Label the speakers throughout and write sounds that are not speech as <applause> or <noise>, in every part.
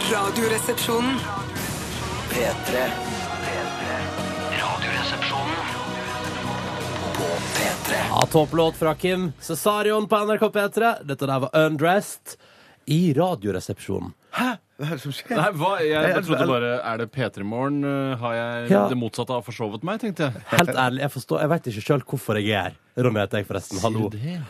Speaker 1: Radioresepsjonen.
Speaker 2: P3. Radioresepsjonen på P3.
Speaker 3: Ja, topplåt fra Kim Cesarion på NRK P3. Dette der var Undressed i Radioresepsjonen.
Speaker 4: Hva er det som skjer?
Speaker 5: Nei, hva? Jeg
Speaker 4: Jeg-
Speaker 5: trodde bare Er det P3 Morgen? Eh, Har jeg
Speaker 3: altså, Ja.
Speaker 5: det motsatte av forsovet meg, tenkte jeg.
Speaker 3: Helt ærlig, jeg forstår Jeg veit ikke sjøl hvorfor jeg er her. Ronny heter jeg, forresten. Hallo.
Speaker 5: det?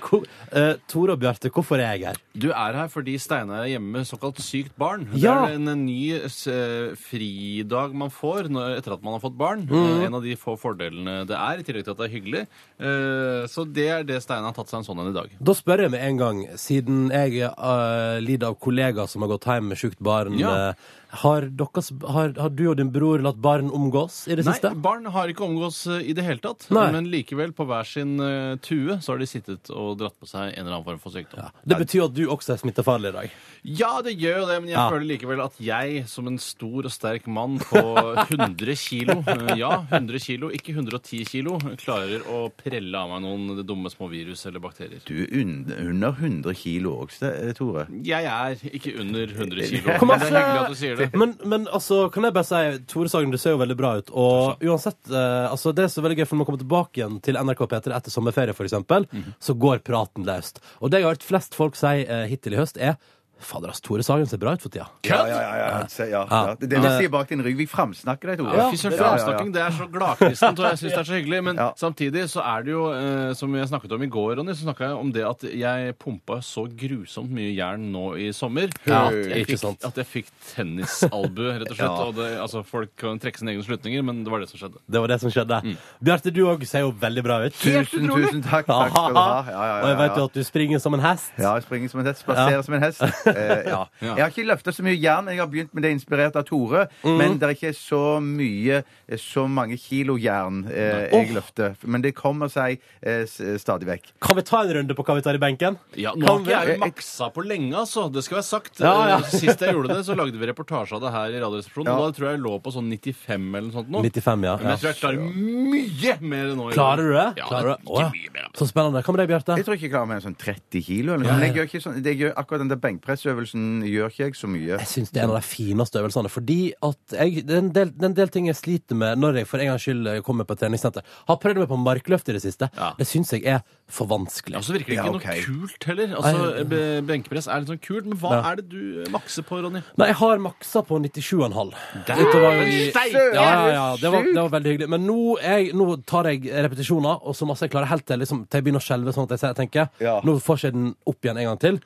Speaker 3: Hvor- eh, Tore og Bjarte, hvorfor er jeg her?
Speaker 5: Du er her fordi Steinar er hjemme med såkalt sykt barn.
Speaker 3: Ja.
Speaker 5: Det er en en ny eh, fridag man får når, etter at man har fått barn.
Speaker 3: Mhm.
Speaker 5: Eh, En av de få fordelene det er, i tillegg til at det er hyggelig. Eh, så det er det Steinar har tatt seg en sånn en i dag.
Speaker 3: Da spør jeg med en gang, siden jeg eh, lider av kollegaer som har gått hjem med sjukt barn
Speaker 5: Ja.
Speaker 3: eh, har, deres, har, har du og din bror latt barn omgås i det
Speaker 5: Nei,
Speaker 3: siste?
Speaker 5: barn har ikke omgås eh, i det hele tatt.
Speaker 3: Nei.
Speaker 5: Men likevel, på hver sin eh, tue, så har de sittet og dratt på seg en eller annen form for sykdom. Ja.
Speaker 3: Det betyr at du også er smittefarlig i dag.
Speaker 5: Ja, det gjør jo det, men jeg
Speaker 3: Ja.
Speaker 5: føler likevel at jeg som en stor og sterk mann på 100 kilo, eh, ja, 100 kilo, ikke 110 kilo, klarer å prelle av meg noen dumme små virus eller bakterier.
Speaker 4: Du er un- under 100 kilo også, eh, Tore.
Speaker 5: Jeg er ikke under 100 kilo.
Speaker 3: Hvor
Speaker 5: Men
Speaker 3: masse-
Speaker 5: det er hyggelig at du sier det.
Speaker 3: altså, Men, men altså, kan jeg bare si Tore Sagen, du ser jo veldig bra ut. Og uansett, eh, altså, det er så veldig gøy, for når man kommer tilbake igjen til NRK P3 etter sommerferie, f.eks., eksempel så går praten løst. Og det jeg har hørt flest folk si eh, hittil i høst, er Fader, ass, Tore Sagen ser bra ut for tida.
Speaker 4: Ja, ja, ja, ja. Se, ja, ja. Det er det vi sier bak din rygg. Vi framsnakker deg, Tore.
Speaker 5: Fy søren, framsnakking, det er så gladkristent, og jeg syns det er så hyggelig. Men
Speaker 4: Ja.
Speaker 5: samtidig så er det jo, eh, som jeg snakket om i går, Ronny, så snakka jeg om det at jeg pumpa så grusomt mye jern nå i sommer
Speaker 3: Ja,
Speaker 5: at, jeg
Speaker 3: ikke
Speaker 5: fikk,
Speaker 3: sant.
Speaker 5: at jeg fikk tennisalbue, rett og <laughs> slett. Og det, altså, folk kan trekke sine egne slutninger, men det var det som skjedde.
Speaker 3: Det var det som skjedde. Bjarte, du òg ser jo veldig bra ut.
Speaker 4: Tusen, tusen takk. Takk skal du ha.
Speaker 3: <laughs>
Speaker 4: Ja, ja, ja,
Speaker 3: Og jeg vet jo
Speaker 4: ja.
Speaker 3: at du springer som en hest.
Speaker 4: Ja, jeg springer som en hest, spaserer som en hest. Eh, ja.
Speaker 5: Ja.
Speaker 4: Jeg har ikke løfta så mye jern, men jeg har begynt med det inspirert av Tore. Men det er ikke så mye, eh, så mange kilo jern eh, jeg løfter. Men det kommer seg eh, s- stadig vekk.
Speaker 3: Kan vi ta en runde på hva vi tar i benken?
Speaker 5: Ja, nå
Speaker 3: Kan
Speaker 5: har ikke
Speaker 3: vi-
Speaker 5: jeg maksa på lenge, altså. Det skal være sagt.
Speaker 3: Ja, ja.
Speaker 5: Eh, Sist jeg gjorde <laughs> det, så lagde vi reportasje av det her i Radioresepsjonen.
Speaker 4: Ja.
Speaker 5: og Da tror jeg jeg lå på sånn 95 eller noe sånt nå.
Speaker 3: 95, ja.
Speaker 5: Men jeg tror jeg klarer mye mer nå. i år.
Speaker 3: Klarer du det?
Speaker 5: Ja,
Speaker 3: Klarer du det?
Speaker 5: ikke
Speaker 3: Å,
Speaker 5: mye
Speaker 3: ja.
Speaker 5: mer. altså.
Speaker 3: Så spennende. Hva med deg,
Speaker 4: Jeg
Speaker 3: Bjarte?
Speaker 4: tror ikke jeg klarer mer enn sånn 30 kilo. Eller noe. sånt. Men jeg gjør ikke sånn, det gjør, akkurat den der benkpressøvelsen gjør ikke jeg så mye.
Speaker 3: Jeg syns det er en av de fineste øvelsene. Fordi at jeg, det, er en del, det er en del ting jeg sliter med når jeg for en gangs skyld kommer på et treningssenter. Har prøvd meg på markløft i det siste.
Speaker 5: Ja.
Speaker 3: Det syns jeg er for
Speaker 5: Ja,
Speaker 3: vanskelig.
Speaker 5: så virker det
Speaker 4: Ja,
Speaker 5: ikke
Speaker 4: ok.
Speaker 5: noe kult heller. Altså,
Speaker 3: Nei.
Speaker 5: be- Benkepress er litt sånn kult, men hva er det du makser på, Ronny?
Speaker 3: Nei, jeg har maksa på 97,5. Dette var jo i-
Speaker 4: Søren,
Speaker 3: Ja, ja, ja.
Speaker 4: er du
Speaker 3: Det, var,
Speaker 4: syk?
Speaker 3: det var veldig hyggelig. Men nå, er jeg, nå tar jeg repetisjoner, og så masse jeg klarer helt til, liksom, til jeg begynner å skjelve. Sånn at jeg tenker
Speaker 4: Ja.
Speaker 3: Nå får ikke jeg den opp igjen en gang til.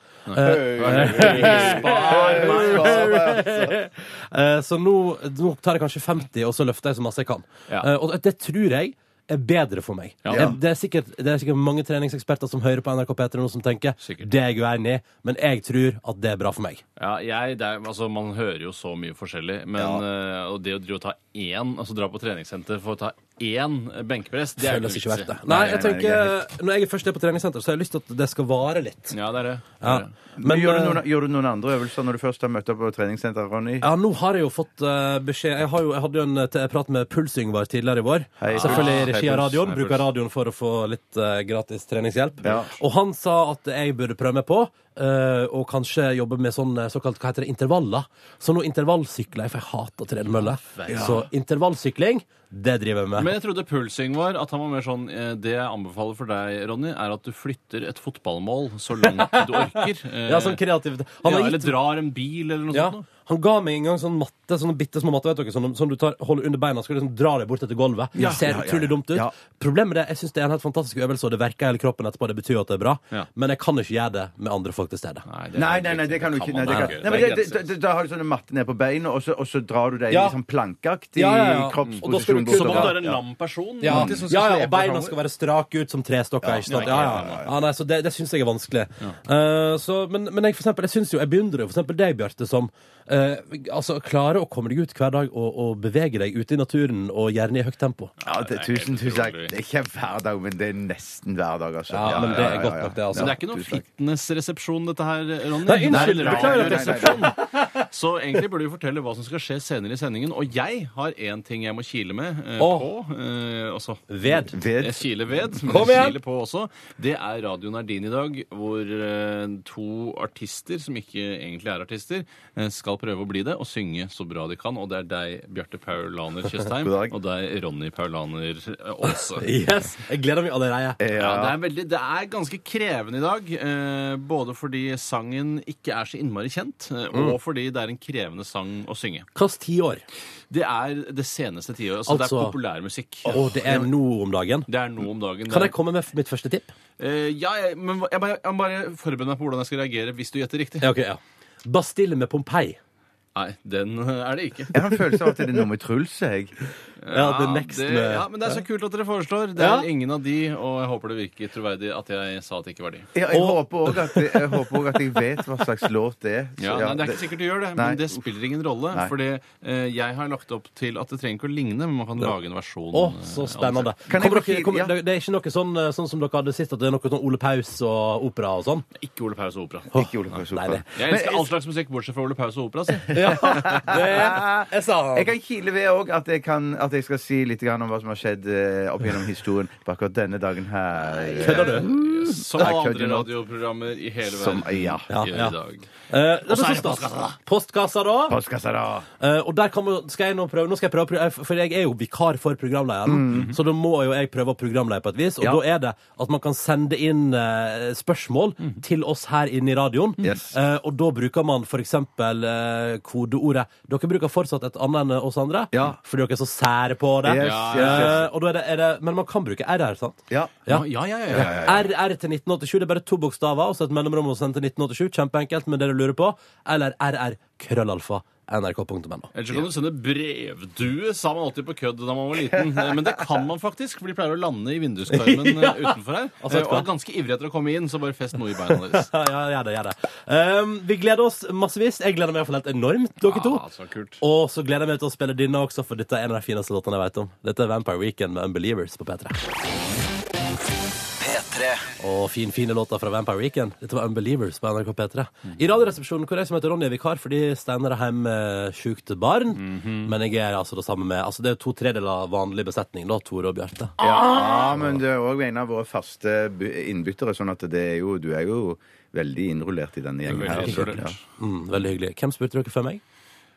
Speaker 3: Eh, så nå, nå tar jeg kanskje 50, og så løfter jeg så masse jeg kan.
Speaker 5: Ja.
Speaker 3: Eh, og det tror jeg er bedre for meg.
Speaker 5: Ja.
Speaker 3: Jeg, det, er sikkert, det er sikkert mange treningseksperter som hører på NRK P3 nå, som tenker
Speaker 5: Sikkert.
Speaker 3: det er jeg uenig i, men jeg tror at det er bra for meg.
Speaker 5: Ja, jeg, det er, altså, Man hører jo så mye forskjellig, men eh, og det å drive og ta én, altså dra på treningssenter for å ta én benkepress, det er jo
Speaker 3: Føles ikke
Speaker 5: vits i.
Speaker 3: verdt det. Nei, jeg
Speaker 4: nei, det
Speaker 3: tenker, Når jeg først er på treningssenter, så har jeg lyst til at det skal vare litt.
Speaker 5: Ja, det er det.
Speaker 3: Ja.
Speaker 5: Det er det.
Speaker 3: Men,
Speaker 4: gjør, du
Speaker 3: eh,
Speaker 4: noen, gjør du noen andre øvelser når du først har møtt opp på treningssenteret, Ronny?
Speaker 3: Ja, nå har jeg jo fått eh, beskjed Jeg, har jo, jeg hadde jo en eh, te- prat med Puls Yngvar tidligere i vår.
Speaker 4: Hei, Puls.
Speaker 3: Selvfølgelig i regi
Speaker 4: Hei,
Speaker 3: av
Speaker 4: Puls.
Speaker 3: radioen.
Speaker 5: Hei, Puls.
Speaker 3: Bruker radioen for å få litt eh, gratis treningshjelp.
Speaker 4: Ja.
Speaker 3: Og han sa at jeg burde prøve meg på eh, og kanskje jobbe med sånn eh, såkalt hva heter det, intervaller. Så nå intervallsykler jeg, for jeg hater tredemølle. Så intervallsykling, det driver jeg med.
Speaker 5: Men jeg trodde pulsing var at han var mer sånn eh, Det jeg anbefaler for deg, Ronny, er at du flytter et fotballmål så langt du orker. Eh,
Speaker 3: <laughs> ja, sånn kreativt.
Speaker 5: ja,
Speaker 3: Han har
Speaker 5: eller
Speaker 3: gitt
Speaker 5: drar en bil, eller noe
Speaker 3: ja,
Speaker 5: sånt. noe.
Speaker 3: han ga meg en gang sånn matte, sånne bitte små matte, vet dere, sånn, som du tar, holder under beina og liksom dra deg bort etter gulvet. Det ser utrolig dumt ut.
Speaker 4: Ja.
Speaker 3: Problemet med det, jeg synes det er en helt fantastisk øvelse, og det verker i hele kroppen etterpå, det betyr jo at det er bra,
Speaker 5: Ja.
Speaker 3: men jeg kan ikke gjøre det med andre folk til stede.
Speaker 5: Nei, det er
Speaker 4: Nei,
Speaker 5: helt
Speaker 4: nei, nei,
Speaker 5: riktig.
Speaker 4: det kan du ikke. Nei,
Speaker 5: man
Speaker 4: det kan.
Speaker 5: ikke.
Speaker 4: Nei, men
Speaker 5: Det er
Speaker 4: det, det,
Speaker 5: grenser.
Speaker 4: det, da har du sånne matte ned på beina, og så, og så drar du deg i
Speaker 3: Ja.
Speaker 4: sånn plankeaktig
Speaker 3: Ja, ja, ja. Og da skal du
Speaker 4: kroppsposisjon.
Speaker 3: kutte
Speaker 5: Som om
Speaker 4: bortover.
Speaker 5: du er en lam person.
Speaker 3: Ja,
Speaker 5: egentlig, som skal
Speaker 3: ja, ja, og
Speaker 5: slepe
Speaker 3: beina
Speaker 5: framover.
Speaker 3: skal være strake ut som trestokker. ikke sant? Ja, ja, ja. Ja, nei, så det, det syns jeg er vanskelig. Eh, så, men, men jeg, for eksempel, jeg synes jo, jeg beundrer jo for eksempel deg, Bjarte, som eh, altså, klarer å komme deg ut hver dag og, og bevege deg ute i naturen, og gjerne i høyt tempo.
Speaker 4: Ja,
Speaker 5: det
Speaker 4: det,
Speaker 5: er
Speaker 4: tusen,
Speaker 5: helt
Speaker 4: tusen takk.
Speaker 5: utrolig.
Speaker 4: Det er ikke hver dag, men det er nesten hver dag, altså.
Speaker 3: Ja, men det er godt nok, det, altså.
Speaker 5: Så det er ikke noen
Speaker 4: tusen takk.
Speaker 5: fitnessresepsjon, dette her, eh, Ronny?
Speaker 3: Nei, unnskyld,
Speaker 5: Det er en
Speaker 3: beklager at
Speaker 4: jeg
Speaker 5: radioresepsjon. <laughs> Så egentlig burde vi fortelle hva som skal skje senere i sendingen. Og jeg har én ting jeg må kile med eh,
Speaker 3: Åh.
Speaker 5: på. Eh, også.
Speaker 3: Ved.
Speaker 4: Ved.
Speaker 5: Jeg kiler ved, men
Speaker 3: Kom igjen.
Speaker 5: kiler på også. Det er Radio Nardin i dag, hvor eh, to artister, som ikke egentlig er artister, eh, skal prøve å bli det og synge så bra de kan. Og det er deg, Bjarte Paulaner
Speaker 3: <laughs>
Speaker 5: Tjøstheim,
Speaker 4: God dag.
Speaker 5: og deg, Ronny Paulaner Aase.
Speaker 3: Yes, Jeg gleder meg allerede.
Speaker 5: Ja, det, er veldig, det er ganske krevende i dag. Eh, både fordi sangen ikke er så innmari kjent, eh,
Speaker 3: Mm.
Speaker 5: og fordi det er en krevende sang å synge.
Speaker 3: Kast ti år.
Speaker 5: Det er det seneste tiåret. Altså, det er
Speaker 3: Altså-
Speaker 5: populærmusikk.
Speaker 3: Å, det er nå om dagen.
Speaker 5: Det er nå om dagen.
Speaker 3: Kan
Speaker 5: Det
Speaker 3: jeg komme med mitt første tipp?
Speaker 5: er- eh, ja, jeg, men hva- jeg, bare- jeg må bare forberede meg på hvordan jeg skal reagere hvis du gjetter riktig.
Speaker 3: Ja, ok, ja. Bastille med Pompeii.
Speaker 5: Nei, den eh, er det ikke.
Speaker 4: Jeg har en følelse av at det er noe med Truls, jeg.
Speaker 3: Ja, The Next
Speaker 5: det,
Speaker 3: med
Speaker 5: ja, men det er så kult at dere foreslår. Det
Speaker 3: Ja.
Speaker 5: er ingen av de, og jeg håper det virker troverdig at jeg sa at det ikke var de.
Speaker 4: Jeg, jeg
Speaker 3: Og-
Speaker 4: håper òg at, jeg håper også at jeg vet hva slags låt det er. Så
Speaker 5: Ja,
Speaker 4: ja,
Speaker 5: nei, Det er ikke sikkert du gjør det,
Speaker 4: Nei.
Speaker 5: men det spiller ingen rolle.
Speaker 4: Nei.
Speaker 5: Fordi eh, jeg har lagt opp til at det trenger ikke å ligne, men man kan lage en versjon.
Speaker 3: Å,
Speaker 5: eh,
Speaker 3: så
Speaker 5: av
Speaker 3: spennende.
Speaker 5: det
Speaker 4: Kan
Speaker 3: Kommer
Speaker 4: jeg få
Speaker 3: dere,
Speaker 4: fire-
Speaker 3: kommer,
Speaker 4: ja.
Speaker 3: det det er ikke noe sånn, eh, sånn som dere hadde sett, at det er noe sånn Ole Paus og opera og sånn?
Speaker 5: selv. Ikke Ole Paus og opera.
Speaker 4: Ikke Ole Paus
Speaker 3: Nei,
Speaker 4: Opera.
Speaker 3: det-
Speaker 5: Jeg elsker all slags musikk bortsett fra Ole Paus og
Speaker 3: <laughs>
Speaker 5: opera. Si.
Speaker 3: Ja, det er sant.
Speaker 4: Jeg kan kile ved òg at, jeg kan- at jeg skal si litt grann om hva som har skjedd eh, opp gjennom historien på akkurat denne dagen her.
Speaker 3: Kødder du?
Speaker 5: Som
Speaker 4: Nei,
Speaker 5: alle
Speaker 4: kødder
Speaker 5: andre
Speaker 4: nå.
Speaker 5: radioprogrammer i hele
Speaker 4: Som,
Speaker 5: verden
Speaker 4: ja.
Speaker 3: Ja,
Speaker 5: gjør
Speaker 3: ja.
Speaker 5: i dag.
Speaker 3: Eh, det er
Speaker 5: så er
Speaker 3: så
Speaker 5: det
Speaker 3: stas.
Speaker 5: postkassa, da.
Speaker 3: Postkassa, da.
Speaker 4: Postkassa, da.
Speaker 3: Eh, og der kan man, skal jeg nå prøve, nå skal jeg prøve, å pro- eh, for jeg er jo vikar for programlederen,
Speaker 4: Mm.
Speaker 3: så da må jo jeg prøve å programlede på et vis, og da er det at man kan sende inn eh, spørsmål til oss her inne i radioen,
Speaker 4: Mm. Yes.
Speaker 3: Eh, og da bruker man for eksempel eh, kodeordet, dere bruker fortsatt et annet enn oss andre,
Speaker 4: Ja.
Speaker 3: fordi dere er så sære på det,
Speaker 4: Yes,
Speaker 5: Ja,
Speaker 4: yes, yes.
Speaker 3: Eh, og da er det, er det, men man kan bruke RR, sant?
Speaker 4: Ja.
Speaker 3: Ja.
Speaker 5: ja, ja, ja, ja.
Speaker 3: RR til 1987, det er bare to bokstaver, og så et mellomrom og send til 1987, kjempeenkelt med det du lurer på, eller RR krøllalfa nrk.no.
Speaker 5: Ellers så kan du sende brevdue, sa man alltid på kødd da man var liten.
Speaker 3: <laughs>
Speaker 5: Eh, Men det kan man faktisk, for de pleier å lande i vinduskarmen eh, utenfor her.
Speaker 3: Altså,
Speaker 5: Eh, Og er ganske ivrige etter å komme inn, så bare fest noe i beina deres.
Speaker 3: Ja, ja, gjør det, gjør det. Um, vi gleder oss massevis. Jeg gleder meg iallfall helt enormt, dere to.
Speaker 5: Ah, så kult.
Speaker 3: Og så gleder jeg meg til å spille denne også, for dette er en av de fineste låtene jeg vet om. Dette er Vampire Weekend med Unbelievers på P3.
Speaker 2: P3.
Speaker 3: Og fin, fine låter fra Vampire Weekend. Dette var Unbelievers på NRK P3. I Radioresepsjonen hvor jeg som heter Ronny er vikar fordi Steinar er hjemme eh, sjukt barn. Men jeg er altså det samme med Altså det er to tredeler vanlig besetning, da, Tore og Bjarte.
Speaker 5: Ah!
Speaker 4: Ja, Ah, men det er òg en av våre faste bu- innbyttere, sånn at det er jo, du er jo veldig innrullert i denne gjengen. her.
Speaker 5: Veldig
Speaker 4: altså.
Speaker 5: isolert.
Speaker 3: Mm, veldig hyggelig. Hvem spurte dere før meg?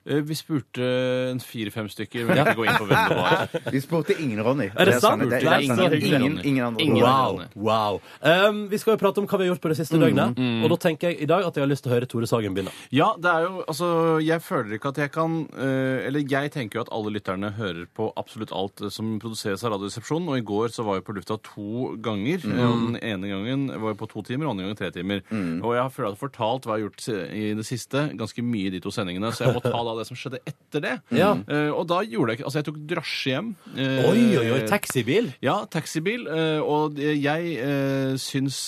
Speaker 5: Eh, Vi spurte en fire-fem stykker. <laughs> Vi vil ikke gå inn på hvem det var.
Speaker 4: Ja. Vi spurte ingen Ronny.
Speaker 3: Er det sant?
Speaker 4: Det er
Speaker 3: Det er
Speaker 4: sant.
Speaker 3: så hyggelig,
Speaker 4: Ingen,
Speaker 5: Ronny.
Speaker 4: ingen andre.
Speaker 5: Ingen.
Speaker 4: Ronny.
Speaker 3: Wow, wow. Um, vi skal jo prate om hva vi har gjort på det
Speaker 5: Mm,
Speaker 3: siste døgnet. Og da tenker jeg i dag at jeg har lyst til å høre Tore Sagen begynne.
Speaker 5: Ja, det er jo Altså, jeg føler ikke at jeg kan eh, Eller jeg tenker jo at alle lytterne hører på absolutt alt eh, som produseres av Radioresepsjonen, og i går så var jeg på lufta to ganger. eh, Og den ene gangen var jeg på to timer, og den andre gangen tre timer. Og jeg har følt at jeg har fortalt hva jeg har gjort se- i det siste, ganske mye i de to sendingene, så jeg må ta da det som skjedde etter det.
Speaker 3: Ja.
Speaker 5: Eh, og da gjorde jeg ikke Altså, jeg tok drosje hjem. eh,
Speaker 3: Oi, oi, oi, taxibil!
Speaker 5: Ja, taxibil. eh, Og det- jeg eh, syns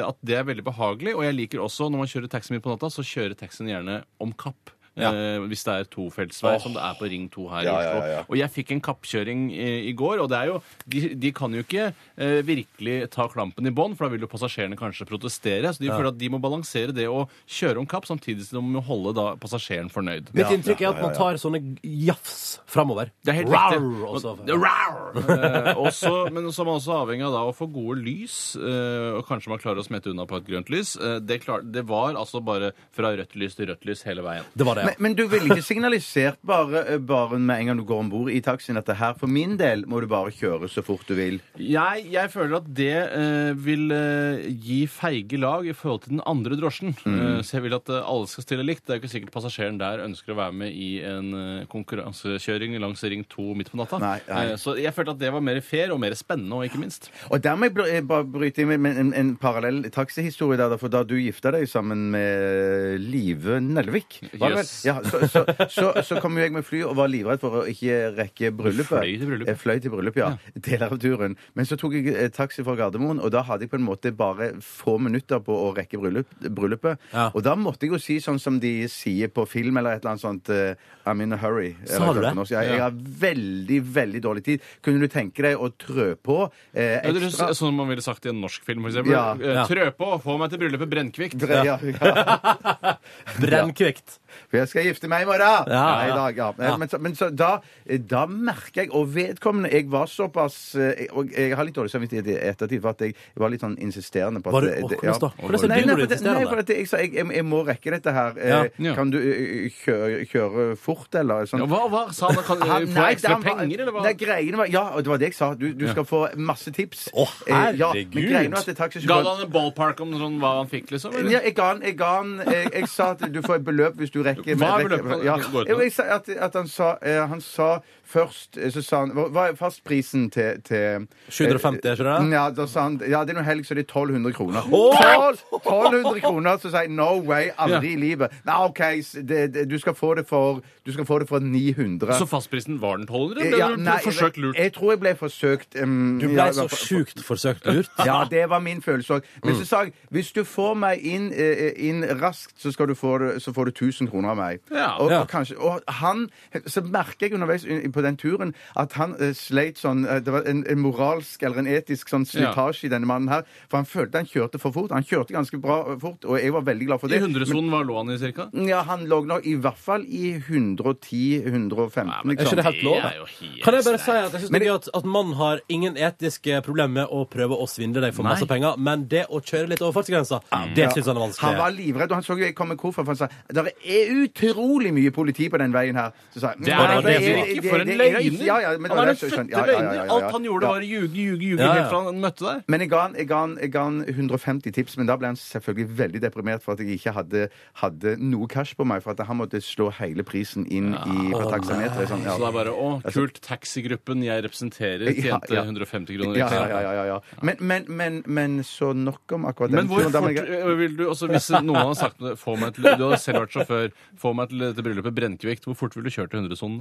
Speaker 5: at det er veldig behagelig. Og jeg liker også, når man kjører taxi mye på natta, så kjører taxien gjerne om kapp. eh, Hvis det er tofeltsvei, som det er på Ring 2 her i
Speaker 4: Ja, ja,
Speaker 5: Oslo.
Speaker 4: ja, ja.
Speaker 5: Og jeg fikk en kappkjøring eh, i går, og det er jo De, de kan jo ikke eh, virkelig ta klampen i bånn, for da vil jo passasjerene kanskje protestere. Så de føler at de må balansere det å kjøre om kapp, samtidig som de må holde da passasjeren fornøyd.
Speaker 3: Mitt inntrykk er at man tar sånne jafs framover.
Speaker 5: Det er helt
Speaker 3: Rar, altså.
Speaker 5: riktig.
Speaker 3: og så-
Speaker 5: Men- det er rar! <laughs> Eh, også, men så er man også avhengig av da å få gode lys, eh, og kanskje man klarer å smette unna på et grønt lys. Eh, det, klar, det var altså bare fra rødt lys til rødt lys hele veien.
Speaker 3: Det var det, ja.
Speaker 4: Men, men du ville ikke signalisert bare, eh, bare med en gang du går om bord i taxien at det her for min del må du bare kjøre så fort du vil.
Speaker 5: Jeg, jeg føler at det eh, vil eh, gi feige lag i forhold til den andre drosjen. Eh, så jeg vil at eh, alle skal stille likt. Det er jo ikke sikkert passasjeren der ønsker å være med i en eh, konkurransekjøring langs Ring 2 midt på natta.
Speaker 4: Nei, nei.
Speaker 5: Eh, så jeg følte at det var mer fair og mer spennende, og ikke minst.
Speaker 4: Og der må jeg br- eh, bare bryte inn med- med en, en parallell taxihistorie der, da, for da du gifta deg sammen med Live Nelvik var det vel?
Speaker 5: Yes.
Speaker 4: ja, så, så, så, så kom jo jeg med fly og var livredd for å ikke rekke bryllupet.
Speaker 5: Fløy til bryllup.
Speaker 4: Jeg fløy til bryllup, ja. Deler av turen. Men så tok jeg eh, taxi fra Gardermoen, og da hadde jeg på en måte bare få minutter på å rekke bryllup, bryllupet.
Speaker 3: Ja.
Speaker 4: Og da måtte jeg jo si sånn som de sier på film eller et eller annet sånt eh, I'm in a hurry.
Speaker 3: Sa
Speaker 4: Eller
Speaker 3: du det?
Speaker 4: sånn også. Jeg, jeg har veldig, veldig dårlig tid. Kunne du tenke deg å trø på eh,
Speaker 5: Ja, det er
Speaker 4: ekstra?
Speaker 5: så- Sånn man ville sagt i en norsk film, for eksempel.
Speaker 4: Ja.
Speaker 5: Eh, Trø på, få meg til bryllupet Brennkvikt.
Speaker 4: Dre- <laughs> Ja. Ja,
Speaker 3: Brennkvikt.
Speaker 4: For jeg skal gifte meg i morgen!
Speaker 3: Ja,
Speaker 4: Nei,
Speaker 3: ja.
Speaker 4: i dag, ja. Eh,
Speaker 3: Ja.
Speaker 4: Men, så, men så, da, eh, da merker jeg, og vedkommende Jeg var såpass eh, Og jeg har litt dårlig samvittighet i ettertid for at jeg var litt sånn insisterende på at
Speaker 3: Var du-
Speaker 4: det-
Speaker 3: Å,
Speaker 4: det-
Speaker 3: hvordan da? Hvordan er det
Speaker 4: Nei,
Speaker 3: du var
Speaker 4: nei, for det-
Speaker 3: insisterende?
Speaker 4: Nei, for at jeg sa jeg, jeg, jeg må rekke dette her. Eh,
Speaker 5: Ja.
Speaker 4: Kan du eh, kjøre, kjøre fort, eller? Sånn.
Speaker 5: Ja, hva, hva sa han? Kan,
Speaker 4: Han-
Speaker 5: få
Speaker 4: nei,
Speaker 5: Eh, ekstra
Speaker 4: han var-
Speaker 5: penger, eller hva?
Speaker 4: Nei, greiene var Ja, og det var det jeg sa. Du, du skal få masse tips.
Speaker 3: Å,
Speaker 4: Eh, ja, men
Speaker 3: herregud.
Speaker 4: greiene var at det tar ikke så
Speaker 5: Ga
Speaker 4: godt-
Speaker 5: han en ballpark om sånn, hva han fikk, liksom?
Speaker 4: Ja, jeg ga han, jeg, ga han jeg, jeg sa at du får et beløp hvis du rekker
Speaker 5: Hva er
Speaker 4: rekker-
Speaker 5: beløpet?
Speaker 4: Ja.
Speaker 5: Går det til?
Speaker 4: Jeg, jeg sa at, at han sa eh, Han sa først eh, Så sa han Hva hva er fastprisen til, til
Speaker 3: 750, er ikke det?
Speaker 4: ja, da sa han, ja, det er noe helg, så det er 1200 kroner.
Speaker 3: Åh!
Speaker 4: 12 1200 kroner, så sier jeg no way, aldri i livet. Nei, OK, s- det, det, du skal få det for Du skal få det for 900.
Speaker 5: Så fastprisen var den 1200? Ble
Speaker 4: Ja,
Speaker 5: du
Speaker 4: nei,
Speaker 5: forsøkt lurt?
Speaker 4: Jeg, jeg tror jeg ble forsøkt um,
Speaker 3: Du ble
Speaker 4: ja,
Speaker 3: så Mm.
Speaker 4: for-
Speaker 3: sjukt forsøkt
Speaker 5: <laughs>
Speaker 3: lurt.
Speaker 4: ja, det var min følelse òg. Men så sa jeg hvis du får meg inn, eh, inn raskt, så, skal du få, det- så får du 1000 kroner av meg.
Speaker 5: Ja.
Speaker 4: og,
Speaker 3: Ja.
Speaker 4: og kanskje Og han Så merker jeg underveis i- på den turen at han eh, sleit sånn eh, Det var en, en moralsk eller en etisk sånn
Speaker 5: Ja.
Speaker 4: slitasje i denne mannen her. For han følte han kjørte for fort. Han kjørte ganske bra eh, fort, og jeg var veldig glad for
Speaker 5: I
Speaker 4: det.
Speaker 5: hundresonen, hva lå han i cirka?
Speaker 4: Ja, han lå nok i hvert fall i 110-115,
Speaker 5: Nei, men
Speaker 3: Er ikke
Speaker 4: liksom.
Speaker 3: det helt lov?
Speaker 5: sånn. Det er jo helt
Speaker 3: Kan jeg bare
Speaker 5: streit.
Speaker 3: si at jeg synes det er gøy at, at man har ingen etiske problemer med å prøve å svindle deg for masse penger, men det å kjøre litt over fartsgrensa, det
Speaker 4: Ja.
Speaker 3: synes han er
Speaker 4: Han var
Speaker 3: vanskelig.
Speaker 4: livredd, og han så jo jeg kom med koffert, for han sa det er utrolig mye politi på den veien her. Så sa jeg,
Speaker 5: Det
Speaker 4: «Men
Speaker 5: er
Speaker 3: Ja,
Speaker 5: han
Speaker 3: det er
Speaker 5: virkelig
Speaker 3: det-
Speaker 5: ikke for en
Speaker 4: det- det-
Speaker 5: løgner!
Speaker 4: Ja, ja, men det
Speaker 5: han er
Speaker 4: var
Speaker 5: en
Speaker 4: det jeg
Speaker 5: fødte
Speaker 4: skjønte. Ja, ja, ja, ja, ja,
Speaker 5: løgner!
Speaker 4: ja.
Speaker 5: Alt han gjorde,
Speaker 4: Ja.
Speaker 5: var å ljuge, ljuge, ljuge
Speaker 3: Ja, ja.
Speaker 5: helt fra han møtte deg.
Speaker 4: Men jeg ga, han, jeg, ga han, jeg ga han 150 tips, men da ble han selvfølgelig veldig deprimert for at jeg ikke hadde, hadde noe cash på meg, for at han måtte slå hele prisen inn i på taksameteret. Sånn, ja.
Speaker 5: Så det er bare 'Å, kult, taxigruppen jeg representerer,
Speaker 4: Ja,
Speaker 5: tjente
Speaker 4: ja.
Speaker 5: 150 kroner
Speaker 4: ja,
Speaker 5: ekstra'.
Speaker 4: ja, ja, ja, ja. Men, men, men, men så nok om akkurat den
Speaker 5: Men hvor
Speaker 4: turen. Da må
Speaker 5: fort
Speaker 4: jeg-
Speaker 5: ø, vil du også, Hvis noen har sagt det, få meg til, Du har selv vært sjåfør. Få meg til dette bryllupet Brennkvikt. Hvor fort vil du kjøre til 100-sonen?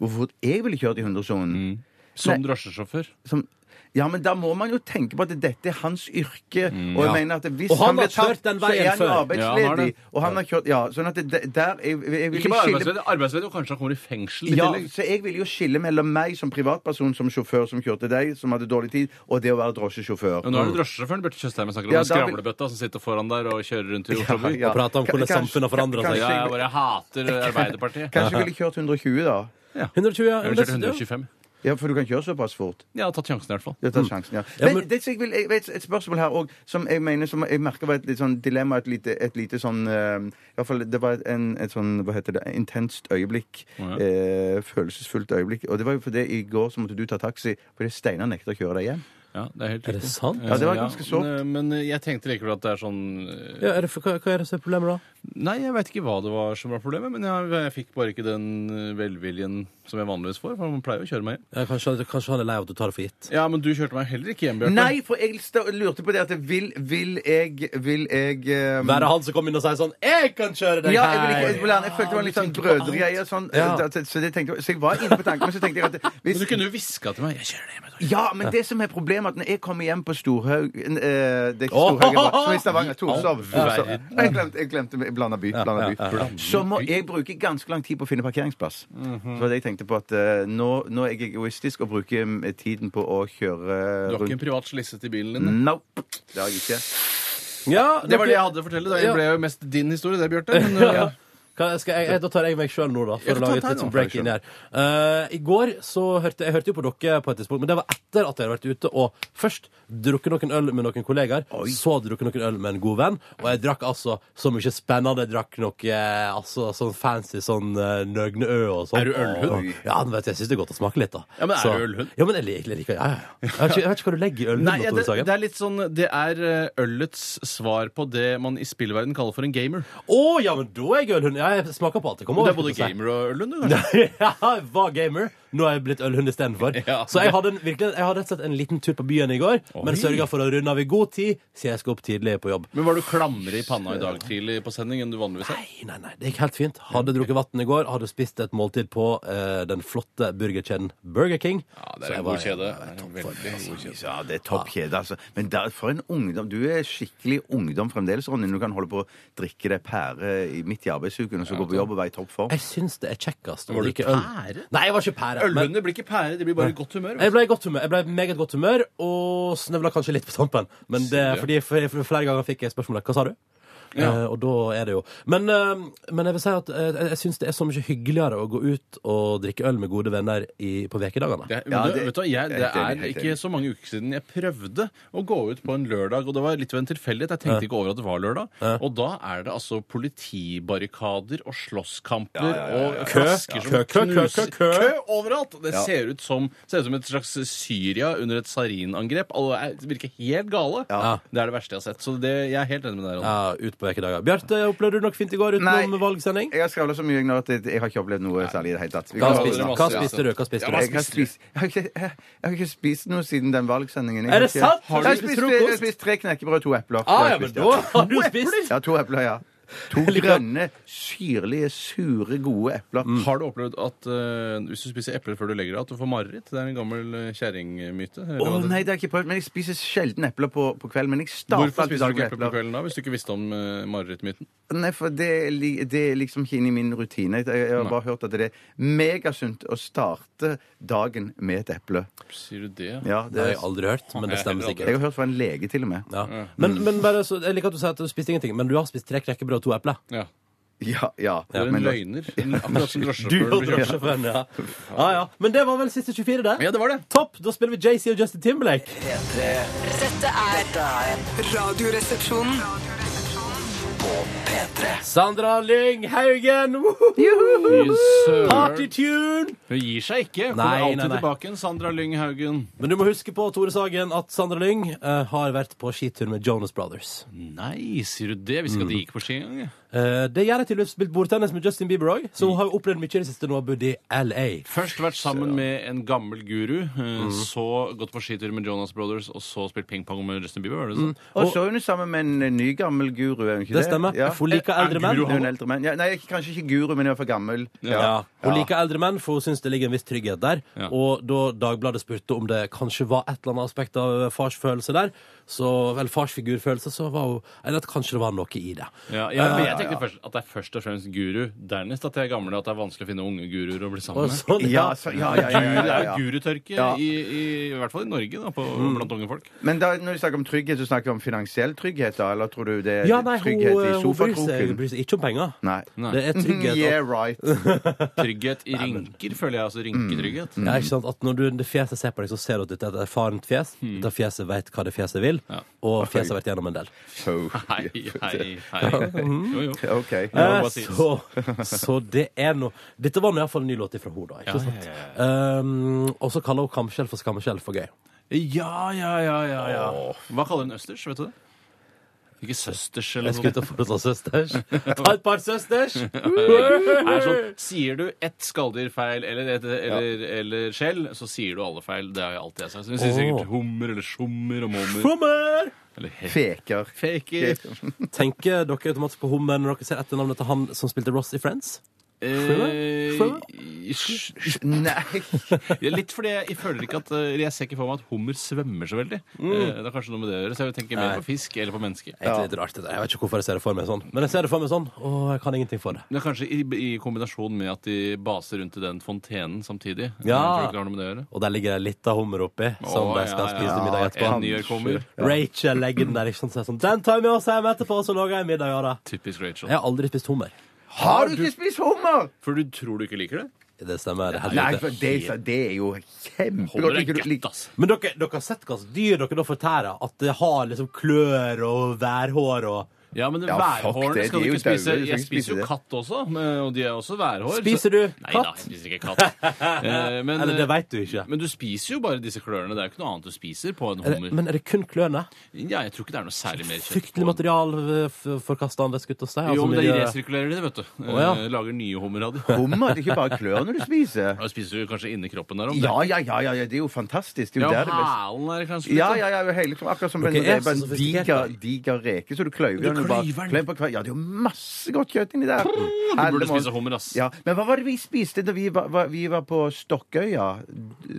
Speaker 4: Hvor fort jeg ville kjørt i 100-sonen?
Speaker 5: Som drosjesjåfør?
Speaker 4: som ja, men da må man jo tenke på at dette er hans yrke.
Speaker 5: Mm,
Speaker 4: og jeg mener at hvis
Speaker 3: Og han
Speaker 4: blir
Speaker 3: har kjørt den
Speaker 4: så
Speaker 3: veien
Speaker 4: er han jo
Speaker 3: før.
Speaker 5: Ja, han har
Speaker 4: arbeidsledig.
Speaker 5: det.
Speaker 4: og han har kjørt, ja, sånn at det, der jeg, jeg vil
Speaker 5: Ikke bare
Speaker 4: skille,
Speaker 5: arbeidsledig, arbeidsledig, og kanskje han kommer i fengsel i
Speaker 4: ja,
Speaker 5: tillegg.
Speaker 4: så jeg ville jo skille mellom meg som privatperson, som sjåfør som kjørte deg, som hadde dårlig tid, og det å være drosjesjåfør.
Speaker 5: Men nå er det drosjesjåføren Bjarte Tjøstheim jeg snakker om.
Speaker 4: Ja,
Speaker 5: den
Speaker 4: da vil-
Speaker 5: Skravlebøtta som sitter foran der og kjører rundt i Oslo by.
Speaker 4: Ja.
Speaker 3: Og prate om hvordan
Speaker 4: Kanskje-
Speaker 3: samfunnet har forandret seg.
Speaker 4: kanskje-
Speaker 5: Ja, jeg bare hater Arbeiderpartiet.
Speaker 4: Kanskje jeg ville kjørt 120, da.
Speaker 3: 120, ja.
Speaker 5: Jeg
Speaker 3: men
Speaker 5: ville kjørt
Speaker 3: det-
Speaker 5: 125.
Speaker 4: Ja, For du kan kjøre såpass fort.
Speaker 5: Jeg har tatt sjansen i hvert fall.
Speaker 4: Jeg tar sjansen, ja.
Speaker 3: Ja,
Speaker 4: Men,
Speaker 3: men-
Speaker 4: det som jeg vil, jeg vet, et spørsmål her òg som jeg mener som jeg merker var et litt sånn dilemma, et lite, et lite sånn eh, I hvert fall det var en, et sånn hva heter det, intenst øyeblikk.
Speaker 5: Ja.
Speaker 4: eh, følelsesfullt øyeblikk. Og det var jo fordi i går så måtte du ta taxi fordi Steinar nekta å kjøre deg hjem.
Speaker 5: Ja, det er helt
Speaker 3: Er det
Speaker 5: riktig.
Speaker 3: sant?
Speaker 4: Ja, det var ganske sårt.
Speaker 5: Men, men jeg tenkte likevel at det er sånn eh,
Speaker 3: Ja, er det, for- hva, hva er det som er problemet da?
Speaker 5: Nei, jeg veit ikke hva det var som var problemet, men jeg, jeg fikk bare ikke den eh, velviljen som jeg vanligvis får. For man pleier jo å kjøre meg hjem.
Speaker 3: Ja, kanskje, kanskje han er lei av at du tar det for gitt.
Speaker 5: Ja, men du kjørte meg heller ikke hjem, Bjarte.
Speaker 4: Nei, for jeg sta- lurte på det at vil, vil jeg Vil jeg eh,
Speaker 3: Være han som kom inn og sa sånn 'Jeg kan kjøre deg
Speaker 4: Ja, jeg, ville ikke, jeg,
Speaker 3: hei!»
Speaker 4: ville gjerne- jeg følte det var litt sånn brødregreier. Sånn,
Speaker 3: Ja.
Speaker 4: eh, så, så, det tenkte, jeg- så jeg var inne på tanken, men så tenkte jeg at
Speaker 5: Men
Speaker 4: hvis,
Speaker 5: du kunne jo hviska til meg. Jeg kjører deg hjem. jeg tar-
Speaker 4: Ja, men det som er problemet er at når jeg kommer hjem på Storhaug eh, Det er ikke
Speaker 3: Åh!
Speaker 4: Storhaug, jeg var- som i Stavanger. Torshov. Torshov.
Speaker 5: verden.
Speaker 4: Jeg glemte, jeg glemte jeg blanda by. Blanda by. Så må jeg bruke ganske lang tid på å finne parkeringsplass.
Speaker 5: Mhm.
Speaker 4: Så var det jeg tenkte på at eh, nå, nå er jeg egoistisk og bruker mm, tiden på å kjøre
Speaker 5: Du har ikke en
Speaker 4: rundt.
Speaker 5: privat slisse til bilen
Speaker 3: Mm.
Speaker 5: din?
Speaker 4: Nope. Det har jeg ikke.
Speaker 3: Ja,
Speaker 5: Det var det jeg hadde å fortelle. Det
Speaker 3: Ja.
Speaker 5: ble jo mest din historie, det, Bjarte.
Speaker 3: <laughs>
Speaker 5: Men, eh,
Speaker 3: Kan- Skal jeg, jeg, da tar jeg meg sjøl nå, da. For
Speaker 5: Ja,
Speaker 3: å
Speaker 5: ta-
Speaker 3: lage et
Speaker 5: ta
Speaker 3: litt
Speaker 5: nå,
Speaker 3: sånn break
Speaker 5: ta deg
Speaker 3: in her. Eh, I går så hørte jeg hørte jo på dere på et tidspunkt, men det var etter at jeg hadde vært ute og først drukket noen øl med noen kollegaer, så drukket noen øl med en god venn, og jeg drakk altså så mye spennende. Jeg drakk noe eh, altså, sånn fancy sånn uh, nøgneø og sånn.
Speaker 5: Er du ølhund?
Speaker 3: Og- Ja, men vet du, jeg syns det er godt å smake litt, da.
Speaker 5: Ja, men er
Speaker 3: Så-
Speaker 5: du ølhund?
Speaker 3: Ja, men jeg liker det. Ja, ja, ja. Jeg vet ikke- jeg vet ikke hva du legger i ølhund.
Speaker 5: Nei, ja,
Speaker 3: Tore
Speaker 5: det,
Speaker 3: Sagen.
Speaker 5: det er litt sånn Det er eh, ølets svar på det man i spillverden kaller for en gamer.
Speaker 3: Å ja, men da er jeg ølhund. Ja, jeg smaker på alt. Jeg kommer
Speaker 5: Du er
Speaker 3: over
Speaker 5: både
Speaker 3: til å si.
Speaker 5: gamer og ølhund, du, kanskje?
Speaker 3: <laughs> ja, jeg var gamer. Nå er jeg blitt ølhund istedenfor.
Speaker 5: Ja.
Speaker 3: Så jeg hadde, en, virkelig, jeg hadde rett og slett en liten tur på byen i går,
Speaker 5: Oi.
Speaker 3: men sørga for å runde av i god tid, siden jeg skal opp tidlig på jobb.
Speaker 5: Men var du klammere i panna i dag tidlig på sending enn du vanligvis er?
Speaker 3: Nei, nei, nei, det gikk helt fint. Hadde drukket vann i går, hadde spist et måltid på eh, den flotte burgerkjeden Burger King.
Speaker 5: Ja,
Speaker 3: Så
Speaker 5: det er
Speaker 3: jeg
Speaker 5: en
Speaker 3: var-
Speaker 5: god kjede.
Speaker 3: jeg var i
Speaker 5: En
Speaker 3: toppform,
Speaker 5: Veldig god kjede.
Speaker 4: Ja, det er
Speaker 5: Ah.
Speaker 4: topp kjede, altså. Men der, for en ungdom. Du er skikkelig ungdom fremdeles, Ronny. når Du kan holde på å drikke deg pære i- midt i arbeidsuken, og så gå på jobb og være i toppform.
Speaker 3: Jeg syns det er kjekkest å
Speaker 5: Var du
Speaker 3: drikke øl.
Speaker 5: pære?
Speaker 3: Nei, jeg var ikke pære. men-
Speaker 5: Ølhunder blir ikke pære, de blir bare i godt humør.
Speaker 3: Jeg ble i godt humør. Jeg ble i meget godt humør og snøvla kanskje litt på tampen. Men det,
Speaker 5: Sier du?
Speaker 3: fordi, for, for flere ganger fikk jeg spørsmålet Hva sa du?
Speaker 5: Ja.
Speaker 3: Eh, og da er det jo Men, eh, men jeg vil si at eh, jeg, jeg syns det er så mye hyggeligere å gå ut og drikke øl med gode venner i, på
Speaker 5: Det,
Speaker 3: ukedagene.
Speaker 5: er- men
Speaker 4: Ja,
Speaker 5: det,
Speaker 4: det-
Speaker 5: vet du, hva, jeg,
Speaker 4: jeg er
Speaker 5: det
Speaker 4: helt enig,
Speaker 5: er
Speaker 4: helt
Speaker 5: ikke
Speaker 4: enig.
Speaker 5: så mange uker siden jeg prøvde å gå ut på en lørdag, og det var litt ved en tilfeldighet. Jeg tenkte ikke over at det var lørdag. Og da er det altså politibarrikader og slåsskamper og
Speaker 3: Kø,
Speaker 5: flasker som
Speaker 3: kø, kø, kø, kø,
Speaker 5: knuser-
Speaker 3: kø.
Speaker 5: overalt! Det ser, ut som, ser ut som et slags Syria under et sarinangrep. Alle er, virker helt gale. Det er det verste jeg har sett. Så det, jeg er helt enig med deg. Ronny.
Speaker 3: Ja, ut på ukedager. Bjarte, opplevde du nok fint i går utenom
Speaker 4: Nei.
Speaker 3: valgsending?
Speaker 4: Jeg har skravla så mye nå at jeg jeg har ikke opplevd noe særlig i det hele tatt. Vi
Speaker 3: Hva
Speaker 4: kan
Speaker 5: Ja,
Speaker 4: holde
Speaker 5: det
Speaker 3: spiste,
Speaker 5: er
Speaker 4: det
Speaker 3: hva
Speaker 5: masse, ja.
Speaker 3: spiste du? Hva spiste
Speaker 5: Ja,
Speaker 3: du?
Speaker 5: masse.
Speaker 4: jeg har, spist, jeg, har ikke, jeg, har ikke spist noe siden den valgsendingen. Jeg
Speaker 3: Er
Speaker 4: har
Speaker 3: det
Speaker 4: ikke-
Speaker 3: sant?
Speaker 4: Har du spist frokost? Jeg har spist tre knekkebrød og to epler. Det
Speaker 3: Ah,
Speaker 4: har jeg
Speaker 3: ja, men
Speaker 4: spist,
Speaker 3: da har du spist!
Speaker 4: Ja, to epler, ja. To grønne, syrlige, sure, gode epler.
Speaker 3: Mm.
Speaker 5: Har du opplevd at eh, hvis du spiser epler før du legger deg, at du får mareritt? Det er en gammel eh, kjerringmyte.
Speaker 4: Å nei, det har jeg ikke prøvd, men jeg spiser sjelden epler på, på kvelden. Men jeg starter
Speaker 5: Hvorfor
Speaker 4: alltid
Speaker 5: spiser du ikke
Speaker 4: dagen
Speaker 5: epler
Speaker 4: med
Speaker 5: på
Speaker 4: epler.
Speaker 5: kvelden da, hvis du ikke visste om uh, marerittmyten?
Speaker 4: Nei, for det, er li- det er liksom ikke inne i min rutine. Jeg, jeg har bare hørt at det er megasunt å starte dagen med et eple.
Speaker 5: Sier du det?
Speaker 4: Ja,
Speaker 3: Det har
Speaker 5: altså,
Speaker 4: det
Speaker 3: jeg aldri hørt, men det stemmer
Speaker 4: jeg Mm.
Speaker 3: sikkert.
Speaker 4: har hørt fra en lege til og med.
Speaker 3: Ja. Men, men bare, så, jeg liker at du sier at du spiste ingenting, men du har spist tre knekkebrød og to epler.
Speaker 5: Ja.
Speaker 4: Ja, ja.
Speaker 5: Du er en
Speaker 4: men da-
Speaker 5: løgner. Akkurat som
Speaker 3: Du og <laughs> drosjesjåføren,
Speaker 5: drosjesjåføren. Ja.
Speaker 3: ja. ja. ja. Men det var vel siste 24, det?
Speaker 5: ja, det var det.
Speaker 3: Topp! Da spiller vi JC og Justin Timberlake.
Speaker 1: Dette er Radioresepsjonen.
Speaker 3: Sandra Lyng Haugen! Woohoo! Partytune!
Speaker 5: Hun gir seg ikke. Hun
Speaker 3: Nei,
Speaker 5: kommer alltid
Speaker 3: nei, nei.
Speaker 5: tilbake igjen, Sandra Lyng Haugen.
Speaker 3: Men du må huske på Tore Sagen, at Sandra Lyng eh, har vært på skitur med Jonas Brothers.
Speaker 5: Nei, sier du det? Visste ikke at de gikk på ski engang. jeg.
Speaker 3: Eh, det gjør jeg til å ha spilt bordtennis med Justin Bieber òg, så hun har jo opplevd mye i det siste når hun har bodd i LA.
Speaker 5: Først vært sammen med en gammel guru, eh, så gått på skitur med Jonas Brothers, og så spilt pingpong med Justin Bieber. Var det sånn?
Speaker 4: Og så er hun jo sammen med en eh, ny gammel guru, er hun ikke det?
Speaker 3: Det stemmer.
Speaker 4: Ja.
Speaker 3: For hun liker
Speaker 5: Eh,
Speaker 3: eldre menn.
Speaker 4: Hun er en eldre menn. Ja, nei, ikke- kanskje ikke guru, men hun er for gammel.
Speaker 3: Ja. Hun liker eldre menn, for hun syns det ligger en viss trygghet der.
Speaker 5: Ja.
Speaker 3: Og da Dagbladet spurte om det kanskje var et eller annet aspekt av eh, farsfølelse der, så, eller farsfigurfølelse, så var hun Eller at kanskje det var noe i det.
Speaker 5: Ja, ja, men jeg tenkte først at det er først og fremst guru, dernest at de er gamle, og at det er vanskelig å finne unge guruer å bli sammen
Speaker 3: Og
Speaker 5: med.
Speaker 3: sånn, ja.
Speaker 4: Ja, så, ja, ja, ja, ja,
Speaker 5: Guru, det
Speaker 4: ja,
Speaker 5: er jo
Speaker 4: ja.
Speaker 5: gurutørke,
Speaker 4: Ja.
Speaker 5: i, i, i hvert fall i Norge, da, på, blant unge folk.
Speaker 4: Men da, når vi snakker om trygghet, så snakker vi om finansiell trygghet, da? Eller tror du det er
Speaker 3: ja, nei, hun, eh,
Speaker 4: trygghet i
Speaker 3: hun bryr, seg,
Speaker 4: sofakroken?
Speaker 3: bryr seg ikke om penger.
Speaker 4: Nei. <laughs>
Speaker 3: Det er trygghet. at-
Speaker 4: Yeah,
Speaker 3: <laughs>
Speaker 4: right.
Speaker 5: Trygghet i rynker, føler jeg. altså Rynketrygghet.
Speaker 3: Ja, ikke sant? At når du, det fjeset ser på deg, så ser du at dette er et erfarent fjes. Dette fjeset vet hva det fjeset vil,
Speaker 5: Hmm. Ja.
Speaker 3: og fjeset har vært gjennom en del.
Speaker 4: So. <laughs>
Speaker 5: Hei, hei, hei. Jo, jo.
Speaker 4: OK.
Speaker 5: Ja,
Speaker 3: Eh,
Speaker 5: hva sies?
Speaker 3: så, så det er noe Dette var nå iallfall en ny låt ifra henne, da. Ikke
Speaker 5: Ja,
Speaker 3: sant?
Speaker 5: ja,
Speaker 3: Um, og så kaller hun kamskjell for skammeskjell for gøy.
Speaker 5: Ja, ja, ja, ja, ja. Hva kaller hun østers? Vet du det? Ikke søsters eller
Speaker 3: Jeg skulle
Speaker 5: noe.
Speaker 3: til å foreslå
Speaker 5: <laughs>
Speaker 3: søsters. Ta et par søsters!
Speaker 5: Er sånn, sier du ett skalldyr feil eller, et, eller, eller skjell, så sier du alle feil. Det har jeg alltid sagt. Så Hun sier
Speaker 3: Åh.
Speaker 5: sikkert hummer eller sjommer og mommer.
Speaker 3: Hummer!
Speaker 5: Eller he-
Speaker 4: Feker.
Speaker 5: faker.
Speaker 3: Tenker dere automatisk på hummer når dere ser etternavnet til han som spilte Ross i Friends?
Speaker 5: Eh,
Speaker 3: Sjø?
Speaker 5: sj-
Speaker 3: <laughs>
Speaker 4: Nei.
Speaker 5: <laughs> Ja, litt fordi jeg, jeg føler ikke at eh, Jeg ser ikke for meg at hummer svømmer så veldig. Eh, Det er kanskje noe med det å gjøre, så jeg tenker mer på fisk eller på mennesker.
Speaker 3: Det er Egentlig litt rart det der. Jeg vet ikke hvorfor jeg ser det for meg sånn. Men jeg ser det for meg sånn, og jeg kan ingenting for det.
Speaker 5: Men det er kanskje i, i kombinasjon med at de baser rundt i den fontenen samtidig.
Speaker 3: Ja.
Speaker 5: Jeg tror ikke det har noe med det å gjøre.
Speaker 3: Og der ligger det litt av hummer oppi, som
Speaker 5: Å,
Speaker 3: de skal
Speaker 5: ja,
Speaker 3: spise
Speaker 5: ja.
Speaker 3: middag etterpå.
Speaker 5: En nyår kommer.
Speaker 3: Rachel legger den der, ikke sant. så er det Sånn, den tar jeg med oss hjem etterpå, så lager jeg middag av det.
Speaker 5: Typisk Rachel.
Speaker 3: Jeg har aldri spist hummer.
Speaker 4: Har du ikke spist hummer?
Speaker 5: For du tror du ikke liker det?
Speaker 3: Det stemmer. Det er helt
Speaker 4: Nei,
Speaker 3: riktig.
Speaker 4: for det, det er jo
Speaker 5: Hummer
Speaker 4: kjempegodt.
Speaker 5: er
Speaker 4: Ikke du-
Speaker 5: godt, ass.
Speaker 3: Men dere, dere har sett hva slags dyr dere da fortærer? At det har liksom klør og værhår og
Speaker 5: Ja, men
Speaker 4: Ja, fuck
Speaker 5: værhårene
Speaker 4: det,
Speaker 5: skal
Speaker 4: de
Speaker 5: du
Speaker 4: er
Speaker 5: ikke spise.
Speaker 4: jo daue, du skal
Speaker 5: Jeg
Speaker 4: ikke spise
Speaker 5: spiser jo
Speaker 4: det.
Speaker 5: katt også, men- og de er også værhår. så-
Speaker 3: Spiser du
Speaker 5: Nei da,
Speaker 3: katt?
Speaker 5: jeg spiser ikke katt. Eh, men,
Speaker 3: Eller det
Speaker 5: eh,
Speaker 3: veit du ikke.
Speaker 5: men du spiser jo bare disse klørne. Det er jo ikke noe annet du spiser på en
Speaker 3: Er det,
Speaker 5: hummer.
Speaker 3: men er det kun klørne?
Speaker 5: Ja, jeg tror ikke det er noe særlig mer kjøtt på
Speaker 3: Fryktelig
Speaker 5: en
Speaker 3: materialforkastende, skulle jeg si.
Speaker 5: Jo,
Speaker 3: altså
Speaker 5: men de
Speaker 4: eh.
Speaker 3: miljø-
Speaker 5: resirkulerer det, vet du.
Speaker 3: Å, ja.
Speaker 5: Eh, Lager nye hummer av de.
Speaker 4: Hummer? Det er ikke bare klørne du spiser?
Speaker 5: Da spiser du kanskje inni kroppen der om
Speaker 4: Ja, ja, ja, ja, ja, det er jo fantastisk. Det
Speaker 5: Ja,
Speaker 4: er jo der det beste.
Speaker 5: halen er det kanskje litt, sånn.
Speaker 4: Ja,
Speaker 5: da.
Speaker 4: ja, ja, hele, kroppen, akkurat som
Speaker 3: Dere
Speaker 4: en,
Speaker 3: er
Speaker 4: det er bare
Speaker 3: så
Speaker 4: en
Speaker 3: sofistikerte.
Speaker 4: diger, diger reke, så du kløyver den. og bare
Speaker 5: kløyver den.
Speaker 4: klem på hver- Ja, det er jo masse godt kjøtt inni der.
Speaker 5: Du burde spise hummer, ass.
Speaker 4: Ja, men hva var det vi spiste da vi var, var, vi var på Stokkøya?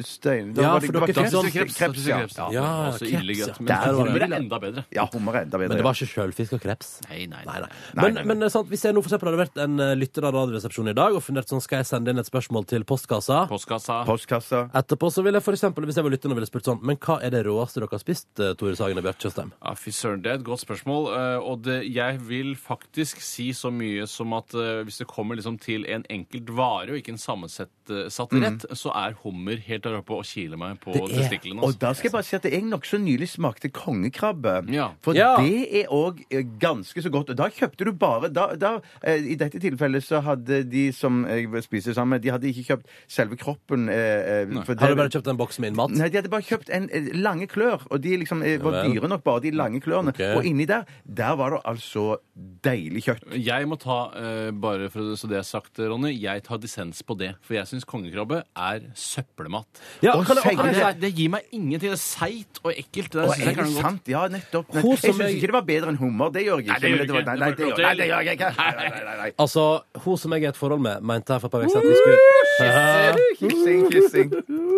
Speaker 4: Stein, da
Speaker 3: Ja,
Speaker 4: var det-
Speaker 3: for
Speaker 4: det var
Speaker 3: dere
Speaker 4: kreps,
Speaker 5: sånn-
Speaker 3: spiste
Speaker 4: kreps, kreps,
Speaker 5: ja.
Speaker 4: ja. ja.
Speaker 5: ja
Speaker 3: Ja,
Speaker 5: også
Speaker 3: kreps,
Speaker 5: ille
Speaker 3: ja.
Speaker 5: greit. Men
Speaker 4: Der var det
Speaker 5: hummer er
Speaker 4: vel-
Speaker 5: enda bedre.
Speaker 4: Ja, hummer er enda bedre.
Speaker 3: Men det var ikke sjølfisk og kreps?
Speaker 5: Nei,
Speaker 3: Nei,
Speaker 5: nei,
Speaker 3: nei.
Speaker 4: Nei,
Speaker 3: Men,
Speaker 4: nei, nei.
Speaker 3: men det er sant, hvis jeg nå for eksempel hadde vært en eh, lytter av Radioresepsjonen i dag og fundert sånn, skal jeg sende inn et spørsmål til postkassa?
Speaker 5: Postkassa.
Speaker 4: Postkassa.
Speaker 3: Etterpå så ville jeg for eksempel, hvis jeg var lytteren og
Speaker 5: ah,
Speaker 3: ville spurt sånn, men hva er det råeste dere har spist, eh, Tore Sagen og Bjarte Tjøstheim?
Speaker 5: Ja, Fy søren, det er et godt spørsmål. eh, Og eh, jeg vil faktisk si så mye som at eh, hvis det kommer liksom til en enkelt vare og ikke en sammensatt eh, satt rett,
Speaker 4: Mm.
Speaker 5: så er hummer helt der oppe og kiler meg på
Speaker 3: Det er-
Speaker 5: testiklene.
Speaker 4: Og
Speaker 5: Altså.
Speaker 4: da skal jeg bare si at jeg nokså nylig smakte kongekrabbe.
Speaker 5: Ja.
Speaker 4: For
Speaker 3: Ja.
Speaker 4: det er òg ganske så godt. Og da kjøpte du bare da, da, eh, I dette tilfellet så hadde de som jeg spiser sammen med, de hadde ikke kjøpt selve kroppen. eh, eh, for
Speaker 3: Har du bare kjøpt en boks med innmat?
Speaker 4: Nei, de hadde bare kjøpt en eh, lange klør, og de liksom eh, var
Speaker 3: vel.
Speaker 4: dyre nok, bare de lange klørne.
Speaker 3: Ok.
Speaker 4: Og inni der, der var det altså deilig kjøtt.
Speaker 5: Jeg må ta, eh, bare for, så det er sagt, Ronny, jeg tar dissens på det. For jeg syns kongekrabbe er søppelmat.
Speaker 3: Ja,
Speaker 4: Og
Speaker 3: kan jeg,
Speaker 4: sier
Speaker 3: kan
Speaker 5: Det,
Speaker 3: jeg,
Speaker 5: er, det gir meg ingenting. Det er seigt og ekkelt. Det,
Speaker 4: Og
Speaker 5: synes jeg
Speaker 4: er det
Speaker 5: ikke noe godt.
Speaker 4: sant? Ja, nettopp.
Speaker 3: Hun
Speaker 4: Jeg
Speaker 3: som
Speaker 4: syns
Speaker 3: jeg-
Speaker 4: ikke det var bedre enn hummer. Det gjør jeg ikke.
Speaker 5: Nei, det gjør
Speaker 4: men
Speaker 5: du
Speaker 4: var-
Speaker 5: ikke.
Speaker 4: Nei, nei,
Speaker 5: Det
Speaker 4: det
Speaker 5: får
Speaker 4: gjør
Speaker 5: du
Speaker 4: nei,
Speaker 5: ikke
Speaker 4: det gjør jeg ikke. Nei, nei, nei, nei.
Speaker 3: altså, hun som jeg er i et forhold med, mente her for et par uker siden at vi skulle
Speaker 4: Kissing, kissing.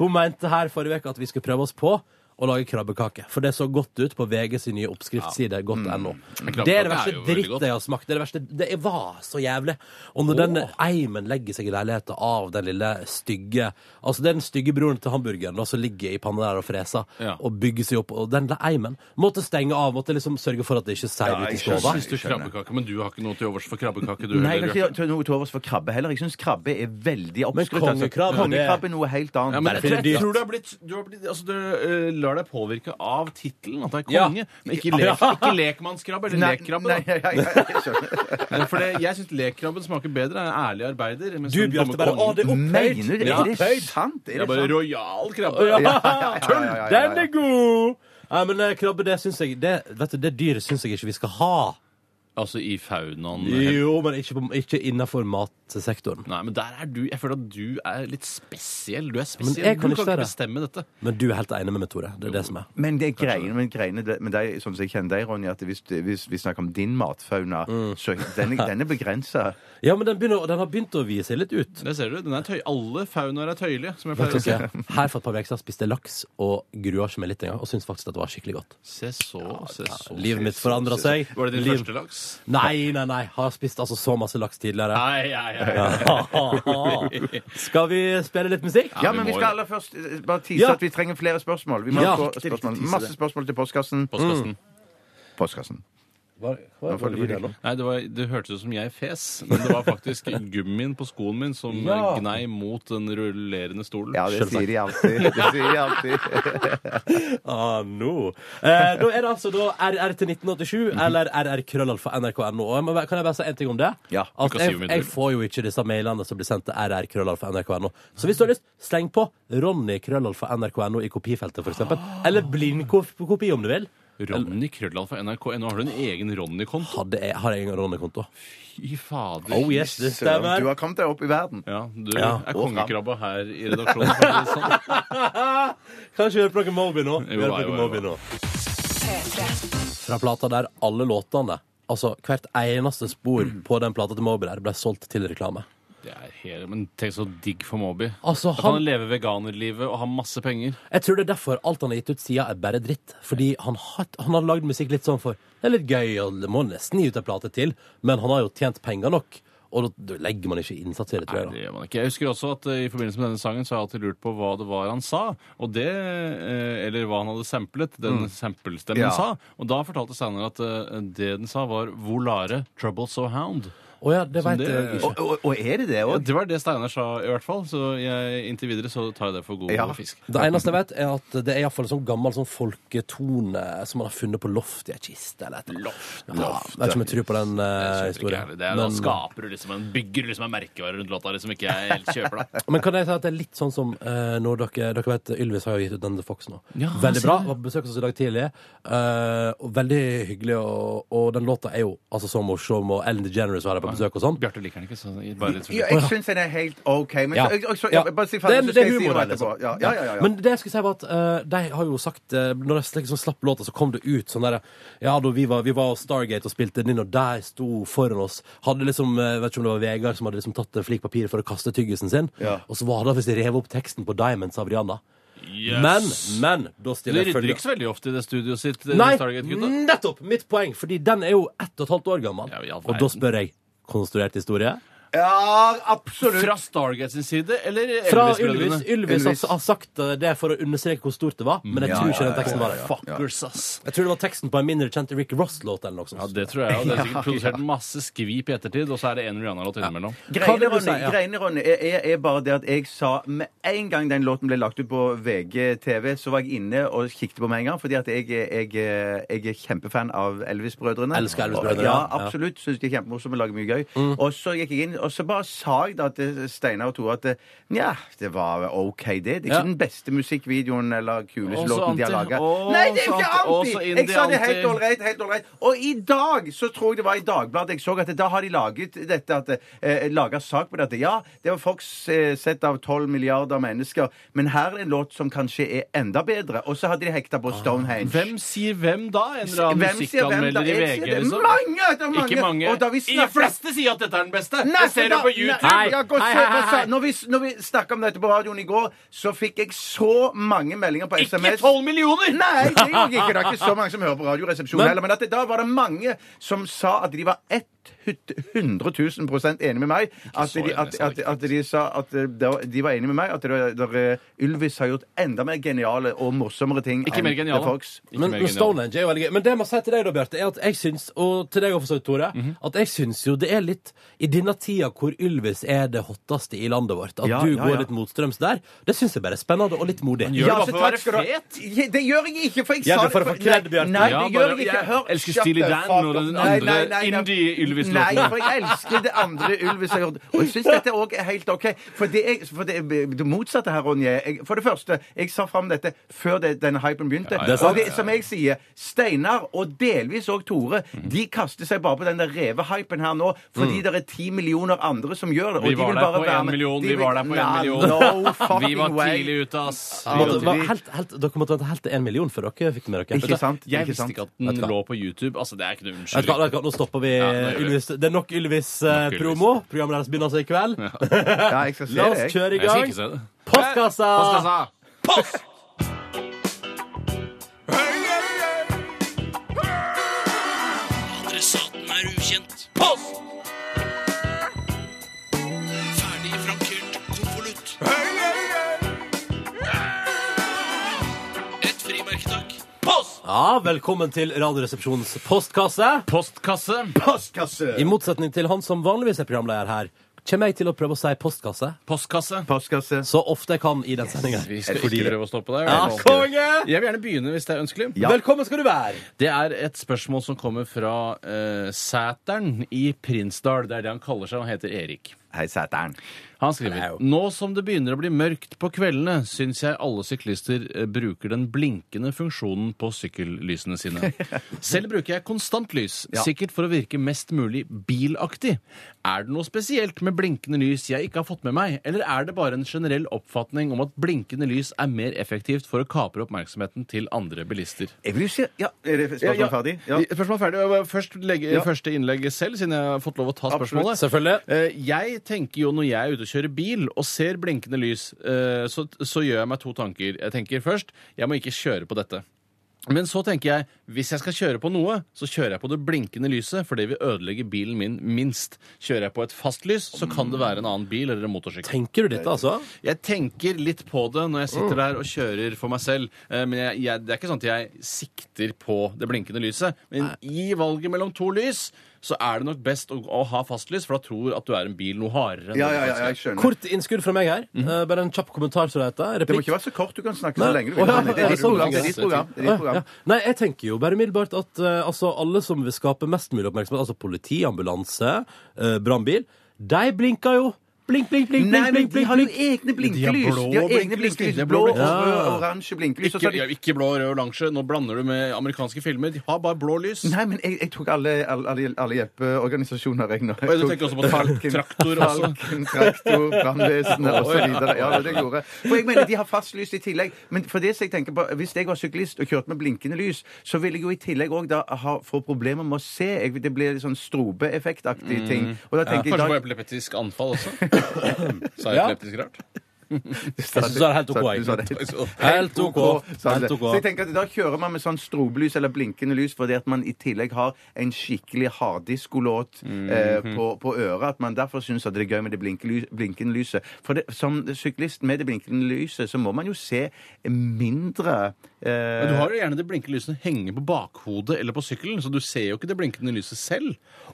Speaker 3: Hun mente her forrige uke at vi skulle prøve oss på å lage krabbekake. For det så godt ut på VG sin nye oppskriftsside,
Speaker 4: Mm.
Speaker 3: godt.no. Det
Speaker 5: krabbekake
Speaker 3: er det
Speaker 5: er
Speaker 3: verste
Speaker 5: jo veldig
Speaker 3: dritt
Speaker 5: godt.
Speaker 3: jeg har smakt. Det, er det, verste, det er- var så jævlig. Og når den eimen legger seg i leiligheten av den lille stygge Altså det er den stygge broren til hamburgeren da, som ligger i panna der og freser
Speaker 5: Ja.
Speaker 3: og bygger seg opp, og den lille eimen måtte stenge av, måtte liksom sørge for at det ikke seiler ut i
Speaker 4: jeg
Speaker 3: stova.
Speaker 5: Syns du krabbekake, men du har ikke noe til overs for krabbekake, du
Speaker 4: Nei, jeg
Speaker 5: heller?
Speaker 4: har ikke noe til overs for krabbe heller. Jeg syns krabbe er veldig oppskrytt. altså.
Speaker 3: Men kongekrabbe, det-
Speaker 4: kongekrabbe er noe helt annet.
Speaker 5: Ja, men jeg,
Speaker 3: Derfor er
Speaker 5: tror-
Speaker 3: det
Speaker 5: jeg
Speaker 3: dyrt.
Speaker 5: tror du har blitt, du, har blitt altså, du eh, lar deg påvirke av tittelen, at det er
Speaker 3: Ja.
Speaker 5: konge. Men ikke,
Speaker 3: <laughs> Ja.
Speaker 5: lek, ikke lekmannskrabbe, eller
Speaker 4: Nei,
Speaker 5: lekkrabbe.
Speaker 4: nei,
Speaker 5: da.
Speaker 4: jeg- jeg- jeg- jeg skjønner.
Speaker 5: Eh, For det, jeg syns lekkrabben smaker bedre. Er en ærlig arbeider. mens
Speaker 3: Du,
Speaker 5: den dumme
Speaker 3: Bjarte, bare Å, <laughs>
Speaker 5: kongen-
Speaker 3: det er opphøyd!
Speaker 4: Mener du det?
Speaker 5: Ja.
Speaker 4: Er det sant? Er
Speaker 5: Det
Speaker 4: det
Speaker 5: er bare
Speaker 4: sant?
Speaker 5: rojal krabbe.
Speaker 3: Ja,
Speaker 4: ja, ja,
Speaker 3: tull!
Speaker 4: ja, ja, ja.
Speaker 3: Den er god! Nei, men eh, krabbe, det syns jeg det, Vet du, det dyret syns jeg ikke vi skal ha.
Speaker 5: Altså i faunaen.
Speaker 3: Jo, men ikke, på- ikke innafor matsektoren.
Speaker 5: Nei, men der er du Jeg føler at du er litt spesiell. Du
Speaker 3: Men
Speaker 5: er spesiell.
Speaker 3: jeg kan
Speaker 5: du
Speaker 3: ikke
Speaker 5: kan
Speaker 3: være
Speaker 5: ikke
Speaker 3: det.
Speaker 5: bestemme dette.
Speaker 3: Men du er helt enig med meg, Tore. Det er det som er.
Speaker 4: Men det er greiene, men greiene det- med deg, sånn som jeg kjenner deg, Ronny, at hvis, hvis vi snakker om din matfauna, så
Speaker 3: <laughs>
Speaker 4: den, er- den er begrensa.
Speaker 3: Mm. Ja, men den, begynner, den har begynt å vie seg litt ut.
Speaker 5: Det ser du. Den er tøy, alle faunaer er tøyelige, som jeg
Speaker 3: Vet
Speaker 5: pleier å
Speaker 3: du
Speaker 5: si.
Speaker 3: ikke? Her for et par uker siden spiste jeg laks og grua ikke meg litt engang, og syntes faktisk at det var skikkelig godt.
Speaker 5: Se så, se så.
Speaker 3: Livet mitt forandra seg.
Speaker 5: Var det din
Speaker 3: Liv-
Speaker 5: første laks?
Speaker 3: Nei, nei, nei. Har spist altså så masse laks tidligere.
Speaker 5: Nei, ja,
Speaker 3: <laughs>
Speaker 5: ja,
Speaker 3: Skal vi spille litt musikk?
Speaker 4: Ja,
Speaker 5: vi
Speaker 4: men vi
Speaker 5: må
Speaker 4: skal
Speaker 5: jo.
Speaker 4: aller først eh, bare tise
Speaker 3: Ja.
Speaker 4: at vi trenger flere spørsmål. Vi må
Speaker 3: Ja,
Speaker 4: få
Speaker 3: riktig,
Speaker 4: spørsmål.
Speaker 3: tise det.
Speaker 4: Masse spørsmål til postkassen.
Speaker 3: Mm.
Speaker 5: Postkassen.
Speaker 4: Postkassen.
Speaker 3: Hva, hva, hva, lyder det nå?
Speaker 5: Nei, det, var, det hørtes ut som jeg fes, men det var faktisk gummien på skoen min som
Speaker 3: Ja.
Speaker 5: gnei mot den rullerende stolen.
Speaker 4: Ja, det sier de alltid. Det sier de alltid.
Speaker 3: Ah, no. eh, da er det altså da RR til 1987
Speaker 5: Mhm.
Speaker 3: eller RR krøllalfa nrk.no. Og jeg må bare- Eh, Kan jeg bare si en ting om det?
Speaker 4: Ja, du
Speaker 3: At
Speaker 5: kan si
Speaker 3: jeg,
Speaker 5: hvor mye du
Speaker 3: jeg
Speaker 5: vil.
Speaker 3: får jo ikke disse mailene som blir sendt til RR krøllalfa nrk.no. Så hvis du har lyst, sleng på Ronny krøllalfa nrk.no i kopifeltet, for eksempel. Eller blindkopi, om du vil.
Speaker 5: Ronny Krøllal fra NRK.no. Har du en egen Ronny-konto?
Speaker 3: Hadde jeg, har jeg ingen Ronny-konto?
Speaker 5: Fy fader.
Speaker 3: Oh yes, <laughs> det
Speaker 4: Du
Speaker 3: stemmer.
Speaker 4: har kommet deg opp i verden.
Speaker 5: Ja, du
Speaker 3: Ja,
Speaker 5: er
Speaker 4: og fram.
Speaker 5: kongekrabba her
Speaker 3: <laughs>
Speaker 5: i redaksjonen. for å si det sånn.
Speaker 3: Kanskje vi hører på noe Moby nå? Vi
Speaker 5: Jo,
Speaker 3: hører på
Speaker 5: jo,
Speaker 3: noe
Speaker 5: jo,
Speaker 3: Moby
Speaker 5: jo.
Speaker 3: nå.
Speaker 1: P3.
Speaker 3: fra plata der alle låtene Altså hvert eneste spor
Speaker 5: Mm.
Speaker 3: på den plata til Moby der ble solgt til reklame.
Speaker 5: Det er helt, men tenk så digg for Moby.
Speaker 3: Altså,
Speaker 5: Da
Speaker 3: han-
Speaker 5: kan han leve veganerlivet og ha masse penger.
Speaker 3: Jeg tror det er derfor alt han har gitt ut siden er bare dritt. Fordi han har, han har lagd musikk litt sånn for Det er litt gøy, og det må nesten gi ut en plate til, men han har jo tjent penger nok. Og da- da legger man ikke innsats i det, tror jeg.
Speaker 5: Nei, det
Speaker 3: da.
Speaker 5: gjør man ikke. Jeg husker også at eh, I forbindelse med denne sangen så har jeg alltid lurt på hva det var han sa. Og det, eh, Eller hva han hadde samplet. Den samplestemmen
Speaker 4: Ja.
Speaker 5: sa. Og da fortalte Steinar at eh, det den sa, var 'Volare Trouble So Hound'.
Speaker 3: Å ja, det
Speaker 5: Som
Speaker 3: vet
Speaker 5: det-
Speaker 3: jeg ikke.
Speaker 4: Og, og, og er det det
Speaker 5: Ja,
Speaker 4: òg?
Speaker 5: det var det Steinar sa, i hvert fall. Så jeg, inntil videre så tar jeg det for god
Speaker 4: Ja.
Speaker 5: fisk.
Speaker 3: Det eneste jeg vet, er at det er iallfall en sånn gammel sånn folketone som man har funnet på loft i ei kiste eller et eller annet. Ja, jeg vet ikke om jeg tror på den eh,
Speaker 5: Jeg kjøper ikke
Speaker 3: historien.
Speaker 5: heller. Det er,
Speaker 3: Men-
Speaker 5: da skaper du liksom en, bygger du liksom en merkevare rundt låta som ikke jeg helt kjøper. da.
Speaker 3: Men kan jeg si at det er litt sånn som eh, når dere, dere vet, Ylvis har jo gitt ut denne Fox nå.
Speaker 5: Ja,
Speaker 3: veldig
Speaker 5: jeg
Speaker 3: bra.
Speaker 5: ser det.
Speaker 3: Var på besøk hos oss i dag tidlig. eh, og veldig hyggelig. Og, og den låta er jo altså så morsom, og Ellen DeGeneres var her på besøk og sånn.
Speaker 5: <laughs> Bjarte liker den ikke, så bare litt
Speaker 4: Ja, jeg syns den er helt OK. Men
Speaker 3: Ja.
Speaker 4: så, jeg, jeg, så,
Speaker 3: Ja.
Speaker 4: jeg, bare si
Speaker 3: Det
Speaker 4: ferdig,
Speaker 3: er-
Speaker 4: så
Speaker 3: det
Speaker 4: skal
Speaker 3: er
Speaker 4: jeg si noe
Speaker 3: humoren,
Speaker 4: etterpå.
Speaker 3: liksom.
Speaker 4: Ja, ja, ja, ja.
Speaker 3: Men det jeg skulle si var at eh, de har jo sagt uh, Når de liksom slapp låta, så kom det ut sånn derre Ja, da vi var, vi var Stargate og spilte den inn, og der sto foran oss Hadde liksom eh, Vet ikke om det var Vegard som hadde liksom tatt en flik papir for å kaste tyggisen sin,
Speaker 4: Ja.
Speaker 3: og så var det hvis de rev opp teksten på Diamonds av Rihanna.
Speaker 5: Yes.
Speaker 3: Men, men da
Speaker 5: Du
Speaker 3: stiller jeg
Speaker 5: rydder
Speaker 3: følgende
Speaker 5: ikke så veldig ofte i det studioet sitt? eh,
Speaker 3: Nei,
Speaker 5: Stargate-gutta.
Speaker 4: mm,
Speaker 3: nettopp! Mitt poeng. Fordi den er jo ett og et halvt år gammel.
Speaker 5: Ja, i all
Speaker 3: og da
Speaker 5: verden.
Speaker 3: spør jeg konstruert historie.
Speaker 4: Ja, absolutt.
Speaker 5: Fra Stargate sin side, eller
Speaker 3: Fra Ylvis.
Speaker 5: Elvis-brødrene?
Speaker 3: Ylvis har,
Speaker 4: Ylvis.
Speaker 3: har sagt eh, det for å understreke hvor stort det var, men jeg
Speaker 4: Ja,
Speaker 3: tror ikke
Speaker 4: ja,
Speaker 3: den teksten var det. Fuck.
Speaker 5: Fuckers, ass.
Speaker 3: Jeg tror det var teksten på en mindre kjent Rick Ross-låt eller noe sånt.
Speaker 5: Ja, det tror jeg. Og
Speaker 4: <laughs>
Speaker 5: det er sikkert produsert masse skvip i ettertid, og så er det en Rihanna-låt innimellom.
Speaker 3: Hva vil
Speaker 4: Greiene,
Speaker 3: du
Speaker 4: Ronny,
Speaker 3: si, ja?
Speaker 4: greiene, Ronny er, er, er bare det at jeg sa Med en gang den låten ble lagt ut på VGTV, så var jeg inne og kikket på med en gang, fordi at jeg, jeg, jeg er kjempefan av Elvis-brødrene.
Speaker 3: Elsker Elvis-brødrene,
Speaker 4: Ja,
Speaker 3: ja. Mm.
Speaker 4: absolutt. Syns de er kjempemorsomme, lager mye gøy. Og så gikk jeg inn, og så bare sa jeg da til Steinar og Tore at nja, det var OK, det. Det er ikke
Speaker 3: Ja.
Speaker 4: den beste musikkvideoen eller kuleste
Speaker 5: Også
Speaker 4: låten de har
Speaker 5: anti.
Speaker 4: laga.
Speaker 5: Også
Speaker 4: Nei, det er jo ikke
Speaker 5: anti.
Speaker 4: anti!
Speaker 5: Også inn
Speaker 4: Jeg
Speaker 5: i
Speaker 4: sa det
Speaker 5: anti.
Speaker 4: helt all right, helt all right. Og i dag, så tror jeg det var i Dagbladet, jeg så at da har de laget dette, at eh, laget sak på det, at ja, det var folk eh, sett av 12 milliarder mennesker, men her er en låt som kanskje er enda bedre, og så hadde de hekta på Stonehenge.
Speaker 5: Ah. Hvem sier hvem da? En eller annen
Speaker 4: Hvem sier hvem
Speaker 5: musikkanmelder
Speaker 4: da?
Speaker 5: i
Speaker 4: Jeg
Speaker 5: VG,
Speaker 4: sier det.
Speaker 5: liksom?
Speaker 4: Mange! Det er mange!
Speaker 5: Ikke mange.
Speaker 4: Og da vi
Speaker 5: De
Speaker 4: snakker-
Speaker 5: fleste sier at dette er den beste!
Speaker 4: Nei,
Speaker 5: Jeg ser
Speaker 4: for
Speaker 5: det
Speaker 4: da-
Speaker 5: på YouTube!
Speaker 4: Nei, ja, gå og se-
Speaker 3: Hei, hei,
Speaker 4: gå og se.
Speaker 3: hei.
Speaker 4: Når vi, når vi snakket om dette på radioen i går, så fikk jeg så mange meldinger på
Speaker 5: Ikke
Speaker 4: SMS.
Speaker 5: 12 millioner!
Speaker 4: Nei, det gjorde jeg ikke. Det er ikke så mange som hører på Radioresepsjonen heller. Men at det, da var det mange som sa at de var 100 000 enig med meg. At de,
Speaker 5: enig,
Speaker 4: at,
Speaker 5: sa
Speaker 4: at, at de sa at eh, det var- de var enig med meg. At det, der, eh, Ylvis har gjort enda mer geniale og morsommere ting
Speaker 5: Ikke mer
Speaker 4: The
Speaker 5: geniale.
Speaker 4: Fox.
Speaker 5: Ikke
Speaker 3: Men,
Speaker 5: mer
Speaker 3: men
Speaker 5: geniale.
Speaker 3: Stonehenge er jo veldig gøy. Men det jeg må si til deg, da, Bjarte, er at jeg syns, og til deg også, for så vidt, Tore,
Speaker 5: Mhm.
Speaker 3: at jeg syns jo det er litt i denne tida hvor Ylvis er det hotteste i landet vårt, at
Speaker 4: Ja,
Speaker 3: du
Speaker 4: ja,
Speaker 3: går
Speaker 4: ja.
Speaker 3: litt motstrøms der, det syns jeg bare er spennende og litt modig.
Speaker 5: Gjør det
Speaker 4: Ja,
Speaker 5: bare
Speaker 4: så
Speaker 5: for å
Speaker 4: takk
Speaker 5: være
Speaker 4: skal du ha.
Speaker 5: fet!
Speaker 4: Ja, Det gjør jeg ikke, for jeg
Speaker 3: Gjør
Speaker 4: sa
Speaker 3: det for å
Speaker 4: for-
Speaker 3: få kred,
Speaker 4: Nei,
Speaker 3: Bjørn.
Speaker 4: Nei, det
Speaker 5: Ja,
Speaker 4: gjør
Speaker 5: bare-
Speaker 4: jeg ikke.
Speaker 5: jeg
Speaker 4: Hør,
Speaker 5: elsker
Speaker 4: shut
Speaker 5: Steely
Speaker 4: the
Speaker 5: Dan
Speaker 4: fuck
Speaker 5: og
Speaker 4: up.
Speaker 5: den
Speaker 4: Nei,
Speaker 5: andre
Speaker 4: nei, nei, nei.
Speaker 5: indie Ylvis-låten.
Speaker 4: Nei, for jeg elsker det andre Ylvis har gjort. Og jeg syns dette òg er helt OK. For det, er, for det, er det motsatte her, Ronje jeg, For det første, jeg sa fram dette før det, denne hypen begynte.
Speaker 5: ja, ja,
Speaker 4: Og det, som jeg sier, Steinar og delvis òg Tore, de kaster seg bare på den der revehypen her nå fordi det er ti millioner andre som gjør det.
Speaker 5: Mm.
Speaker 4: og
Speaker 5: Vi
Speaker 4: de
Speaker 5: var
Speaker 4: vil
Speaker 5: der
Speaker 4: bare
Speaker 5: på
Speaker 4: være
Speaker 5: én
Speaker 4: med.
Speaker 5: million,
Speaker 4: De
Speaker 5: vi
Speaker 4: vil-
Speaker 5: var der på én
Speaker 4: Nei,
Speaker 5: million.
Speaker 4: No
Speaker 5: Vi var
Speaker 4: fucking way.
Speaker 5: tidlig ute, ass. Vi
Speaker 3: Ja,
Speaker 5: var
Speaker 3: det var helt, helt, dere måtte vente helt til en million før dere fikk det med dere.
Speaker 4: Ikke sant?
Speaker 5: Jeg
Speaker 4: ikke
Speaker 5: visste
Speaker 4: sant.
Speaker 5: ikke at den lå på YouTube. Altså, Det er ikke noe
Speaker 3: Vet du hva,
Speaker 5: unnskyldning.
Speaker 3: vet du hva, nå stopper vi eh,
Speaker 5: nå gjør vi
Speaker 3: Ylvis. Det er nok
Speaker 5: Nok Ylvis.
Speaker 3: Ylvis-promo. Programmet deres begynner altså i kveld.
Speaker 4: Ja, jeg skal se
Speaker 3: La
Speaker 4: det, jeg.
Speaker 3: oss kjøre i
Speaker 5: Jeg skal
Speaker 3: gang.
Speaker 5: ikke se det.
Speaker 3: Postkassa!
Speaker 6: Adressaten er ukjent. Post! Ferdig frankert konvolutt. Et frimerke, takk. Post!
Speaker 3: Ja, velkommen til Radioresepsjonens postkasse.
Speaker 5: Postkasse.
Speaker 3: I motsetning til han som vanligvis er programleder her, kommer jeg til å prøve å si postkasse
Speaker 5: Postkasse.
Speaker 4: Postkasse.
Speaker 3: så ofte jeg kan i den sendinga.
Speaker 5: Vi skal
Speaker 4: Fordi-
Speaker 5: ikke prøve å stoppe deg.
Speaker 3: Ja, konge!
Speaker 5: Jeg vil gjerne begynne hvis det er ønskelig.
Speaker 3: Velkommen skal du være!
Speaker 5: Det er et spørsmål som kommer fra eh, Sæteren i Prinsdal. Det er det han kaller seg. Han heter Erik.
Speaker 4: Hei, Sæteren.
Speaker 5: Han skriver Nå som det begynner å bli mørkt på kveldene, syns jeg alle syklister eh, bruker den blinkende funksjonen på sykkellysene
Speaker 4: <laughs>
Speaker 5: sine. Selv bruker jeg konstant lys, sikkert for å virke mest mulig bilaktig. Er det noe spesielt med blinkende lys jeg ikke har fått med meg, eller er det bare en generell oppfatning om at blinkende lys er mer effektivt for å kapre oppmerksomheten til andre bilister?
Speaker 4: Jeg vil jo si Ja, er det spørsmålet
Speaker 5: Ja, ja.
Speaker 4: ferdig? Ja.
Speaker 5: Spørsmålet er ferdig. Jeg vil Først legge
Speaker 4: Ja.
Speaker 5: første innlegget selv, siden jeg har fått lov å ta spørsmålet.
Speaker 3: Selvfølgelig.
Speaker 5: Eh, Jeg tenker jo når jeg er ute og kjører bil og ser blinkende lys, eh, så, så gjør jeg meg to tanker. Jeg tenker først jeg må ikke kjøre på dette. Men så tenker jeg hvis jeg skal kjøre på noe, så kjører jeg på det blinkende lyset, for det vil ødelegge bilen min minst. Kjører jeg på et fast lys, så kan det være en annen bil eller en motorsykkel.
Speaker 3: Tenker du dette, altså?
Speaker 5: Jeg tenker litt på det når jeg
Speaker 4: Mm.
Speaker 5: sitter der og kjører for meg selv. Eh, Men jeg, jeg, det er ikke sånn at jeg sikter på det blinkende lyset. Men i valget mellom to lys så er det nok best å, å ha fastlys, for da tror at du er en bil noe hardere. enn
Speaker 4: Ja,
Speaker 5: det du
Speaker 4: ja, ja,
Speaker 5: faktisk er.
Speaker 4: jeg skjønner.
Speaker 3: Kort innskudd fra meg her. Eh, Bare en kjapp kommentar til dette.
Speaker 4: Det må ikke
Speaker 3: Replikk.
Speaker 4: være så kort. Du kan snakke
Speaker 3: Nei.
Speaker 4: så lenge du
Speaker 3: Å,
Speaker 4: vil.
Speaker 3: ja,
Speaker 4: Ronny. Det
Speaker 3: er
Speaker 4: er
Speaker 3: det
Speaker 4: ditt
Speaker 3: sånn
Speaker 4: program.
Speaker 3: det
Speaker 4: Det er ditt
Speaker 5: fungerer?
Speaker 4: program. Det er
Speaker 3: Ja,
Speaker 4: ditt program.
Speaker 3: ja. Nei, jeg tenker jo bare umiddelbart at eh, altså, alle som vil skape mest mulig oppmerksomhet, altså politi, ambulanse, uh, brannbil, de blinker jo. Blink, blink, blink, blink,
Speaker 4: Nei, men
Speaker 3: blink,
Speaker 4: de
Speaker 3: blink,
Speaker 4: har jo
Speaker 3: blink.
Speaker 4: egne blinkelys.
Speaker 5: blå
Speaker 4: De har egne
Speaker 5: blinkelys,
Speaker 4: blinkelys.
Speaker 5: de er blå
Speaker 4: Blå,
Speaker 5: blinkelys.
Speaker 4: rød, oransje blinkelys. og så
Speaker 5: Ikke,
Speaker 4: er det-
Speaker 5: ja, ikke blå, rød, oransje. Nå blander du med amerikanske filmer. De har bare blå lys.
Speaker 4: Nei, men jeg, jeg tok alle, alle, alle- alle hjelpeorganisasjoner, jeg nå.
Speaker 5: Oi, du tenker også på tra- traktor også.
Speaker 4: Falken, traktor, brannvesenet osv. Ja, det er det jeg gjorde. For jeg mener, de har fast lys i tillegg. Men for det som jeg tenker på, hvis jeg var syklist og kjørte med blinkende lys, så ville jeg jo i tillegg òg da ha, få problemer med å se. Jeg, det blir litt sånn strobeeffektaktig ting. Og da tenker
Speaker 5: Mm.
Speaker 4: jeg
Speaker 5: Kanskje
Speaker 4: da <coughs>
Speaker 5: på epileptisk anfall også. Sa jeg epileptisk rart?
Speaker 3: Jeg synes det er helt ok.
Speaker 4: Så- du sa det
Speaker 3: <laughs> Helt ok. Helt ok.
Speaker 4: sa du det. Sånn. Så jeg tenker at Da kjører man med sånn strobelys eller blinkende lys fordi at man i tillegg har en skikkelig harddiskolåt eh,
Speaker 5: Mhm.
Speaker 4: på, på øret. At man derfor syns at det er gøy med det blinkely- blinkende lyset. For det, som syklist med det blinkende lyset så må man jo se mindre eh,
Speaker 5: Men du har jo gjerne det blinkende lyset henge på bakhodet eller på sykkelen, så du ser jo ikke det blinkende lyset selv.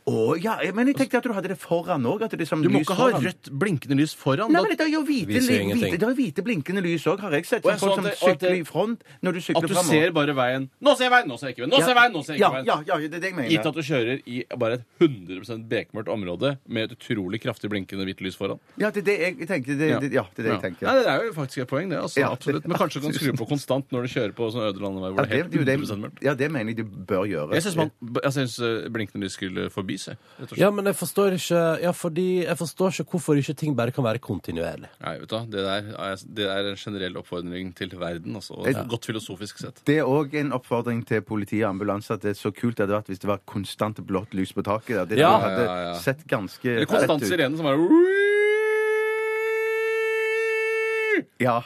Speaker 4: Å, ja, men jeg tenkte at du hadde det foran òg.
Speaker 5: Du må ikke ha rødt blinkende lys foran.
Speaker 4: Nei,
Speaker 5: da-
Speaker 4: men det er jo hvite,
Speaker 3: Viser jo
Speaker 4: hvite,
Speaker 3: ingenting.
Speaker 4: det er jo hvite blinkende lys òg, har jeg sett.
Speaker 5: Og jeg
Speaker 4: Sånn
Speaker 5: så
Speaker 4: folk
Speaker 5: at
Speaker 4: som
Speaker 5: det- og at
Speaker 4: sykler
Speaker 5: det-
Speaker 4: i front når du
Speaker 5: At
Speaker 4: sykler
Speaker 5: du
Speaker 4: fremover.
Speaker 5: ser bare veien. Nå ser jeg veien! Nå ser jeg ikke veien! Nå ser jeg veien! Nå ser jeg ikke veien!
Speaker 4: Ja, ja, ja, det er det jeg mener.
Speaker 5: Gitt at du kjører i bare et 100 bekmørkt område med et utrolig kraftig blinkende hvitt lys foran.
Speaker 4: Ja, det er det jeg tenker. Det, det, ja, det er det jeg tenker.
Speaker 5: Nei, det er jo faktisk et poeng, det. altså,
Speaker 4: Ja, det-
Speaker 5: absolutt. Men kanskje du kan skru
Speaker 4: <laughs>
Speaker 5: på konstant når du kjører på sånn øde landevei hvor
Speaker 4: Ja,
Speaker 5: det
Speaker 4: det,
Speaker 5: er
Speaker 4: det, er jo
Speaker 5: helt 100 mørkt.
Speaker 4: det, ja, det mener jeg du bør gjøre.
Speaker 5: Jeg syns man- jeg syns, eh, blinkende lys skulle forbis, jeg. rett og slett.
Speaker 3: Ja, men jeg forstår ikke Ja, fordi jeg forstår ikke hvorfor ikke ting bare kan være kontinuerlig.
Speaker 5: Nei, vet du, hva, det der, er, det er en generell oppfordring til verden, altså. og Godt filosofisk sett.
Speaker 4: Det er òg en oppfordring til politi og ambulanse at det er så kult det hadde vært hvis det var konstant blått lys på taket. Der. Det
Speaker 3: Ja.
Speaker 4: hadde
Speaker 5: Ja, ja, ja.
Speaker 4: sett ganske
Speaker 5: Eller konstant
Speaker 4: fett ut.
Speaker 5: sirene som er
Speaker 4: Ja.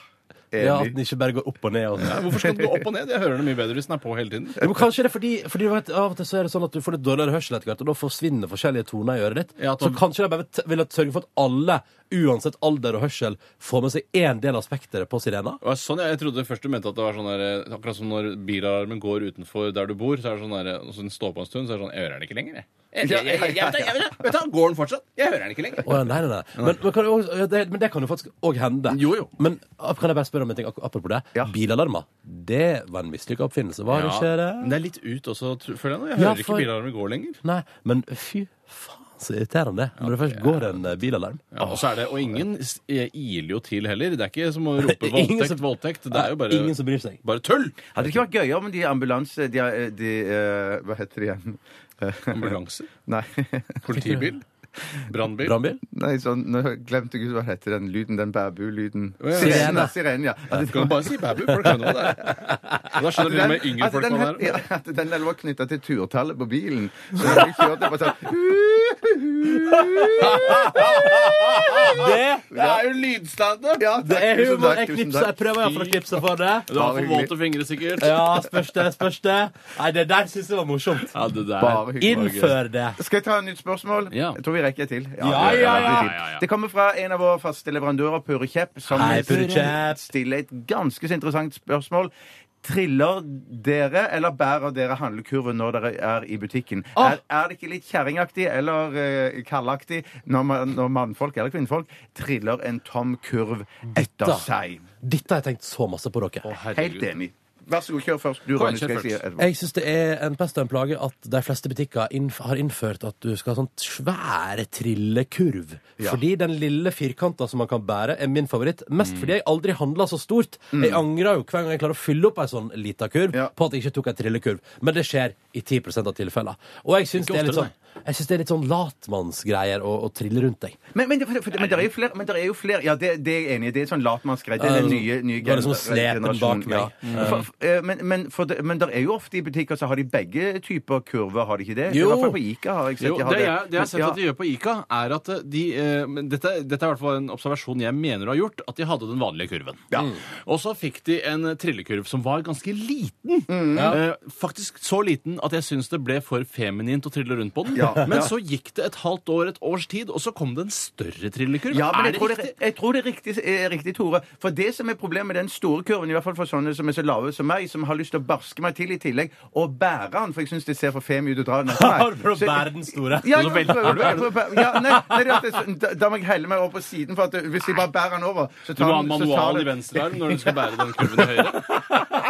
Speaker 3: Ja, At
Speaker 4: Enig.
Speaker 3: den ikke bare går opp og ned. Og
Speaker 5: Nei,
Speaker 3: sånn.
Speaker 5: Hvorfor skal den gå opp og ned? Jeg hører den mye bedre hvis den er på hele tiden.
Speaker 3: Ja, men kanskje det er fordi, fordi du vet, Av og til så er det sånn at du får litt dårligere hørsel etter hvert, og da forsvinner forskjellige toner i øret ditt.
Speaker 5: Ja, at
Speaker 3: Så
Speaker 5: man-
Speaker 3: kanskje de bare t- vil at- sørge for at alle, uansett alder og hørsel, får med seg én del av spekteret på sirena.
Speaker 5: Og sånn, jeg, jeg trodde først du mente at det var sånn der, eh, akkurat som når bilalarmen går utenfor der du bor, så er det sånn der, eh, og så den står på en stund, så er det sånn Jeg hører den ikke lenger, jeg. Jeg- jeg- jeg- jeg- jeg- jeg- jeg- Vet du, hva, går den fortsatt? Jeg hører den ikke lenger.
Speaker 3: Å, ja, nei, nei, nei. Men, men, kan det også, ja, det, men det kan jo faktisk òg hende.
Speaker 5: Jo, jo.
Speaker 3: Men ah, kan jeg bare spørre om en ting ak- apropos det?
Speaker 4: Ja.
Speaker 3: Bilalarmer. Det var en mislykka oppfinnelse, var det ikke
Speaker 5: Ja, men
Speaker 3: det?
Speaker 5: det er litt ut også, tr- føler jeg nå. Jeg
Speaker 3: Ja,
Speaker 5: hører
Speaker 3: for-
Speaker 5: ikke bilalarmen går lenger.
Speaker 3: Nei, men fy faen så irriterende det er når det først går en eh, bilalarm.
Speaker 5: Ja, og, så er det, og ingen s- eh, iler jo til heller. Det er
Speaker 3: <laughs>
Speaker 5: ikke som å rope
Speaker 3: Ingen
Speaker 5: voldtekt,
Speaker 3: som-
Speaker 5: voldtekt. Det er jo bare,
Speaker 3: Ingen som bryr seg.
Speaker 5: bare tull!
Speaker 4: Hadde det ikke vært gøyere om de ambulanse... De, de, eh, hva heter de igjen? <laughs>
Speaker 3: <laughs>
Speaker 5: Ambulanse,
Speaker 4: Nei.
Speaker 5: politibil, brannbil.
Speaker 3: Brannbil?
Speaker 4: Nei, sånn, nå glemte jeg hva heter den lyden, den bæbu-lyden.
Speaker 5: ja.
Speaker 4: Sirene. Sirene, ja. At
Speaker 5: Du kan bare si baby, folk kan jo hva det er. Og <laughs> Da skjønner du med yngre
Speaker 4: at
Speaker 5: folk
Speaker 4: Altså, den,
Speaker 5: hva
Speaker 4: het-
Speaker 5: det er.
Speaker 4: ja, at den der var knytta til turtallet på bilen. Så når vi kjørte på sånn
Speaker 5: Det er jo lydstandup!
Speaker 4: ja,
Speaker 3: Det er
Speaker 4: tusen
Speaker 3: humor.
Speaker 4: takk,
Speaker 3: Jeg
Speaker 4: tusen
Speaker 3: knipser.
Speaker 4: takk.
Speaker 3: Jeg prøver iallfall å knipse for det.
Speaker 5: Du har for våte fingre, sikkert.
Speaker 3: Ja, spørs det, spørs det. Nei, det der syns jeg var morsomt.
Speaker 5: Ja, det der.
Speaker 4: Bare hyggelig.
Speaker 3: Innfør det.
Speaker 4: Skal jeg ta et nytt spørsmål?
Speaker 5: Ja.
Speaker 4: Jeg tror vi rekker et til.
Speaker 3: Ja,
Speaker 4: det-
Speaker 3: ja,
Speaker 4: det blir
Speaker 3: ja,
Speaker 4: fint.
Speaker 5: ja, ja.
Speaker 4: Det kommer fra en av våre faste leverandører, Pure Kjepp, som
Speaker 3: Hei, Pure Kjepp.
Speaker 4: stiller et ganske så interessant spørsmål. Triller dere eller bærer dere handlekurven når dere er i butikken?
Speaker 3: Ah.
Speaker 4: Er, er det ikke litt kjerringaktig eller uh, kallaktig når, man, når mannfolk eller kvinnfolk triller en tom kurv etter
Speaker 3: Dette.
Speaker 4: seg?
Speaker 3: Dette har jeg tenkt så masse på dere.
Speaker 5: Å,
Speaker 4: Helt
Speaker 5: herregud.
Speaker 4: enig. Vær så god, kjør først. Du,
Speaker 5: Kom
Speaker 4: Ronny,
Speaker 5: igjen,
Speaker 4: skal
Speaker 5: kjør
Speaker 4: jeg si
Speaker 5: først.
Speaker 4: etterpå.
Speaker 3: Jeg syns det er en pest og en plage at de fleste butikker innf har innført at du skal ha sånt svære trillekurv. Fordi den lille firkanta som man kan bære, er min favoritt. Mest
Speaker 4: Mm.
Speaker 3: fordi jeg aldri handla så stort. Jeg angrer jo hver gang jeg klarer å fylle opp ei sånn lita kurv
Speaker 4: Ja.
Speaker 3: på at jeg ikke tok ei trillekurv. Men det skjer i 10 av tilfellene. Og jeg syns
Speaker 5: Ikke
Speaker 3: det er litt
Speaker 5: oftere,
Speaker 3: sånn jeg synes det er litt sånn latmannsgreier å, å trille rundt deg.
Speaker 4: Men, men, det- for, for, men det er jo flere, men det er jo flere Ja, det, det er jeg enig i. Det er sånn latmannsgreie. Det er den
Speaker 3: Ja,
Speaker 4: nye, nye
Speaker 3: det er liksom
Speaker 4: gener-
Speaker 3: slepen bak
Speaker 4: generasjonen,
Speaker 3: meg.
Speaker 4: Ja. For, for, eh, men men, for det, men det er jo ofte i butikker så har de begge typer kurver, har de ikke det?
Speaker 3: Jo.
Speaker 4: I hvert fall på Ica har jeg sett
Speaker 5: Jo,
Speaker 4: de
Speaker 5: det,
Speaker 4: har det.
Speaker 5: jeg, det jeg har sett
Speaker 4: Men-
Speaker 5: at de gjør på Ica, er at de eh, men dette, dette er i hvert fall en observasjon jeg mener du har gjort, at de hadde den vanlige kurven. Mm. Og så fikk de en trillekurv som var ganske liten.
Speaker 4: Mm.
Speaker 5: Eh, faktisk så liten at jeg syns det ble for feminint å trille rundt på den.
Speaker 4: Ja.
Speaker 5: Men
Speaker 4: Ja.
Speaker 5: så gikk det et halvt år, et års tid, og så kom det en større trillekurv.
Speaker 4: Ja, men
Speaker 5: er
Speaker 4: jeg
Speaker 5: det
Speaker 4: tror det,
Speaker 5: riktig?
Speaker 4: jeg tror det er riktig, er riktig, Tore. For det som er problemet med den store kurven, i hvert fall for sånne som er så lave som meg, som har lyst til å barske meg til i tillegg, og bære den, for jeg syns det ser for femi ut å dra den etter meg.
Speaker 3: <laughs> Har du prøvd å
Speaker 4: Så-
Speaker 3: bære den store?
Speaker 4: Ja,
Speaker 5: Og så
Speaker 4: jeg
Speaker 5: velter
Speaker 4: prøver,
Speaker 5: du.
Speaker 4: jeg prøver, ja, nei, nei, det er at det, er sånn- da, da må jeg helle meg over på siden, for at det- hvis jeg bare bærer den over
Speaker 5: Du
Speaker 4: så tar
Speaker 5: må ha
Speaker 4: den- Sånn, så tar
Speaker 5: manual i
Speaker 4: den-
Speaker 5: venstre arm når du skal bære den kurven i høyre.
Speaker 4: <laughs>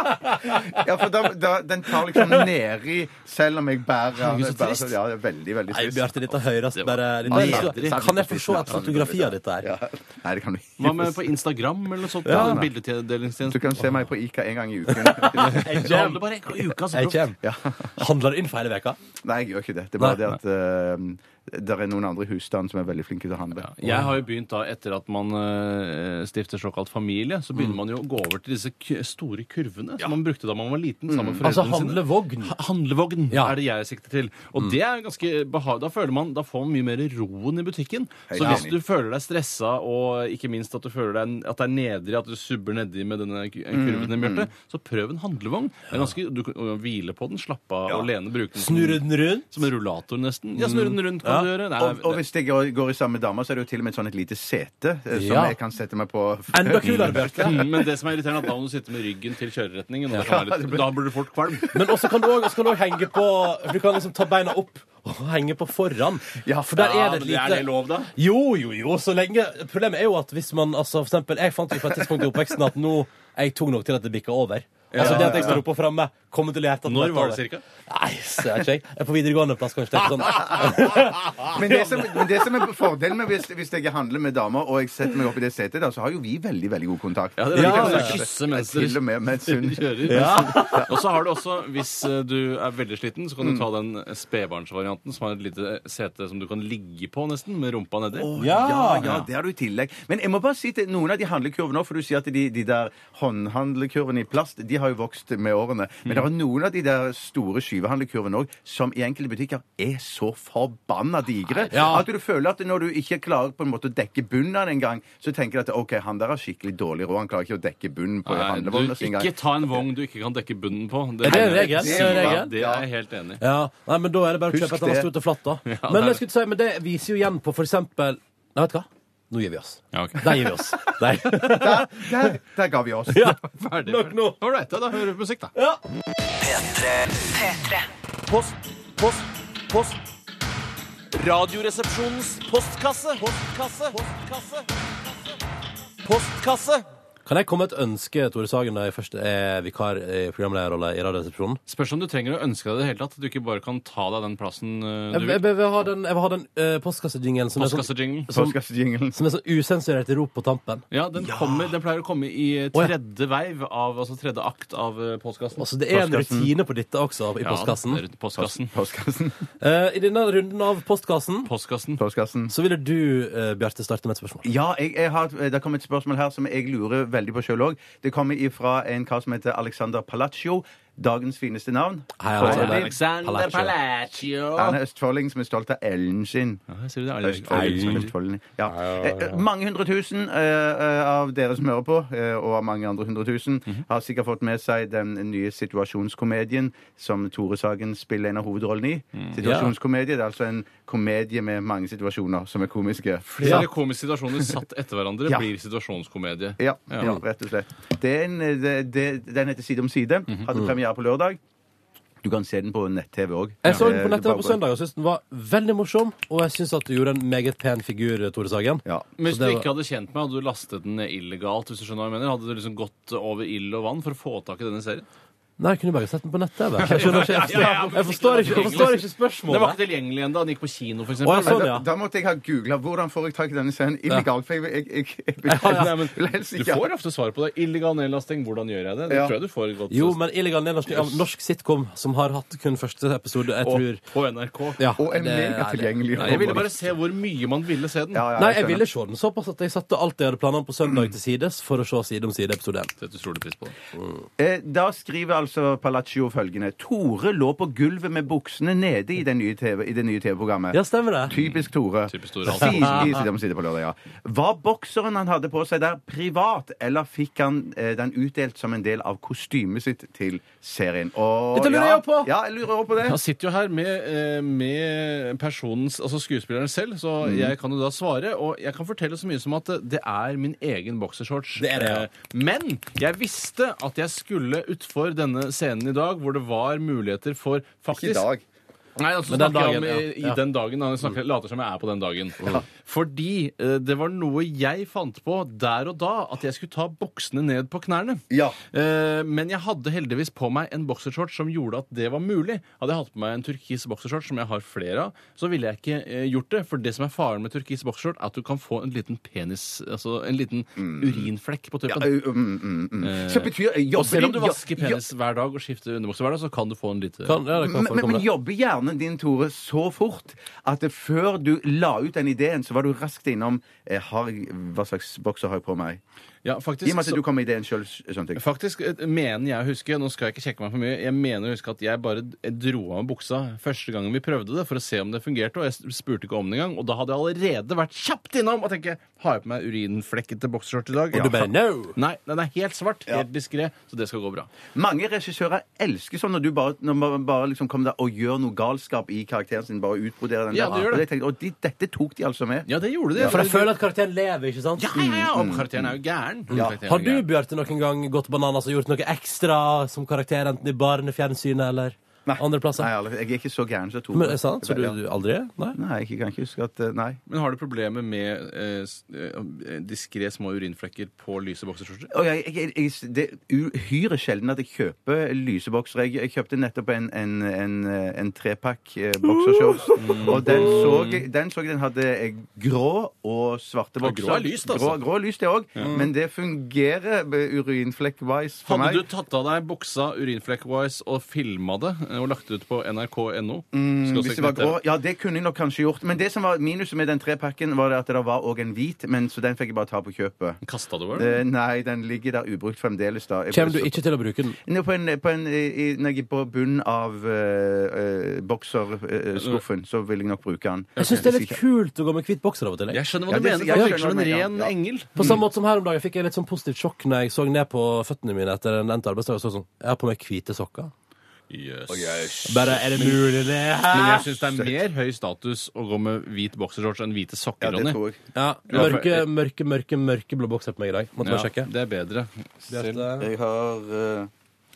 Speaker 4: Ja, for da, da, den tar liksom nedi, selv om jeg bærer
Speaker 5: Herregud, så
Speaker 4: den. Bærer-
Speaker 5: trist.
Speaker 4: Ja, det er veldig, veldig
Speaker 3: Nei,
Speaker 4: trist.
Speaker 3: Bjarte, dette høres
Speaker 5: Det var-
Speaker 3: bare dette-
Speaker 5: Nei, det er-
Speaker 3: Kan jeg få se et fotografi av dette her?
Speaker 4: Ja. Nei, det kan du ikke.
Speaker 5: Hva med på Instagram eller noe sånt?
Speaker 4: Ja.
Speaker 5: en Bildedelingstjeneste.
Speaker 4: Du kan se meg på Ica en gang i
Speaker 3: <laughs>
Speaker 4: uken.
Speaker 3: Jeg
Speaker 5: Det handler bare en gang i uka, så
Speaker 3: Jeg
Speaker 5: proft.
Speaker 3: kjem. Handler det inn for hele veka?
Speaker 4: Nei, jeg gjør ikke det. Det er bare
Speaker 3: Nei.
Speaker 4: det at eh, det er noen andre i husstanden som er veldig flinke til å handle.
Speaker 5: Jeg har jo begynt da, etter at man eh, stifter såkalt familie, så
Speaker 3: Mm.
Speaker 5: begynner man jo å gå over til disse k store kurvene som man brukte da man var liten sammen med
Speaker 3: Altså
Speaker 5: foreldrene sine.
Speaker 3: handlevogn.
Speaker 5: Ha- Handlevogn
Speaker 3: Ja. Mm.
Speaker 5: er det jeg sikter til. Og det er jo ganske behag... Da føler man, da får man mye mer roen i butikken. Så
Speaker 4: Ja.
Speaker 5: hvis du føler deg stressa og ikke minst trist, at du føler deg, at det er nedrig, at du subber nedi med denne k- kurven
Speaker 3: Mm.
Speaker 5: i hjertet, så prøv en handlevogn. Det er ganske, du kan du kan hvile på den, slappe av og lene, bruke den som-
Speaker 3: Snurre den rundt.
Speaker 5: som en rullator, nesten. Mm. Ja, snurre den rundt kan du gjøre. Nei,
Speaker 4: Og, og
Speaker 5: det-
Speaker 4: hvis jeg går går i sammen med dama, så er det jo til og med et sånn et lite sete eh, som
Speaker 3: Ja.
Speaker 4: jeg kan sette meg på.
Speaker 3: Enda kulere, Bjarte.
Speaker 5: Mm, <laughs> Men det som er irriterende, er at da må du sitte med ryggen til kjøreretningen. Og det kan være litt, da blir du
Speaker 3: <laughs>
Speaker 5: fort kvalm.
Speaker 3: Men også kan du også, også kan du også henge på Du kan liksom ta beina opp og henge på foran.
Speaker 4: Ja,
Speaker 3: for der
Speaker 5: Ja,
Speaker 3: er det
Speaker 5: men
Speaker 3: et lite
Speaker 5: Er det lov, da?
Speaker 3: Jo, jo, jo, så lenge Problemet er jo at hvis man altså, For eksempel, jeg fant jo på et tidspunkt i oppveksten at nå er jeg tung nok til at det bikker over. Altså det at jeg står oppe og framme, kommer til å gjette at
Speaker 5: Når
Speaker 3: det
Speaker 5: var
Speaker 3: over.
Speaker 5: det cirka?
Speaker 3: Nei, så jeg vet ikke. jeg. Jeg er på videregående plass, kanskje. Det er ikke
Speaker 5: <laughs>
Speaker 3: sånn.
Speaker 4: Men det som, men det som er fordelen med hvis, hvis jeg handler med damer og jeg setter meg opp i det setet, da, så har jo vi veldig veldig god kontakt.
Speaker 5: Ja, det er
Speaker 4: Vi kan
Speaker 5: ja,
Speaker 4: snakke-
Speaker 5: kysse mens
Speaker 4: Til og
Speaker 5: dere
Speaker 4: med mens hun
Speaker 5: <laughs> kjører. Og så har du også, hvis eh, du er veldig sliten, så kan du ta den spedbarnsvarianten som har et lite sete som du kan ligge på nesten, med rumpa nedi.
Speaker 4: Ja, ja, det har du i tillegg. Men jeg må bare si til noen av de handlekurvene òg, for du sier at de, de der håndhandlekurvene i plast de har jo vokst med årene. Men det er noen av de der store skyvehandlekurvene òg som i enkelte butikker er så forbanna digre
Speaker 3: Ja.
Speaker 4: at du føler at når du ikke klarer på en måte å dekke bunnen av den engang, så tenker du at OK, han der har skikkelig dårlig råd, han klarer ikke å dekke bunnen på
Speaker 5: Nei, du,
Speaker 4: handlevogna si engang.
Speaker 5: ikke ta en vogn du ikke kan dekke bunnen på.
Speaker 3: Er det en regel? Det er en regel.
Speaker 5: Ja, det er jeg helt enig i.
Speaker 3: Ja, nei, men da er det bare å
Speaker 4: Husk
Speaker 3: kjøpe et annet
Speaker 4: det.
Speaker 3: stort og flatt, da.
Speaker 5: det er
Speaker 3: Men jeg skulle si, men det viser jo igjen på for eksempel Nei, vet du hva? Nå gir vi oss.
Speaker 5: Ja, ok.
Speaker 3: Der gir
Speaker 5: <laughs>
Speaker 3: vi oss. Der.
Speaker 4: Der, der, der ga vi oss.
Speaker 3: Ja.
Speaker 5: Ferdig.
Speaker 3: Nok nå.
Speaker 5: All right, ja, da hører vi på musikk, da.
Speaker 2: P3.
Speaker 1: P3.
Speaker 6: Post, post, post. Radioresepsjonens postkasse. Postkasse. Postkasse. Postkasse.
Speaker 3: Kan jeg komme med et ønske, Tore Sagen, da jeg først er vikar i programlederrolle i Radioresepsjonen?
Speaker 5: Spørs om du trenger å ønske deg det i det hele tatt. At du ikke bare kan ta deg den plassen eh,
Speaker 3: Jeg,
Speaker 5: du
Speaker 3: jeg,
Speaker 5: vil.
Speaker 3: jeg vil ha den, jeg vil ha den eh, postkassejingelen som, er sånn,
Speaker 5: Postkassejinglen.
Speaker 4: Postkassejingelen.
Speaker 3: som er sånn usensurert rop på tampen.
Speaker 5: Ja, den, Kommer, den pleier å komme i eh,
Speaker 3: Å, ja.
Speaker 5: tredje veiv av Altså tredje akt av eh, postkassen.
Speaker 3: Altså, det er en rutine på dette også, i postkassen.
Speaker 5: Ja, det er postkassen.
Speaker 4: Postkassen.
Speaker 3: Eh, I denne runden av postkassen
Speaker 5: Postkassen.
Speaker 4: Postkassen.
Speaker 3: så ville du, eh, Bjarte, starte med et spørsmål.
Speaker 4: Ja, jeg, jeg har, eh, det kommer et spørsmål her som jeg lurer veldig på sjøl òg. Det kommer ifra en kar som heter Alexander Palaccio. Dagens fineste navn.
Speaker 3: Hei, Alexander. Palaccio.
Speaker 4: Foreløpig.
Speaker 5: Palaccio.
Speaker 4: Han er østfolding som er stolt av Ellen sin.
Speaker 5: Ja, sier du det?
Speaker 4: Østfolding som er
Speaker 5: Østfold.
Speaker 4: østfolding. Ja. Eh, eh, Mange hundre tusen eh, eh, av dere som hører på, eh, og av mange andre hundre tusen,
Speaker 3: Mhm.
Speaker 4: har sikkert fått med seg den nye situasjonskomedien som Tore Sagen spiller en av hovedrollene
Speaker 3: Mm.
Speaker 4: i. Situasjonskomedie. Det er altså en komedie med mange situasjoner som er komiske.
Speaker 5: Flere komiske situasjoner satt etter hverandre
Speaker 4: Ja.
Speaker 5: blir situasjonskomedie.
Speaker 4: Ja, ja. rett og slett. Det er en, det, det, den heter Side om side.
Speaker 3: Mhm.
Speaker 4: Hadde premiere på lørdag. Du kan se den på nett-TV Eh, òg.
Speaker 3: Jeg så den på nettet på søndag og syntes den var veldig morsom. Og jeg syns at du gjorde en meget pen figur, Tore Sagen.
Speaker 4: Ja.
Speaker 5: Men hvis
Speaker 3: Så
Speaker 5: du
Speaker 3: det var-
Speaker 5: ikke hadde kjent meg, hadde du lastet den ned illegalt? hvis du skjønner hva jeg mener? Hadde du liksom gått over ild og vann for å få tak i denne serien?
Speaker 3: Nei, jeg kunne bare sett den på nettet. Jeg, skjønner ikke, jeg,
Speaker 5: Ja, ja,
Speaker 3: forstår,
Speaker 5: ja, men
Speaker 3: jeg, forstår, ikke, jeg forstår ikke
Speaker 5: Det var
Speaker 3: spørsmålet.
Speaker 5: ikke tilgjengelig ennå. Den gikk på kino, for
Speaker 3: Å,
Speaker 5: eksempel.
Speaker 3: jeg så- Sånn,
Speaker 4: da,
Speaker 3: ja.
Speaker 4: da måtte jeg ha googla hvordan får jeg tak i denne scenen illegalt. For jeg, jeg, jeg, jeg,
Speaker 3: <laughs>
Speaker 4: jeg,
Speaker 5: Ja, nei, men
Speaker 4: vil helst
Speaker 5: du
Speaker 4: ikke
Speaker 5: får ofte svar på det. Illegal nedlasting, hvordan gjør jeg det? Det
Speaker 4: Ja.
Speaker 5: tror jeg du får et godt
Speaker 3: Jo, men illegal nedlasting av norsk sitcom som har hatt kun første episode, jeg tror
Speaker 5: og på NRK.
Speaker 3: ja,
Speaker 4: Og en
Speaker 3: det er-
Speaker 4: megatilgjengelig
Speaker 5: Nei, jeg ville bare se hvor mye man ville se den.
Speaker 4: Ja, ja,
Speaker 3: Nei, jeg
Speaker 4: skjønner.
Speaker 3: ville se den såpass at jeg satte alt jeg hadde planer om på søndag til sides for å se Side om side episode 1.
Speaker 5: Setter utrolig pris på det.
Speaker 4: Eh, Da skriver altså Palaccio følgende Tore lå på gulvet med buksene nede i, den nye TV, i det nye TV-programmet.
Speaker 3: Ja, stemmer det.
Speaker 4: Typisk Tore.
Speaker 5: Typisk Tore.
Speaker 4: Si- i Side om side på lørdag, ja. Var bokseren han hadde på seg der, privat, eller fikk han eh, den utdelt som en del av kostymet sitt til serien? Og,
Speaker 3: Dette lurer
Speaker 4: ja,
Speaker 3: jeg på.
Speaker 4: Ja, jeg lurer også på det.
Speaker 5: Han sitter jo her med, eh, med personens, altså skuespilleren selv, så
Speaker 3: Mm.
Speaker 5: jeg kan jo da svare. Og jeg kan fortelle så mye som at eh, det er min egen boksershorts.
Speaker 3: Det er det, ja.
Speaker 5: Eh, Men jeg visste at jeg skulle utfor denne scenen i dag, hvor det var muligheter for faktisk
Speaker 4: Ikke i dag.
Speaker 5: Nei, altså,
Speaker 3: Men den
Speaker 5: snakker jeg
Speaker 3: dagen,
Speaker 5: om, i,
Speaker 3: ja. Mm.
Speaker 5: i den dagen han snakker, later som jeg er på den dagen. Fordi eh, det var noe jeg fant på der og da, at jeg skulle ta boksene ned på knærne.
Speaker 4: Ja.
Speaker 5: Eh, men jeg hadde heldigvis på meg en boksershorts som gjorde at det var mulig. Hadde jeg hatt på meg en turkis boksershorts, som jeg har flere av, så ville jeg ikke eh, gjort det. For det som er faren med turkis boksershort, er at du kan få en liten penis, altså en liten
Speaker 3: Mm.
Speaker 5: urinflekk på tuppen.
Speaker 4: Uh, Mm, mm, mm.
Speaker 3: Eh,
Speaker 4: Så betyr jobber,
Speaker 5: og selv om du
Speaker 4: din-
Speaker 5: vasker
Speaker 4: jo-
Speaker 5: penis hver dag og skifter underbukse hver dag, så kan du få en liten
Speaker 3: Kan, Sånn, ja, det kan
Speaker 4: Men, men,
Speaker 3: forekomme
Speaker 4: men
Speaker 3: det.
Speaker 4: jobber hjernen din, Tore, så fort at det før du la ut den ideen, så var du raskt innom eh, har jeg, Hva slags bokser har jeg på meg?
Speaker 5: Ja, faktisk,
Speaker 4: I og med
Speaker 5: så-
Speaker 4: at du kom med ideen sjøl. Samtidig.
Speaker 5: Faktisk eh, mener jeg å huske Nå skal jeg ikke sjekke meg for mye. Jeg mener å huske at jeg bare d- dro av meg buksa første gangen vi prøvde det, for å se om det fungerte. Og jeg s- spurte ikke om det engang. Og da hadde jeg allerede vært kjapt innom og tenke Har jeg på meg urinflekkete bokserskjørt i dag?
Speaker 3: Og du bare no!
Speaker 5: Nei, den er helt svart. Helt diskré. Så det skal gå bra.
Speaker 4: Mange regissører elsker sånn når du bare, når man bare liksom kommer der og gjør noe galskap i karakteren sin. Bare utbroderer den
Speaker 5: Ja,
Speaker 4: der.
Speaker 5: det gjør det.
Speaker 4: Og, jeg tenkte, og de, dette tok de altså med.
Speaker 5: Ja, det gjorde det.
Speaker 3: For jeg føler at karakteren lever, ikke sant?
Speaker 5: ja, ja, ja, og karakteren er jo gæren. Karakteren er
Speaker 3: Har du,
Speaker 5: gæren.
Speaker 3: Bjarte, noen gang gått bananas og gjort noe ekstra som karakter, enten i baren, i fjernsynet eller andre plasser?
Speaker 4: Nei, alle- jeg er ikke så gæren som Tore.
Speaker 3: Men er det sant? Så du,
Speaker 4: Ja.
Speaker 3: du aldri er? Nei?
Speaker 4: Nei, jeg kan ikke huske at eh, Nei.
Speaker 5: Men har du problemer med eh, s- eh, diskré små urinflekker på lyse bokserskjorter?
Speaker 4: Og jeg, jeg, jeg, det er uhyre sjelden at jeg kjøper lysebokser. Jeg, jeg kjøpte nettopp en, en, en, en trepakk eh, boksershorts.
Speaker 5: Mm.
Speaker 4: Og den så, jeg, den så jeg den hadde eh, grå og svarte
Speaker 5: Ja,
Speaker 4: bokser.
Speaker 5: grå er lyst, altså.
Speaker 4: Grå, grå er lyst, det òg. Men det fungerer eh, urinflekk-wise for
Speaker 5: Hadde
Speaker 4: meg.
Speaker 5: du tatt av deg buksa urinflekk-wise og filma det eh, og lagt det ut på nrk.no?
Speaker 4: Mm, Hvis det var grå, ja, det kunne jeg nok kanskje gjort. Men det som var minuset med den trepakken, var det at det var òg en hvit, men så den fikk jeg bare ta på kjøpet.
Speaker 5: Kasta du over den?
Speaker 4: Eh, Nei, den ligger der ubrukt fremdeles, da. Jeg-
Speaker 3: Kommer du ikke til å bruke den?
Speaker 4: Nei, På, en, på, en, i, i- når jeg er på bunnen av eh, bokserskuffen, så vil jeg nok bruke den.
Speaker 3: Jeg syns det er litt kult å gå med hvit bokser av og til. jeg.
Speaker 5: Jeg skjønner
Speaker 4: Ja,
Speaker 5: hva du
Speaker 4: det-
Speaker 5: mener.
Speaker 4: jeg
Speaker 5: for Det
Speaker 4: skjønner
Speaker 5: virker som
Speaker 4: hva
Speaker 5: en
Speaker 4: du mener,
Speaker 5: ren
Speaker 4: ja.
Speaker 5: engel.
Speaker 3: På samme måte som her om dagen fikk jeg litt sånn positivt sjokk når jeg så ned på føttene mine etter en endt arbeidsdag og så sånn Jeg har på meg hvite sokker. Bare er det mulig, det
Speaker 5: Men jeg
Speaker 3: her?
Speaker 5: syns det er mer høy status å gå med hvit boksershorts enn hvite
Speaker 4: Ja,
Speaker 5: sokker,
Speaker 4: det
Speaker 5: Ronny.
Speaker 4: tror jeg.
Speaker 3: Ja,
Speaker 5: Ja, for-
Speaker 3: mørke, mørke, mørke, mørke blå bokser på meg i dag. Måtte bare sjekke.
Speaker 5: det er bedre. Selv
Speaker 3: Bjarte.
Speaker 4: Jeg har eh,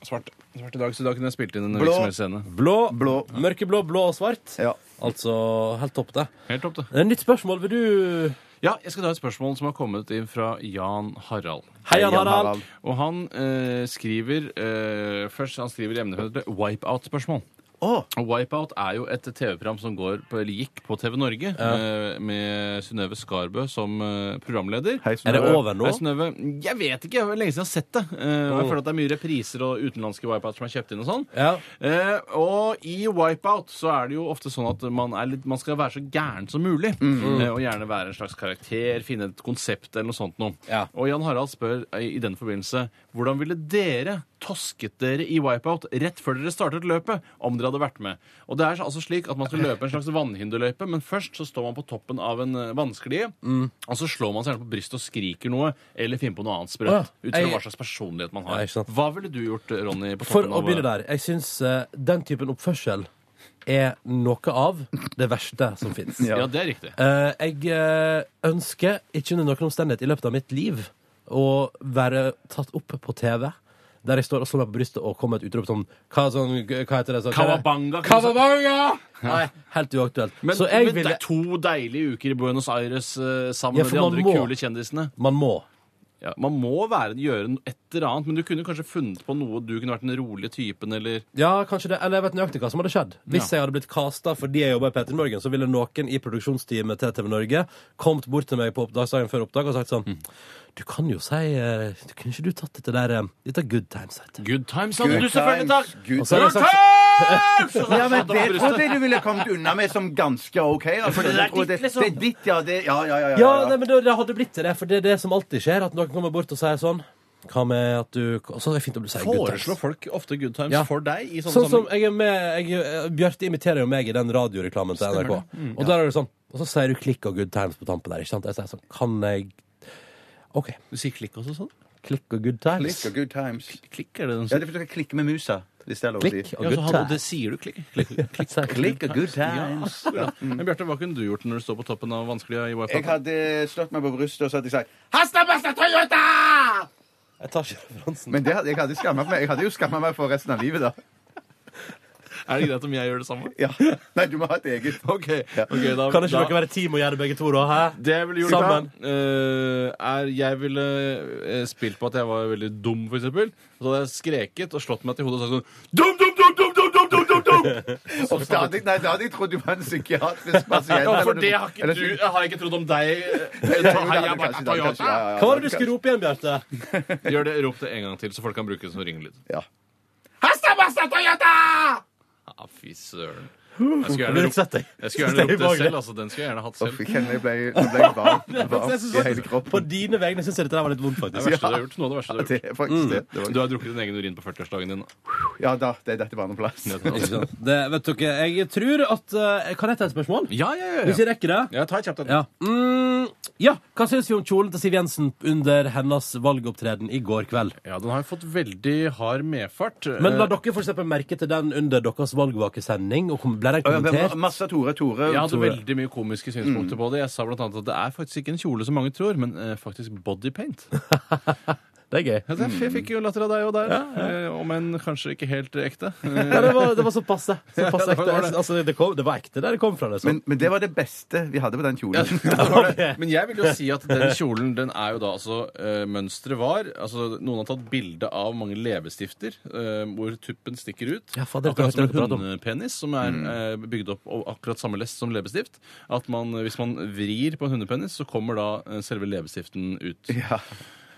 Speaker 5: Svart. Svart i dag, så da kunne jeg spilt inn en
Speaker 4: Blå.
Speaker 5: virksomhet scene.
Speaker 3: Blå,
Speaker 4: blå.
Speaker 3: mørkeblå, blå og svart.
Speaker 4: Ja.
Speaker 3: Altså helt topp, det.
Speaker 5: Helt topp, det.
Speaker 3: Nytt spørsmål. Vil du
Speaker 5: Ja, jeg skal ta et spørsmål som har kommet inn fra Jan Harald.
Speaker 3: Hei, Jan
Speaker 4: Jan
Speaker 3: Harald.
Speaker 4: Harald.
Speaker 5: Og han eh, skriver eh, Først han skriver i emnefeltet 'wipeout-spørsmål'.
Speaker 4: Å,
Speaker 5: Og Wipeout er jo et TV-program som går på, eller gikk på TV Norge, eh, med Synnøve Skarbø som eh, programleder.
Speaker 4: Hei,
Speaker 3: Er det
Speaker 4: Synnøve.
Speaker 3: over nå?
Speaker 5: Hei, Synnøve. Jeg vet ikke. Det er lenge siden jeg har sett det. Eh, og Jeg føler at det er mye repriser og utenlandske wipeouts som er kjøpt inn og sånn.
Speaker 3: Ja.
Speaker 5: Eh, og i wipeout så er det jo ofte sånn at man, er litt, man skal være så gæren som mulig.
Speaker 3: Mm.
Speaker 5: Eh, og gjerne være en slags karakter, finne et konsept eller noe sånt noe.
Speaker 3: Ja.
Speaker 5: Og Jan Harald spør eh, i den forbindelse hvordan ville dere tosket dere i wipeout rett før dere startet løpet, om dere hadde vært med? Og det er altså slik at man skal løpe en slags vannhinderløype, men først så står man på toppen av en eh, vannsklie,
Speaker 3: Mm.
Speaker 5: og så slår man seg gjerne på brystet og skriker noe, eller finner på noe annet sprøtt.
Speaker 3: Å ja.
Speaker 5: Ut fra
Speaker 3: Jeg-
Speaker 5: hva slags personlighet man
Speaker 3: Ja,
Speaker 5: har.
Speaker 3: ikke sant.
Speaker 5: Hva ville du gjort, Ronny? på
Speaker 3: For
Speaker 5: toppen
Speaker 3: å
Speaker 5: av-
Speaker 3: begynne der. Jeg syns den typen oppførsel er noe av det verste som fins.
Speaker 5: Ja. det er riktig.
Speaker 3: jeg eh, ønsker ikke under noen omstendighet i løpet av mitt liv å være tatt opp på TV. Der jeg står og slår meg på brystet og kommer med et utrop sånn Hva, sånn, hva heter det? Så,
Speaker 5: Kawabanga, kunne du sagt.
Speaker 3: Kawabanga! Nei, helt uaktuelt.
Speaker 5: Men,
Speaker 3: så jeg
Speaker 5: men det
Speaker 3: ville
Speaker 5: er to deilige uker i Buenos Aires eh, sammen
Speaker 3: Ja,
Speaker 5: med
Speaker 3: for
Speaker 5: de
Speaker 3: man
Speaker 5: andre
Speaker 3: må.
Speaker 5: kule kjendisene.
Speaker 3: Man må.
Speaker 5: Ja, man må være, gjøre no- et eller annet, men du kunne kanskje funnet på noe du kunne vært den rolige typen, eller
Speaker 3: Ja, kanskje det. Eller jeg vet nøyaktig hva som hadde skjedd. Hvis
Speaker 5: Ja.
Speaker 3: jeg hadde blitt casta fordi jeg jobba i P3 Morgen, så ville noen i produksjonsteamet til TV Norge kommet bort til meg på oppdagsdagen før oppdag og sagt sånn
Speaker 5: Mm.
Speaker 3: Du kan jo si eh, du- Kunne ikke du tatt dette der eh, Dette er good times, heter det.
Speaker 5: Good times hadde
Speaker 4: Good
Speaker 5: du selvfølgelig
Speaker 4: times,
Speaker 5: tatt!
Speaker 4: good
Speaker 3: Og så hadde jeg sagt
Speaker 5: times!
Speaker 4: Ja, men
Speaker 5: det,
Speaker 4: Det trodde jeg du ville kommet unna med som ganske OK. Altså.
Speaker 5: det er
Speaker 4: Jeg tror
Speaker 5: ditt, liksom.
Speaker 4: Det, det er ditt, ja. Det, ja, ja, ja, ja,
Speaker 3: Ja,
Speaker 4: ja.
Speaker 3: nei, men det, det hadde blitt til det, for det er det som alltid skjer, at noen kommer bort og sier sånn Hva med at du Og så er det fint om du sier good times.
Speaker 5: Foreslår folk ofte good times
Speaker 3: Ja.
Speaker 5: for deg i sånne
Speaker 3: Sånn som
Speaker 5: sammenheng?
Speaker 3: jeg er med jeg, eh, Bjarte imiterer jo meg i den radioreklamen til NRK. Og der er det sånn Og så sier du klikk og good times på tampen der. Ikke sant? Jeg sier sånn Kan jeg OK.
Speaker 5: Du sier klikk også sånn?
Speaker 3: Klikk og good times.
Speaker 4: Klikk og good times.
Speaker 5: Klikk er det den
Speaker 4: Ja, det er fordi jeg klikker med musa. Hvis det er lov å si.
Speaker 3: Klikk og
Speaker 5: Ja, så
Speaker 3: good
Speaker 5: har du- det
Speaker 3: times.
Speaker 5: sier du klikk. klikk, klikk.
Speaker 3: Sier <laughs> jeg.
Speaker 4: Klikk og good times. Mm.
Speaker 5: Ja. Men Bjarte, hva kunne du gjort når du står på toppen av vanskelige i
Speaker 4: Jeg
Speaker 5: wipeout?
Speaker 4: hadde slått meg på brystet og så hadde jeg sagt
Speaker 3: Jeg tar ikke referansen.
Speaker 4: Men det hadde, jeg hadde skammet meg. Jeg hadde jo skammet meg for resten av livet, da.
Speaker 5: Er det greit om jeg gjør det samme?
Speaker 4: Ja. Nei, du må ha et eget.
Speaker 5: <laughs> OK. ok, da,
Speaker 3: Kan ikke
Speaker 5: da-
Speaker 3: dere være team og gjøre det begge to, da? Hæ?
Speaker 5: Det jeg ville gjort
Speaker 3: Sammen.
Speaker 5: da, eh, er Jeg ville eh, spilt på at jeg var veldig dum, for eksempel. Og så hadde jeg skreket og slått meg til hodet og sagt sånn Dum, dum, dum, dum, dum, dum, dum, dum, <laughs> dum!
Speaker 4: Og da hadde, jeg- nei, da hadde jeg trodd du var en psykiatrisk pasient.
Speaker 5: <laughs> Ja, for
Speaker 4: eller-
Speaker 5: det har ikke
Speaker 4: eller-
Speaker 5: du Jeg har ikke trodd om deg. <laughs> eh,
Speaker 4: Nei, jo, det hadde
Speaker 5: Heia
Speaker 4: jeg kanskje,
Speaker 5: Bata
Speaker 4: det hadde jeg kanskje,
Speaker 5: Toyota!
Speaker 4: ja, ja,
Speaker 3: Hva var
Speaker 4: ja,
Speaker 3: det du skulle rope igjen, Bjarte?
Speaker 5: Gjør det, Rop det en gang til, så folk kan bruke det som ringelyd.
Speaker 4: Ja.
Speaker 5: Hasta basta Toyota! Ja, fy søren. Jeg skulle
Speaker 3: blir
Speaker 5: gjerne
Speaker 3: litt svett,
Speaker 5: ropt,
Speaker 3: jeg.
Speaker 5: jeg skulle gjerne ropt det
Speaker 3: ubehagelig.
Speaker 5: selv. altså Den skulle jeg gjerne hatt selv.
Speaker 4: Uff, jeg kjenner jeg ble, jeg
Speaker 5: <laughs>
Speaker 4: ble varm, varm
Speaker 3: Jeg synes
Speaker 4: i hele
Speaker 3: faktisk- På
Speaker 4: kroppen.
Speaker 3: dine vegne syns jeg dette der var litt vondt,
Speaker 5: Det
Speaker 3: faktisk.
Speaker 5: er det verste du har gjort. Noe av det verste du har
Speaker 4: <laughs> Det
Speaker 5: gjort.
Speaker 4: er faktisk det. det
Speaker 5: Du
Speaker 4: var,
Speaker 5: har drukket din egen urin på 40-årsdagen din.
Speaker 4: ja da, det er dette var noen plass.
Speaker 3: Ikke sant? Det, vet dere, jeg tror at eh, Kan jeg ta et spørsmål?
Speaker 5: Ja, ja, ja.
Speaker 3: Hvis
Speaker 5: ja.
Speaker 3: jeg rekker det?
Speaker 5: ja ta et kjapt et.
Speaker 3: Ja. Mm, ja. Hva syns vi om kjolen til Siv Jensen under hennes valgopptreden i går kveld?
Speaker 5: Ja, den har jo fått veldig hard medfart.
Speaker 3: Men la
Speaker 5: Eh,
Speaker 3: dere for eksempel merke til den under deres valgvakesending, og kom- ble den kommentert?
Speaker 4: Masse Tore, Tore.
Speaker 5: Jeg hadde
Speaker 3: Tore.
Speaker 5: veldig mye komiske synspunkter på det. Jeg sa blant annet at det er faktisk ikke en kjole som mange tror, men eh, faktisk bodypaint.
Speaker 3: Det er gøy.
Speaker 5: Jeg sa, Jeg fikk jo latter av deg og der, eh, om enn kanskje ikke helt ekte. Eh, <laughs>
Speaker 3: Ja, det, var, det var så passe. Så passe
Speaker 5: Ja, det var
Speaker 3: ekte.
Speaker 5: det.
Speaker 3: Altså, det, kom, det var ekte der det kom fra. Liksom.
Speaker 4: Men, men det var det beste vi hadde på den
Speaker 5: Ja,
Speaker 4: kjolen.
Speaker 5: det var det. Men jeg vil jo si at den kjolen den er jo da altså eh, Mønsteret var altså Noen har tatt bilde av mange leppestifter eh, hvor tuppen stikker ut.
Speaker 3: Ja, fader, det
Speaker 5: akkurat som
Speaker 3: hørte
Speaker 5: en
Speaker 3: jeg prat om.
Speaker 5: hundepenis som er eh, bygd opp av akkurat samme lest som leppestift. At man, eh, hvis man vrir på en hundepenis, så kommer da eh, selve leppestiften ut.
Speaker 4: <laughs> Ja.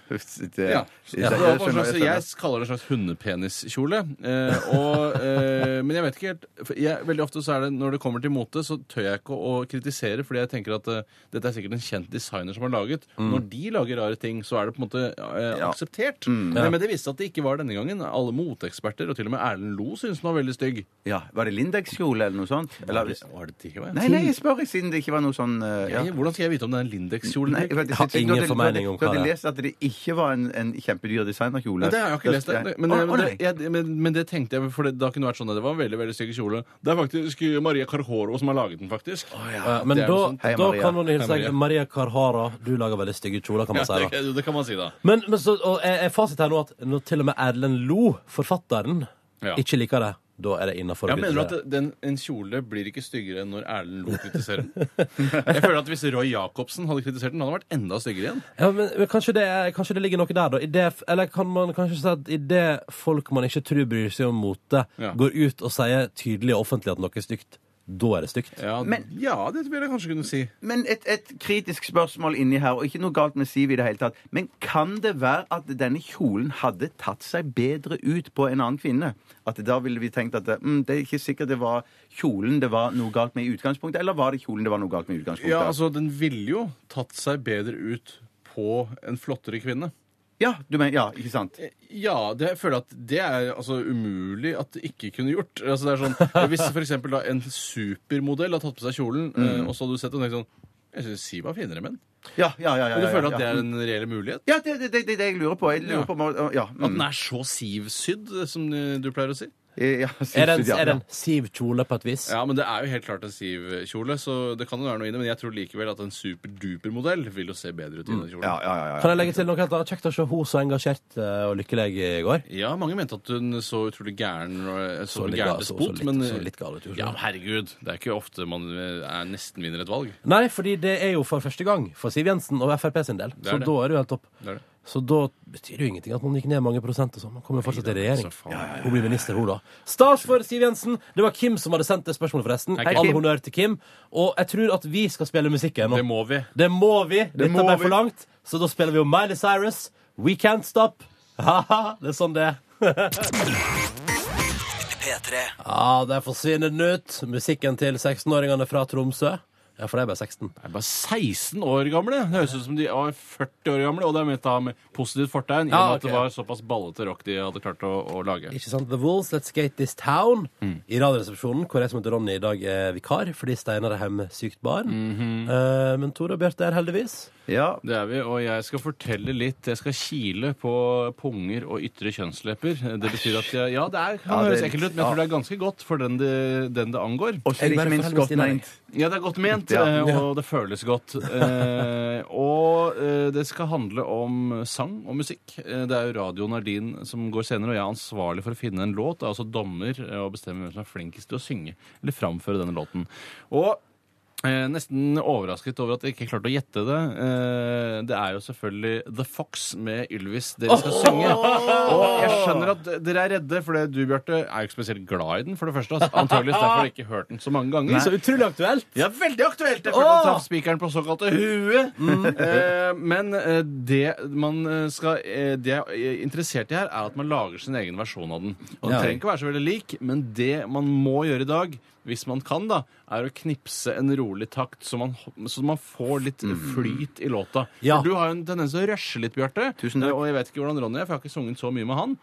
Speaker 4: Det,
Speaker 5: Ja.
Speaker 4: det-
Speaker 5: Så
Speaker 4: det
Speaker 5: det var på en
Speaker 4: skjønner
Speaker 5: slags, jeg
Speaker 4: jeg, skjønner.
Speaker 5: kaller det en slags hundepeniskjole. Eh, og, eh, men jeg vet ikke helt for jeg, Veldig ofte så er det når det kommer til mote, så tør jeg ikke å kritisere, fordi jeg tenker at eh, dette er sikkert en kjent designer som har laget. Når de lager rare ting, så er det på en måte eh,
Speaker 4: Mm. Ja.
Speaker 5: akseptert. Men, men det viste at det ikke var denne gangen. Alle moteeksperter, og til og med Erlend Loe, syntes den var veldig stygg.
Speaker 4: Ja, var det Lindex-kjole eller noe sånt? Eller,
Speaker 5: Var det ikke, hva?
Speaker 4: nei, nei, jeg spør siden det ikke var noe sånn eh, ja.
Speaker 5: Jeg- Hvordan skal jeg vite om det er en Lindex-kjolen?
Speaker 4: Nei,
Speaker 5: Erik?
Speaker 4: vet du,
Speaker 3: har
Speaker 4: siden
Speaker 3: ingen
Speaker 4: du hadde-
Speaker 3: formening om
Speaker 4: du
Speaker 3: hva
Speaker 4: hadde
Speaker 3: det er.
Speaker 4: lest at det ikke var en, en kjempedyr designerkjole.
Speaker 5: Nei, det har jeg ikke lest. Det. Men,
Speaker 4: Å,
Speaker 5: men,
Speaker 4: å,
Speaker 5: det,
Speaker 4: nei.
Speaker 5: jeg, men, men det tenkte jeg, for det, da kunne det vært sånn at det var en veldig veldig stygg kjole. Det er faktisk Maria Carhoro som har laget den, faktisk.
Speaker 3: Eh, Men
Speaker 5: det er
Speaker 3: da,
Speaker 5: noe sånt.
Speaker 4: Hei,
Speaker 3: da
Speaker 4: Maria.
Speaker 3: kan man hilse
Speaker 5: Hei,
Speaker 3: deg Maria Carhara. Du lager veldig stygge kjoler, kan man si.
Speaker 5: <laughs> Ja,
Speaker 3: da
Speaker 5: det, det kan man si, da.
Speaker 3: Men, men så, og er er fasit her nå at når til og med Erlend Lo, forfatteren,
Speaker 5: Ja.
Speaker 3: ikke liker det, da er det innafor.
Speaker 5: Ja, mener du at den, en kjole blir ikke styggere enn når Erlend Loe kritiserer den? <laughs> Jeg føler at Hvis Roy Jacobsen hadde kritisert den, hadde den vært enda styggere igjen.
Speaker 3: ja, men, men kanskje, det, er- kanskje det ligger noe der, da. I det, eller kan man kanskje si at idet folk man ikke tror bryr seg om mote,
Speaker 5: Ja.
Speaker 3: går ut og sier tydelig og offentlig at noe er stygt, da er det stygt.
Speaker 5: Ja,
Speaker 4: Men-
Speaker 5: ja, det vil jeg kanskje kunne si.
Speaker 4: Men et, et kritisk spørsmål inni her, og ikke noe galt med Siv i det hele tatt. Men kan det være at denne kjolen hadde tatt seg bedre ut på en annen kvinne? At da ville vi tenkt at mm, det er ikke sikkert det var kjolen det var noe galt med i utgangspunktet, eller var det kjolen det var noe galt med i utgangspunktet?
Speaker 5: Ja, altså, Den ville jo tatt seg bedre ut på en flottere kvinne.
Speaker 4: Ja, du mener, ja, ikke sant?
Speaker 5: Eh, Ja, det, jeg føler at det er altså, umulig at det ikke kunne gjort. Altså, det er sånn, <laughs> hvis for eksempel da, en supermodell har tatt på seg kjolen, eh, og så hadde du sett den og tenkt sånn Jeg syns Siv var finere menn.
Speaker 4: Ja, ja, ja. ja,
Speaker 5: Men du
Speaker 4: ja,
Speaker 5: føler at
Speaker 4: ja.
Speaker 5: det er en reell mulighet?
Speaker 4: Ja, det er det, det, det, er det jeg lurer på. Jeg
Speaker 5: Ja.
Speaker 4: lurer på om- ja, mm.
Speaker 5: At den er så Siv-sydd, som eh, du pleier å si?
Speaker 4: Ja,
Speaker 3: Er det en,
Speaker 4: ja,
Speaker 3: er det
Speaker 4: ja.
Speaker 3: en Siv kjole på et vis?
Speaker 5: Ja, men det er jo helt klart en Siv-kjole, så det kan jo være noe i det. Men jeg tror likevel at en superduper-modell vil jo se bedre ut i den
Speaker 4: Ja,
Speaker 5: kjolen.
Speaker 4: ja, ja, ja.
Speaker 3: Kan jeg legge til noe helt annet? Kjekt å se hun så engasjert eh, og lykkelig i går.
Speaker 5: Ja, mange mente at hun så utrolig gæren og eh, så,
Speaker 3: litt
Speaker 5: gæren
Speaker 3: gal- så- så
Speaker 5: despot,
Speaker 3: litt-
Speaker 5: men eh,
Speaker 3: så litt gal ut, gjorde hun.
Speaker 5: Ja, men herregud. Det er ikke ofte man eh, er nesten vinner et valg.
Speaker 3: Nei, fordi det er jo for første gang for Siv Jensen og Frp sin del.
Speaker 5: er
Speaker 3: Så
Speaker 5: det.
Speaker 3: da er det jo helt topp.
Speaker 5: Det er det.
Speaker 3: Så da betyr det jo ingenting at man gikk ned mange prosent og sånn. Man kommer jo fortsatt i regjering.
Speaker 5: Så faen. Ja,
Speaker 3: Hun blir minister, hun, da. Stas for Siv Jensen! Det var Kim som hadde sendt det spørsmålet, forresten.
Speaker 5: Kim.
Speaker 3: All honnør til Kim. Og jeg tror at vi skal spille musikken nå.
Speaker 5: Det må vi.
Speaker 3: Det må vi. Dette
Speaker 4: må
Speaker 3: ble
Speaker 4: vi.
Speaker 3: for langt. Så da spiller vi jo Miley Cyrus. We Can't Stop. <laughs> Ha-ha, det er sånn det er.
Speaker 2: P3
Speaker 3: Ja, der forsvinner den ut. Musikken til 16-åringene fra Tromsø. Ja, for de er bare 16.
Speaker 5: De er bare 16 år gamle. Det høres ut som de var 40 år gamle, og det er ment da med positivt fortegn. i og
Speaker 3: Ja,
Speaker 5: med
Speaker 3: ok.
Speaker 5: at det var såpass ballete rock de hadde klart å, å lage.
Speaker 3: Ikke sant? The Wolves, Let's Skate This Town i Radioresepsjonen, hvor jeg som heter Ronny i dag er vikar fordi Steinar er hjemme sykt barn. Eh, men Tore og Bjarte er heldigvis.
Speaker 4: ja.
Speaker 5: Det er vi, og jeg skal fortelle litt. Jeg skal kile på punger og ytre kjønnslepper. Det betyr at jeg, Ja, det er, kan
Speaker 4: Ja, det
Speaker 5: høres
Speaker 4: er litt-
Speaker 5: ekkelt ut, men jeg tror det er ganske godt for den det, den det angår.
Speaker 4: Og så er det ikke minst godt meint.
Speaker 5: Ja, det er godt ment,
Speaker 4: Ja.
Speaker 5: eh, og det føles godt. Eh, Og eh, det skal handle om sang og musikk. Eh, Det er jo Radio Nardin som går senere, og jeg er ansvarlig for å finne en låt. Jeg er altså dommer eh, og bestemmer hvem som er flinkest til å synge eller framføre denne låten. Og Eh, nesten overrasket over at jeg ikke klarte å gjette det. Eh, det er jo selvfølgelig The Fox med Ylvis dere skal synge. Og jeg skjønner at dere er redde, for det du, Bjarte, er jo ikke spesielt glad i den. for det første. Altså, Antakeligvis derfor har du ikke hørt den så mange ganger.
Speaker 3: Så utrolig aktuelt!
Speaker 5: Ja, veldig aktuelt! Jeg
Speaker 3: Åh!
Speaker 5: følte han traff spikeren på såkalte huet. Eh, men eh, det man eh, skal eh, Det jeg er interessert i her, er at man lager sin egen versjon av den. Og den
Speaker 3: Ja.
Speaker 5: trenger ikke være så veldig lik, men det man må gjøre i dag hvis man kan, da, er å knipse en rolig takt, så man, så man får litt flyt i låta.
Speaker 3: Mm. Ja.
Speaker 5: For du har jo en tendens til å rushe litt, Bjarte. Eh, Og jeg vet ikke hvordan Ronny er, for jeg har ikke sunget så mye med han.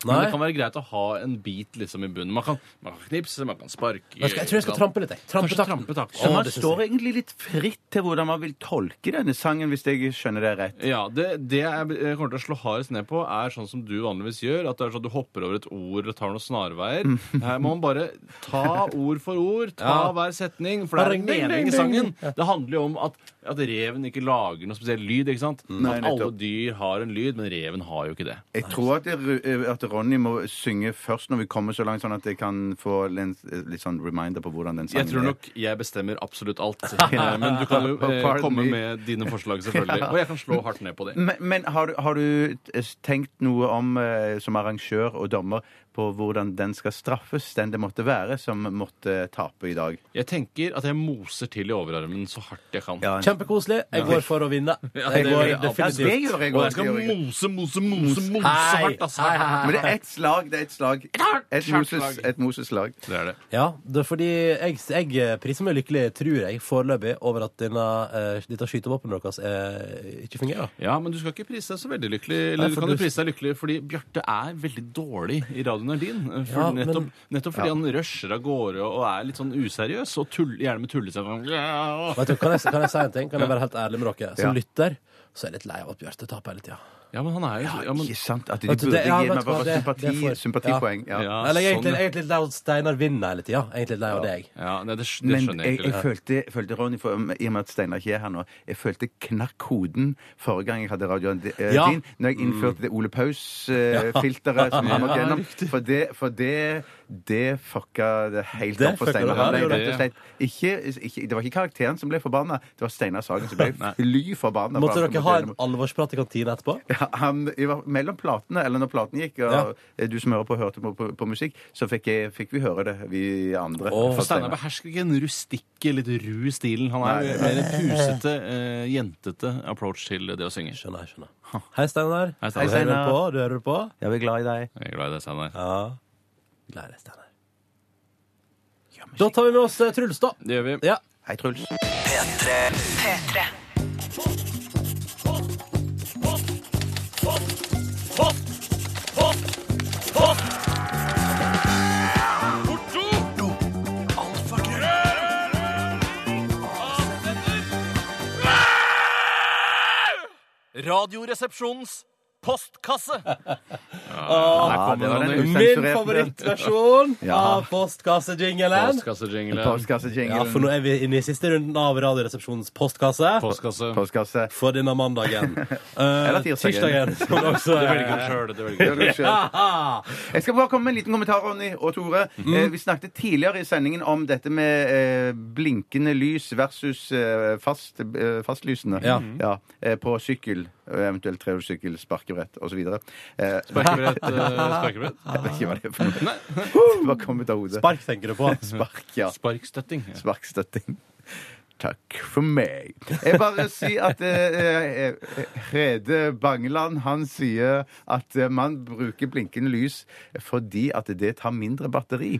Speaker 5: Men
Speaker 3: Nei.
Speaker 5: det kan være greit å ha en bit liksom i bunnen. Man kan, man kan knipse, man kan sparke
Speaker 3: Jeg, skal, jeg tror jeg skal
Speaker 5: man-
Speaker 3: trampe litt. Jeg.
Speaker 5: Kanskje
Speaker 3: Trampetakten.
Speaker 5: trampetakt.
Speaker 3: Å,
Speaker 4: Så man
Speaker 3: det synes
Speaker 4: står egentlig litt fritt til hvordan man vil tolke denne sangen, hvis jeg skjønner det rett.
Speaker 5: Ja, det, det jeg jeg kommer til å slå hardest ned på, er sånn som du vanligvis gjør. At det er sånn at du hopper over et ord og tar noen snarveier. Her må man bare ta ord for ord, ta
Speaker 3: Ja.
Speaker 5: hver setning, for det er
Speaker 3: Ding,
Speaker 5: en
Speaker 3: ding,
Speaker 5: mening
Speaker 3: ding,
Speaker 5: i sangen.
Speaker 3: ding. Ja.
Speaker 5: Det handler jo om at, at reven ikke lager noe spesiell lyd, ikke sant?
Speaker 4: Nei,
Speaker 5: at alle
Speaker 4: nettopp.
Speaker 5: dyr har en lyd, men reven har jo ikke det.
Speaker 4: Jeg tror at, det- at Ronny må synge først når vi kommer så langt, sånn at jeg kan få en litt sånn reminder på hvordan den sangen
Speaker 5: Jeg tror nok jeg bestemmer absolutt alt. Eh, Men du kan jo eh,
Speaker 4: Pardon
Speaker 5: komme
Speaker 4: me. Mm.
Speaker 5: med dine forslag, selvfølgelig. Og jeg kan slå hardt ned på det.
Speaker 4: er. Men, men har, du- har du tenkt noe om, eh, som arrangør og dommer, på hvordan den skal straffes, den det måtte være, som måtte tape i dag?
Speaker 5: Jeg tenker at jeg moser til i overarmen så hardt jeg kan.
Speaker 3: jeg. Kjempekoselig. Jeg går for å vinne. Jeg
Speaker 5: det
Speaker 3: går
Speaker 5: gjør jeg alltid.
Speaker 4: Ja,
Speaker 3: definitivt.
Speaker 4: det gjør jeg
Speaker 5: Og
Speaker 4: òg.
Speaker 5: jeg skal mose, mose, mose, mose
Speaker 3: Hei,
Speaker 5: hardt, altså. ass.
Speaker 3: hei, hei.
Speaker 4: Men det er ett slag. Det er ett slag. Et Moses- Et Moses-slag.
Speaker 5: Det er det.
Speaker 3: Ja, det er fordi jeg, jeg priser meg lykkelig, tror jeg, foreløpig, over at denne, eh, dette skytevåpenet deres eh, ikke fungerer.
Speaker 5: Ja, men du skal ikke prise deg så veldig lykkelig. Eller
Speaker 3: Nei,
Speaker 5: du
Speaker 3: for
Speaker 5: kan jo
Speaker 3: du-
Speaker 5: prise deg lykkelig fordi Bjarte er veldig dårlig i radioen er din. eh, For
Speaker 3: Ja, men-
Speaker 5: nettopp, nettopp fordi han rusher av gårde og er litt sånn useriøs og tull, gjerne med tullesang. Ja,
Speaker 3: Vet du, kan, jeg, kan jeg si en ting? Kan jeg være helt ærlig med dere? Som
Speaker 4: Ja.
Speaker 3: lytter så er jeg litt lei av at Bjarte taper hele tida.
Speaker 5: men han er jo ja, men,
Speaker 4: Ikke sant? At de
Speaker 3: Vet du,
Speaker 4: burde
Speaker 3: det- ja,
Speaker 4: gi
Speaker 3: vet
Speaker 4: meg
Speaker 3: du hva,
Speaker 4: bare
Speaker 3: det-
Speaker 4: sympati,
Speaker 3: det får-
Speaker 4: sympatipoeng. Ja.
Speaker 5: Ja.
Speaker 3: Eller jeg er
Speaker 5: sånn,
Speaker 3: egentlig,
Speaker 5: ja.
Speaker 3: jeg er egentlig litt lei av at Steinar vinner hele tida. Egentlig litt lei av deg.
Speaker 5: ja, nei, det, sk- det
Speaker 4: Men
Speaker 5: skjønner jeg egentlig.
Speaker 4: jeg, jeg følte, følte Ronny, for, i og med at Steinar ikke er her nå, jeg følte knakk hoden forrige gang jeg hadde radioen di- eh,
Speaker 3: Ja. Mm.
Speaker 4: din, når jeg innførte det Ole Paus-filteret som han måtte
Speaker 5: Ja,
Speaker 4: gjennom.
Speaker 5: riktig.
Speaker 4: For det, for det, det fucka det helt
Speaker 3: Det
Speaker 4: opp for
Speaker 3: fucka
Speaker 4: Steinar.
Speaker 3: det
Speaker 4: Han ble
Speaker 5: opp, ja, det
Speaker 4: rett og slett ikke, ikke, det var ikke karakteren som ble forbanna, det var Steinar Sagen som ble fly forbanna. for
Speaker 3: Måtte
Speaker 4: han som
Speaker 3: dere ha en
Speaker 4: gjennom-
Speaker 3: alvorsprat i kantina etterpå?
Speaker 4: Ja, han, i hver- mellom platene, eller når platen gikk, og eh, du som hører på, hørte på, på, på musikk, så fikk, jeg, fikk vi høre det, vi andre.
Speaker 3: Åh,
Speaker 5: For Steinar behersker ikke den rustikke, litt ru stilen. Han er mer en pusete, eh, jentete approach til det å synge.
Speaker 3: Skjønner, jeg, skjønner. Hei, Steinar.
Speaker 5: Hei,
Speaker 3: Du
Speaker 5: Steinar.
Speaker 3: hører på? Du hører på?
Speaker 4: Jeg er glad i deg.
Speaker 5: Jeg er glad i deg, Steinar.
Speaker 3: Ja. Gleder deg, Steinar. Da tar vi med oss eh, Truls, da.
Speaker 5: Det gjør vi.
Speaker 3: Ja.
Speaker 4: Hei, Truls.
Speaker 2: P3
Speaker 1: P3.
Speaker 6: Radioresepsjonens postkasse.
Speaker 5: Der
Speaker 4: Ja,
Speaker 5: kom
Speaker 4: det var
Speaker 5: den,
Speaker 4: den
Speaker 5: Ronny.
Speaker 3: Min
Speaker 4: Sensurert.
Speaker 3: favorittversjon
Speaker 4: Ja.
Speaker 3: av postkassejingelen.
Speaker 5: Postkassejingle.
Speaker 3: Ja,
Speaker 4: Postkassejingle.
Speaker 3: for nå er vi inne i siste runden av Radioresepsjonens postkasse.
Speaker 5: Postkasse.
Speaker 4: Postkasse.
Speaker 3: For denne mandagen.
Speaker 4: <laughs> Eller
Speaker 3: Eller
Speaker 4: tirsdagen.
Speaker 3: tirsdagen.
Speaker 4: <laughs>
Speaker 3: som også
Speaker 5: Det
Speaker 3: er-
Speaker 5: velger du sjøl. Det velger
Speaker 3: <laughs>
Speaker 5: du.
Speaker 4: Jeg skal bare komme med en liten kommentar, Ronny og Tore.
Speaker 3: Mhm.
Speaker 4: Eh, vi snakket tidligere i sendingen om dette med eh, blinkende lys versus eh, fast, eh, fastlysende
Speaker 3: Ja.
Speaker 4: eh, på sykkel, og eventuelt trehjulssykkel, sparkebrett osv. Eh,
Speaker 5: Sparkebrett. eh, Sparkebrett.
Speaker 4: <laughs> jeg vet ikke hva det er for noe. <laughs> Det bare kom ut av hodet.
Speaker 3: Spark, tenker du på.
Speaker 4: Spark, ja.
Speaker 5: Sparkstøtting. Ja.
Speaker 4: Sparkstøtting. Takk for meg. Jeg bare sier at eh, eh, Rede Bangeland han sier at eh, man bruker blinkende lys fordi at det tar mindre batteri.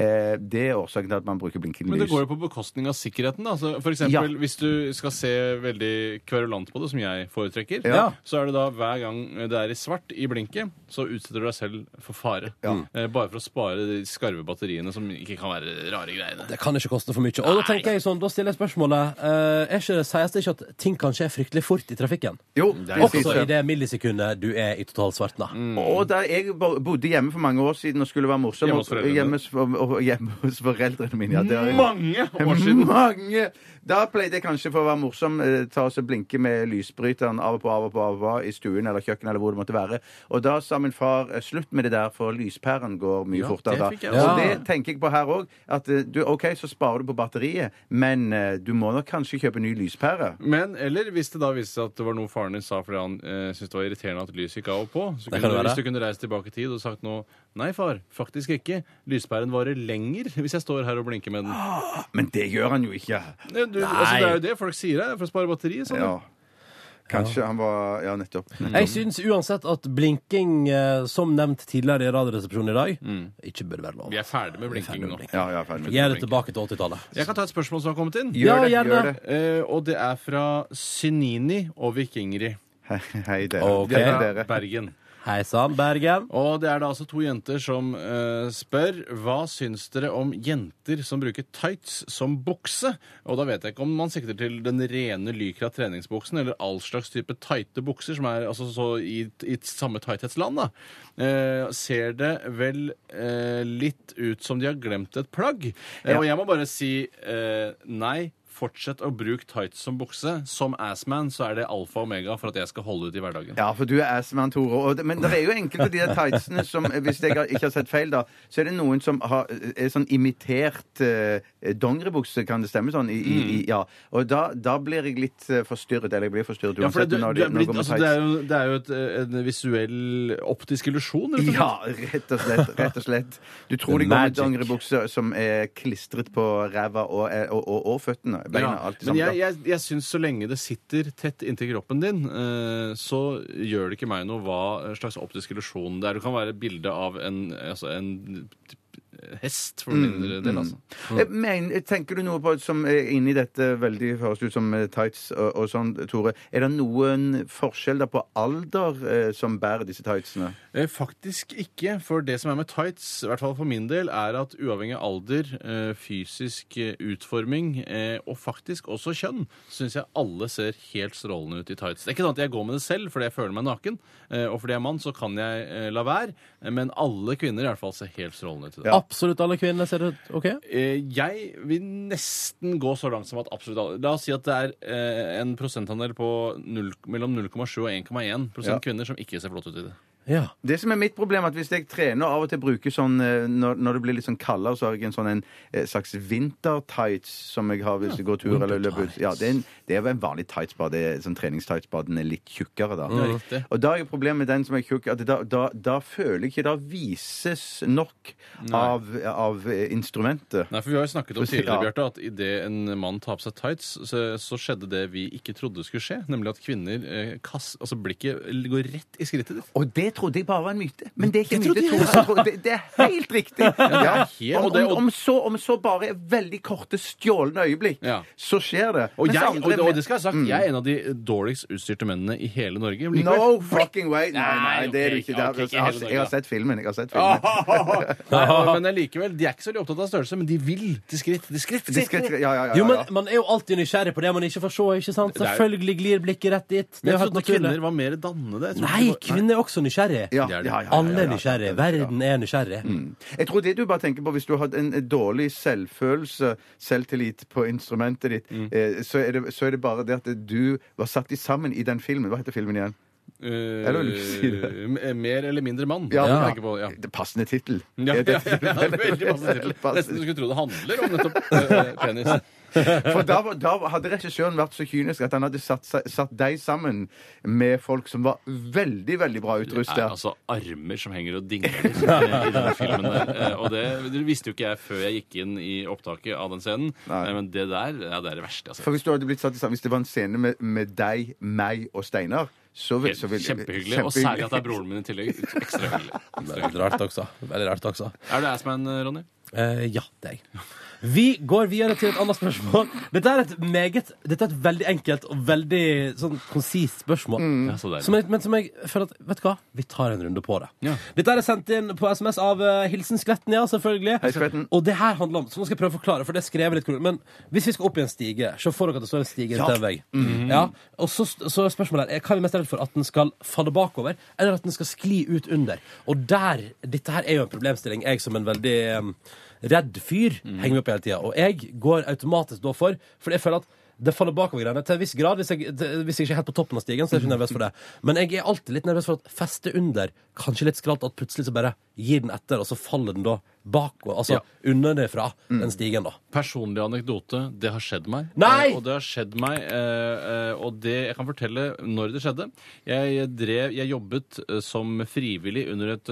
Speaker 4: Eh, det er årsaken til at man bruker blinkende
Speaker 5: Men det
Speaker 4: lys.
Speaker 5: går jo på bekostning av sikkerheten. da. Så for eksempel,
Speaker 4: Ja.
Speaker 5: Hvis du skal se veldig kverulant på det, som jeg foretrekker,
Speaker 4: Ja.
Speaker 5: så er det da hver gang det er i svart i blinket, så utsetter du deg selv for fare. Eh, bare for å spare de skarve batteriene, som ikke kan være rare greiene.
Speaker 3: Det kan ikke koste for mye. Og da tenker jeg sånn, da stiller jeg spørsmålet eh, er ikke, Sies det ikke at ting kan skje fryktelig fort i trafikken?
Speaker 4: Jo,
Speaker 5: er
Speaker 4: precis. Mm,
Speaker 3: Også i det millisekundet du er i totalsvarten. da.
Speaker 4: Og da jeg bo- bodde hjemme for mange år siden og skulle være morsom
Speaker 5: Hjemme hos foreldrene.
Speaker 4: hjemme hos, og- og hjemme hos foreldrene mine ja, det har jeg-
Speaker 5: Mange år siden!
Speaker 4: Mm. Mange! Da pleide jeg kanskje for å være morsom eh, ta oss og blinke med lysbryteren av og på, av og på, av og på i stuen eller kjøkkenet eller hvor det måtte være. Og da sa min far eh, slutt med det der, for lyspæren går mye
Speaker 5: Ja,
Speaker 4: fortere
Speaker 5: det
Speaker 4: da.
Speaker 5: fikk jeg
Speaker 4: Og
Speaker 3: også.
Speaker 4: det tenker jeg på her òg. At eh, du, OK, så sparer du på batteriet, men eh, du må nok kanskje kjøpe ny lyspære.
Speaker 5: Men eller hvis det da viste seg at det var noe faren din sa fordi han eh, syntes det var irriterende at lyset gikk av og på,
Speaker 3: Det
Speaker 5: så kunne
Speaker 3: kan
Speaker 5: du,
Speaker 3: det være.
Speaker 5: hvis du kunne reist tilbake i tid og sagt nå Nei, far, faktisk ikke. Lyspæren varer lenger <laughs> hvis jeg står her og blinker med den.
Speaker 4: Men det gjør han jo ikke.
Speaker 5: Nei, du, altså, det er jo det folk sier her, for å spare batteri. Sånn.
Speaker 4: Ja. Kanskje han var Ja, nettopp.
Speaker 5: Mm.
Speaker 3: Jeg syns uansett at blinking, eh, som nevnt tidligere i Radioresepsjonen i dag,
Speaker 4: Mm.
Speaker 3: ikke bør være lov.
Speaker 5: Vi er ferdig med blinking nå.
Speaker 4: Ja, ja, ferdig med
Speaker 3: Gi det tilbake til 80-tallet.
Speaker 5: Jeg kan ta et spørsmål som har kommet inn.
Speaker 3: Ja,
Speaker 4: det,
Speaker 3: gjerne.
Speaker 4: gjør det.
Speaker 5: Eh, og det er fra Synini og Vikingri.
Speaker 4: Hei, hei dere.
Speaker 3: Ok.
Speaker 4: Hei,
Speaker 5: Fra
Speaker 4: dere.
Speaker 5: Bergen.
Speaker 3: Hei sann, Bergen.
Speaker 5: Og det er da altså to jenter som eh, spør hva syns dere om jenter som bruker tights som bukse? Og da vet jeg ikke om man sikter til den rene lykra treningsbuksen eller all slags type tighte bukser som er altså så i, i samme tighthetsland, da. Eh, ser det vel eh, litt ut som de har glemt et plagg? Eh, og jeg må bare si eh, nei. Fortsett å bruke tights som bukse. Som assman så er det alfa og omega for at jeg skal holde ut i hverdagen.
Speaker 4: Ja, for du er assman, Tore. Og, det- men det er jo enkelte av de der tightsene som, eh, hvis jeg har- ikke har sett feil, da, så er det noen som har, er sånn imitert eh, dongeribukse, kan det stemme sånn? I, i, i,
Speaker 5: Mm.
Speaker 4: ja. Og da, da blir jeg litt eh, forstyrret. Eller jeg blir forstyrret
Speaker 5: Ja, for
Speaker 4: uansett.
Speaker 5: det,
Speaker 4: når
Speaker 5: du,
Speaker 4: de-
Speaker 5: er
Speaker 4: når det
Speaker 5: blitt,
Speaker 4: går med
Speaker 5: altså,
Speaker 4: tights.
Speaker 5: det er jo, det er jo et, eh, en visuell optisk illusjon, rett og slett.
Speaker 4: Ja, rett og slett. rett og slett. Du tror de går med
Speaker 3: magic.
Speaker 4: dongeribukser som er klistret på ræva og, eh, og, og, og føttene. Beina,
Speaker 5: Ja,
Speaker 4: alt
Speaker 5: men
Speaker 4: sammen.
Speaker 5: jeg, jeg, jeg syns så lenge det sitter tett inntil kroppen din, eh, så gjør det ikke meg noe hva slags optisk illusjon det er. Det kan være et bilde av en, altså en hest, for min del, altså.
Speaker 4: Eh, Men, eh, tenker du noe på som er inni dette veldig høres ut som eh, tights og, og sånn, Tore? Er det noen forskjell da på alder eh, som bærer disse tightsene?
Speaker 5: Eh, Faktisk ikke, for det som er med tights, i hvert fall for min del, er at uavhengig av alder, eh, fysisk eh, utforming eh, og faktisk også kjønn, syns jeg alle ser helt strålende ut i tights. Det er ikke sånn at jeg går med det selv fordi jeg føler meg naken, eh, og fordi jeg er mann, så kan jeg eh, la være, eh, men alle kvinner i hvert fall ser helt strålende ut i det.
Speaker 3: Absolutt alle kvinner ser ut OK?
Speaker 5: Eh, Jeg vil nesten gå så langt som at absolutt alle La oss si at det er eh, en prosentandel på null, mellom 0,7 og 1,1
Speaker 4: Ja.
Speaker 5: prosent kvinner som ikke ser flott ut i det.
Speaker 3: Ja.
Speaker 4: Det som er mitt problem, er at hvis jeg trener og av og til bruker sånn eh, Når, når det blir litt sånn kaldere, så har jeg en sånn en eh, slags vintertights som jeg har hvis jeg går tur eller løper ut. Ja, det er, en, det er vel en vanlig tights, bare det er sånn treningstights, bare den er litt tjukkere, da.
Speaker 5: riktig.
Speaker 4: Og da er jo problemet med den som er tjukk, at da, da, da føler jeg ikke det vises nok av, av eh, instrumentet.
Speaker 5: Nei, for Vi har jo snakket om
Speaker 4: For å si-
Speaker 5: tidligere,
Speaker 4: ja.
Speaker 5: Bjarte, at idet en mann tar på seg tights, så, så skjedde det vi ikke trodde skulle skje, nemlig at kvinner eh, kass, altså blikket går rett i skrittet ditt.
Speaker 4: Og det trodde jeg bare var en myte. Men det er ikke
Speaker 5: Det
Speaker 4: en myte.
Speaker 5: trodde jeg
Speaker 4: Tore. Jeg tror- Det, det er helt riktig. Ja.
Speaker 5: helt-
Speaker 4: Om,
Speaker 5: og det-
Speaker 4: om, om, så, om så bare veldig korte, stjålne øyeblikk,
Speaker 5: Ja.
Speaker 4: så skjer det. Mm.
Speaker 5: Og,
Speaker 4: Mens
Speaker 5: jeg, og,
Speaker 4: andre-
Speaker 5: og det skal jeg ha sagt, jeg er en av de dårligst utstyrte mennene i hele Norge. men likevel-
Speaker 4: No fucking way! Nei, nei,
Speaker 5: Nei,
Speaker 4: det er du
Speaker 5: ok,
Speaker 4: ikke.
Speaker 5: ja, ok,
Speaker 4: Det er-
Speaker 5: ikke
Speaker 4: Jeg har,
Speaker 5: hele Norge,
Speaker 4: jeg har
Speaker 5: da.
Speaker 4: sett filmen. Jeg har sett filmen.
Speaker 5: <laughs> Nei, og- men likevel, de er ikke så veldig opptatt av størrelse, men de vil til skritt. Til skritt, til
Speaker 4: Det skal-
Speaker 5: skritt.
Speaker 4: Ja, ja, ja,
Speaker 3: Jo,
Speaker 4: ja,
Speaker 3: men
Speaker 4: ja.
Speaker 3: Man er jo alltid nysgjerrig på det man ikke får se. ikke sant?
Speaker 5: Det er jo-
Speaker 3: Selvfølgelig glir blikket rett dit. Det er
Speaker 5: Jeg
Speaker 3: jo helt
Speaker 5: trodde
Speaker 3: naturlig.
Speaker 5: kvinner var mer dannede. Jeg trodde
Speaker 3: Nei,
Speaker 5: de var-
Speaker 3: kvinner er også nysgjerrig.
Speaker 4: Ja,
Speaker 5: det er det.
Speaker 4: ja, ja, ja,
Speaker 3: Alle
Speaker 4: ja, Mm.
Speaker 3: er
Speaker 4: ja.
Speaker 3: nysgjerrig. Verden er nysgjerrig.
Speaker 4: Jeg tror det du bare tenker på hvis du har hatt en dårlig selvfølelse, selvtillit, på instrumentet ditt,
Speaker 5: Mm.
Speaker 4: eh, så, er det, så er det bare det at du var satt i sammen i den filmen. Hva heter filmen igjen?
Speaker 5: Eh,
Speaker 4: Eller vil du si det?
Speaker 5: m- Mer eller mindre mann.
Speaker 4: Ja,
Speaker 5: jeg
Speaker 4: ja.
Speaker 5: tenker på, ja.
Speaker 4: Det passende tittel.
Speaker 5: <laughs> Ja,
Speaker 4: Er
Speaker 5: ja,
Speaker 4: det-
Speaker 5: ja,
Speaker 4: <laughs>
Speaker 5: ja, veldig masse titler. Nesten du skulle tro det handler om nettopp eh, penis.
Speaker 4: For da, var- da hadde regissøren vært så kynisk at han hadde satt, seg- satt deg sammen med folk som var veldig, veldig bra
Speaker 5: Det er
Speaker 4: utrusta.
Speaker 5: altså armer som henger og dingler liksom, i den filmen der. Eh, Og det, det visste jo ikke jeg før jeg gikk inn i opptaket av den scenen.
Speaker 4: Nei.
Speaker 5: Eh, Men det der ja, det er det verste altså. jeg har
Speaker 4: For
Speaker 5: sett.
Speaker 4: hvis du hadde blitt satt i sammen, hvis det var en scene med, med deg, meg og Steinar så vil, så vil,
Speaker 5: Kjempehyggelig. Og særlig at det er broren min i tillegg. Ekstra hyggelig. Ekstra hyggelig.
Speaker 3: Veldig rart også. Veldig rart også.
Speaker 5: Er du assman, Ronny?
Speaker 3: Eh, ja, det er jeg. Vi går videre til et annet spørsmål. Dette er et meget, dette er et veldig enkelt og veldig sånn konsist spørsmål.
Speaker 4: Mm.
Speaker 5: Ja, så deilig.
Speaker 3: Som jeg, men som jeg føler at Vet du hva? Vi tar en runde på det.
Speaker 5: Ja.
Speaker 3: Dette er sendt inn på SMS av eh, Hilsen Skvetten, ja, selvfølgelig.
Speaker 4: Hei, Skvetten.
Speaker 3: Og det her handler om Så nå skal jeg prøve å forklare, for det er skrevet litt kul. Men hvis vi skal opp i en stige Se for dere at det står en stige til en vegg. ja, og så, så er spørsmålet her er, hva er vi mest redd for? At den skal falle bakover, eller at den skal skli ut under? Og der Dette her er jo en problemstilling jeg som en veldig em, redd fyr henger meg opp i hele tida. Og jeg går automatisk da for For jeg føler at det faller bakover greiene til en viss grad. Hvis jeg, til- hvis jeg ikke er helt på toppen av stigen, så er jeg ikke nervøs for det. Men jeg er alltid litt nervøs for at festet under, kanskje litt skralt, at plutselig så bare gir den etter, og så faller den da bakover, altså
Speaker 5: Ja.
Speaker 3: underfra den stigen, da.
Speaker 5: Personlig anekdote. Det har skjedd meg.
Speaker 3: Nei!
Speaker 5: Eh, Og det har skjedd meg, eh, eh, og det jeg kan fortelle når det skjedde. Jeg drev, jeg jobbet eh, som frivillig under et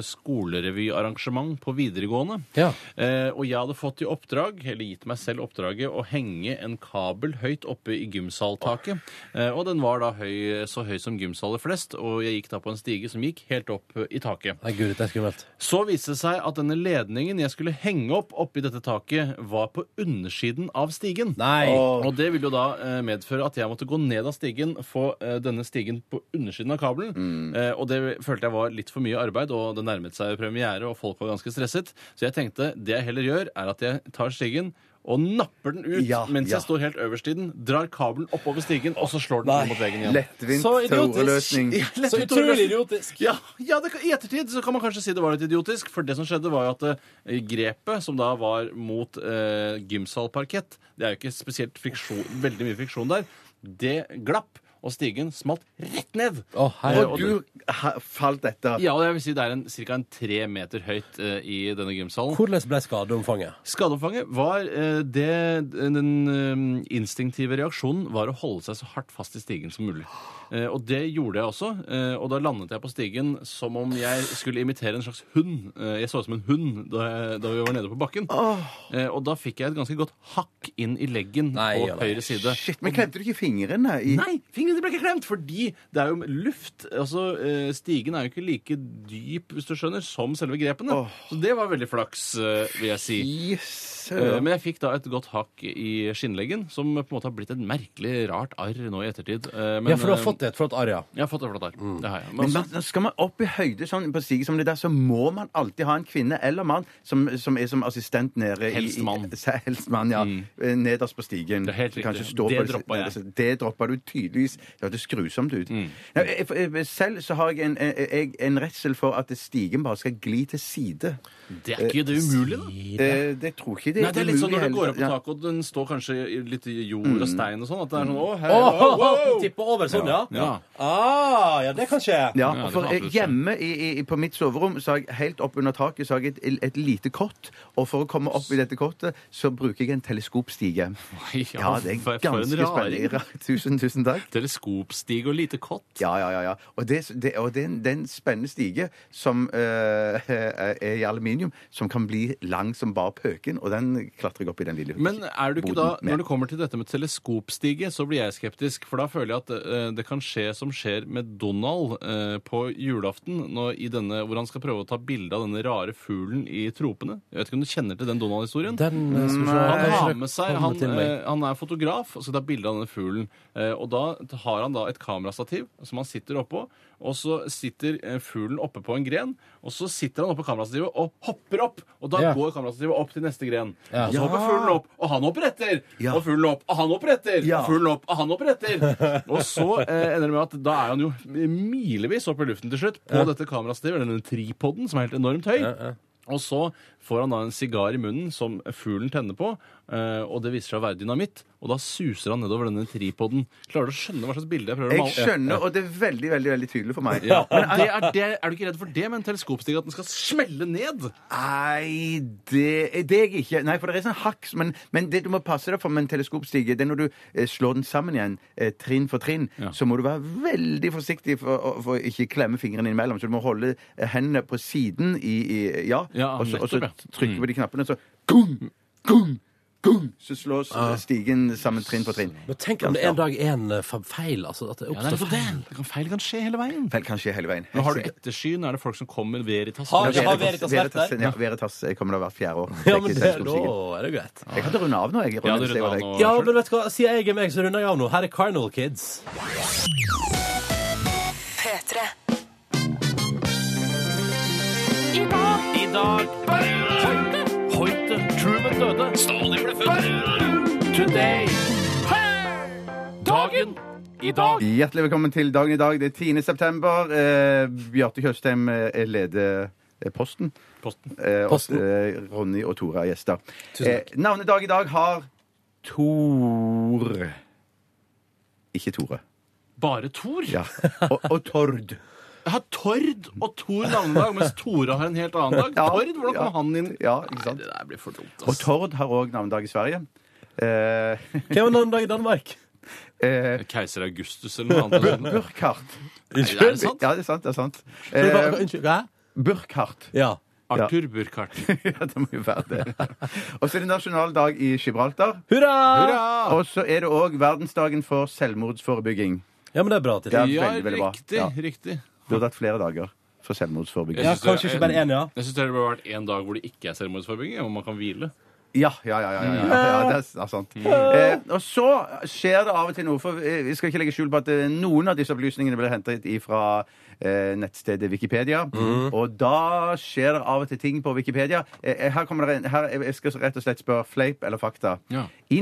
Speaker 5: skolerevyarrangement på videregående.
Speaker 3: Ja.
Speaker 5: Eh, og jeg hadde fått i oppdrag, eller gitt meg selv oppdraget, å henge en kabel høyt oppe i gymsaltaket. Eh, og den var da høy, så høy som gymsaler flest, og jeg gikk da på en stige som gikk helt opp eh, i taket.
Speaker 3: Nei, gud, det er skummelt.
Speaker 5: Så viste det seg at denne ledningen jeg skulle henge opp oppi dette taket, var på undersiden av stigen.
Speaker 3: Nei.
Speaker 5: Og det ville jo da eh, medføre at jeg måtte gå ned av stigen, få eh, denne stigen på undersiden av kabelen. Eh, Og det følte jeg var litt for mye arbeid, og det nærmet seg premiere, og folk var ganske stresset. Så jeg tenkte det jeg heller gjør, er at jeg tar stigen og napper den ut
Speaker 4: Ja,
Speaker 5: mens
Speaker 4: ja.
Speaker 5: jeg står helt øverst i den, drar kabelen oppover stigen, og så slår den
Speaker 3: Nei.
Speaker 5: inn mot veggen igjen.
Speaker 4: <laughs> Lettvint
Speaker 3: Så idiotisk. <laughs>
Speaker 4: teoreløsning.
Speaker 3: Så utrolig idiotisk.
Speaker 5: Ja, ja det, kan- I ettertid så kan man kanskje si det var litt idiotisk, for det som skjedde, var jo at eh, grepet, som da var mot eh, gymsalparkett Det er jo ikke spesielt friksjon, veldig mye friksjon der. Det glapp, og stigen smalt rett ned.
Speaker 3: Å, herregud.
Speaker 4: Og du ha- falt etter.
Speaker 5: Ja, og jeg vil si det er en, ca. en tre meter høyt eh, i denne gymsalen.
Speaker 3: Hvordan ble skadeomfanget?
Speaker 5: Skadeomfanget var eh, det Den eh, instinktive reaksjonen var å holde seg så hardt fast i stigen som mulig. Eh, og det gjorde jeg også. eh, og da landet jeg på stigen som om jeg skulle imitere en slags hund. Eh, jeg så ut som en hund da, jeg, da vi var nede på bakken. Eh, og da fikk jeg et ganske godt hakk inn i leggen
Speaker 3: Nei,
Speaker 5: på
Speaker 3: ja, nei.
Speaker 5: høyre side.
Speaker 4: Shit, men klemte du ikke fingrene i
Speaker 5: Nei, fingrene ble ikke klemt, fordi det er jo luft. Altså, eh, Stigen er jo ikke like dyp, hvis du skjønner, som selve grepene. Så det var veldig flaks, eh, vil jeg si.
Speaker 4: Yes.
Speaker 5: Eh, Men jeg fikk da et godt hakk i skinnleggen, som på en måte har blitt et merkelig rart arr nå i ettertid. Eh, Men,
Speaker 3: ja, for du har
Speaker 5: eh,
Speaker 3: fått det fra et arr, ja.
Speaker 5: Jeg har fått det flott arr. Det har jeg. Men
Speaker 4: Men
Speaker 5: altså-
Speaker 4: man, skal man opp i høyde sånn, på stige som det der, så må man alltid ha en kvinne eller mann som, som er som assistent nede i-
Speaker 5: Helst mann.
Speaker 4: i- <laughs> se- Helst mann, ja. Eh, Nederst på stigen.
Speaker 5: Mm. Det er helt
Speaker 4: Så kanskje
Speaker 5: riktig.
Speaker 4: stå
Speaker 5: Det
Speaker 4: på
Speaker 5: droppa jeg. Mm.
Speaker 4: nederste- Det droppa du tydeligvis. Ja, det skrusomt ut. Nei, jeg- for- jeg- selv så har jeg en, eh, jeg, en redsel for at stigen bare skal gli til side.
Speaker 5: det er ikke det umulig, da.
Speaker 4: Eh, det tror ikke jeg det
Speaker 5: Nei, det er litt sånn når du går opp på
Speaker 4: ja.
Speaker 5: taket, og den står kanskje i litt i jord og stein og sånn, at det er sånn Å,
Speaker 3: <laughs>
Speaker 5: hei,
Speaker 3: Åh,
Speaker 5: wow, wow.
Speaker 3: Tippe over sånn, ja?
Speaker 5: Ja.
Speaker 3: Ah, ja, det kan skje.
Speaker 4: Ja,
Speaker 5: Ja, det
Speaker 4: og for
Speaker 5: kan
Speaker 4: eh,
Speaker 5: absolutt skje.
Speaker 4: hjemme i, i, på mitt soverom så har jeg helt opp under taket så har jeg et, et lite kott. Og for å komme opp i dette kottet så bruker jeg en teleskopstige.
Speaker 5: Oi, <laughs> ja,
Speaker 4: Ja, det
Speaker 5: for-
Speaker 4: er
Speaker 5: for en
Speaker 4: ganske
Speaker 5: raring.
Speaker 4: spennende. <laughs> Tusen, tusen takk.
Speaker 5: Teleskopstig og lite kott.
Speaker 4: Ja, ja, ja. ja. Og det, det, og det, er en- det er en spennende stige som eh, <laughs> er i aluminium, som kan bli lang som bare pøken, og den klatrer jeg opp i den lille
Speaker 5: Men er du ikke
Speaker 4: boden
Speaker 5: da,
Speaker 4: med.
Speaker 5: når det kommer til dette med teleskopstige, så blir jeg skeptisk. For da føler jeg at eh, det kan skje som skjer med Donald eh, på julaften, når, i denne, hvor han skal prøve å ta bilde av denne rare fuglen i tropene. Jeg vet ikke om du kjenner til den Donald-historien?
Speaker 3: Den eh, skal vi se.
Speaker 5: Han
Speaker 3: Kanskje
Speaker 5: har
Speaker 3: det
Speaker 5: med seg,
Speaker 3: kommer
Speaker 5: han,
Speaker 3: til meg.
Speaker 5: eh, han er fotograf og skal ta bilde av denne fuglen. Eh, og da har han da et kamerastativ som han sitter oppå. Og så sitter eh, fuglen oppe på en gren, og så sitter han oppå kamerastativet og hopper opp. Og da
Speaker 3: Ja.
Speaker 5: går kamerastativet opp til neste gren.
Speaker 3: Ja.
Speaker 5: Og så hopper fuglen opp, og han hopper etter.
Speaker 4: Ja.
Speaker 5: Og fuglen opp, og han hopper etter.
Speaker 4: Ja.
Speaker 5: Og fuglen opp, og han hopper etter. og så eh, ender det med at da er han jo milevis oppe i luften til slutt på dette kamerastativet, eller denne tripoden som er helt enormt høy. Og så får han da en sigar i munnen som fuglen tenner på, eh, og det viser seg å være dynamitt. Og da suser han nedover denne tripoden. Klarer du å skjønne hva slags bilde jeg prøver å
Speaker 4: Jeg
Speaker 5: male?
Speaker 4: skjønner, og det er veldig, veldig veldig tydelig for meg.
Speaker 5: Ja, men det er, det, er du ikke redd for det med en teleskopstige? At den skal smelle ned?
Speaker 4: Nei, det, det er jeg ikke. Nei, for det er sånn hakk Men, men det du må passe deg for med en teleskopstige, det er når du eh, slår den sammen igjen, eh, trinn for trinn,
Speaker 5: Ja.
Speaker 4: så må du være veldig forsiktig for, å- for å ikke klemme fingrene innimellom. Så du må holde eh, hendene på siden i, i Ja,
Speaker 5: Ja,
Speaker 4: og, så, og så
Speaker 5: nettopp, ja. Mm.
Speaker 4: trykke på de knappene, så gung, gung, gung, så slås stigen sammen trinn for trinn.
Speaker 3: Ah. Men tenk om det en dag er en eh, fa- feil, altså. At det
Speaker 5: Ja, det
Speaker 3: oppstår
Speaker 5: er feil. Det kan, feil kan skje hele veien.
Speaker 4: Vel, kanskje hele veien.
Speaker 5: Men har du ettersyn? Er det folk som kommer veritas?
Speaker 3: Har-
Speaker 5: Ja,
Speaker 3: har Veritas vært
Speaker 4: Veritas,
Speaker 3: der?
Speaker 4: ja, Veritas eh, kommer da hvert fjerde år.
Speaker 3: Ja, men
Speaker 4: Sjekker
Speaker 3: det, da
Speaker 4: teleskopstigen.
Speaker 3: er det greit.
Speaker 4: Jeg kan runde av nå, jeg.
Speaker 5: Ja,
Speaker 4: Ronny,
Speaker 5: du
Speaker 4: hvis jeg var
Speaker 5: runder av
Speaker 4: deg.
Speaker 5: nå.
Speaker 3: Ja, men vet du hva, sier jeg er meg, så runder jeg av nå. Her er Carnal Kids.
Speaker 1: P3.
Speaker 5: I dag Hoite Truman døde. Stalin ble født. Today. Dagen i dag.
Speaker 4: Hjertelig velkommen til dagen i dag. Det er 10. september. Eh, Bjarte Tjøstheim eh, leder eh, Posten.
Speaker 5: Posten.
Speaker 4: Eh,
Speaker 3: Posten.
Speaker 4: Og, eh, Ronny og Tore er gjester. Eh, navnedag i dag har Tor Ikke Tore.
Speaker 5: Bare Tor? <laughs>
Speaker 4: Ja. Og, og Tord.
Speaker 5: Jeg har Tord og Tor navnedag, mens Tora har en helt annen dag.
Speaker 4: Ja,
Speaker 5: Tord, hvordan
Speaker 4: ja.
Speaker 5: kom han inn?
Speaker 4: Ja, ikke sant?
Speaker 5: Det der blir for dumt,
Speaker 4: Og
Speaker 5: ass.
Speaker 4: Tord har òg navnedag i Sverige. Eh, <laughs>
Speaker 3: Hvem er navnedag i Danmark?
Speaker 4: eh,
Speaker 5: Keiser Augustus eller noe annet.
Speaker 4: Burkhardt.
Speaker 5: Nei, er det sant?
Speaker 4: Ja, det er sant. det er sant.
Speaker 3: Hva-
Speaker 4: Eh,
Speaker 3: Unnskyld, hva?
Speaker 4: Burkhardt. <laughs>
Speaker 3: Ja.
Speaker 5: Arthur Burkhardt.
Speaker 4: Ja, det må jo være
Speaker 5: <laughs>
Speaker 4: det. Og så er det nasjonaldag i Gibraltar.
Speaker 3: Hurra!
Speaker 5: Hurra!
Speaker 4: Og så er det òg verdensdagen for selvmordsforebygging.
Speaker 3: Ja, men det er bra. Til.
Speaker 4: Ja.
Speaker 5: Ja,
Speaker 4: veldig, veldig bra.
Speaker 5: riktig.
Speaker 4: Ja.
Speaker 5: Riktig.
Speaker 4: Burde hatt flere dager for selvmordsforebygging.
Speaker 3: Ja,
Speaker 5: Jeg synes
Speaker 3: kanskje
Speaker 5: det er-
Speaker 3: ikke bare én, ja.
Speaker 5: Jeg syns det burde vært en dag hvor det ikke er seremoniforebygging, hvor man kan hvile.
Speaker 4: Ja, ja, ja. ja, ja, ja, ja det er s- det er sant. Eh, og så skjer det av og til noe, for eh, vi skal ikke legge skjul på at eh, noen av disse opplysningene ble hentet fra eh, nettstedet Wikipedia. Og da skjer det av og til ting på Wikipedia. Eh, eh, her kommer det en, her, jeg skal rett og slett spørre fleip eller fakta.
Speaker 5: Ja.
Speaker 4: I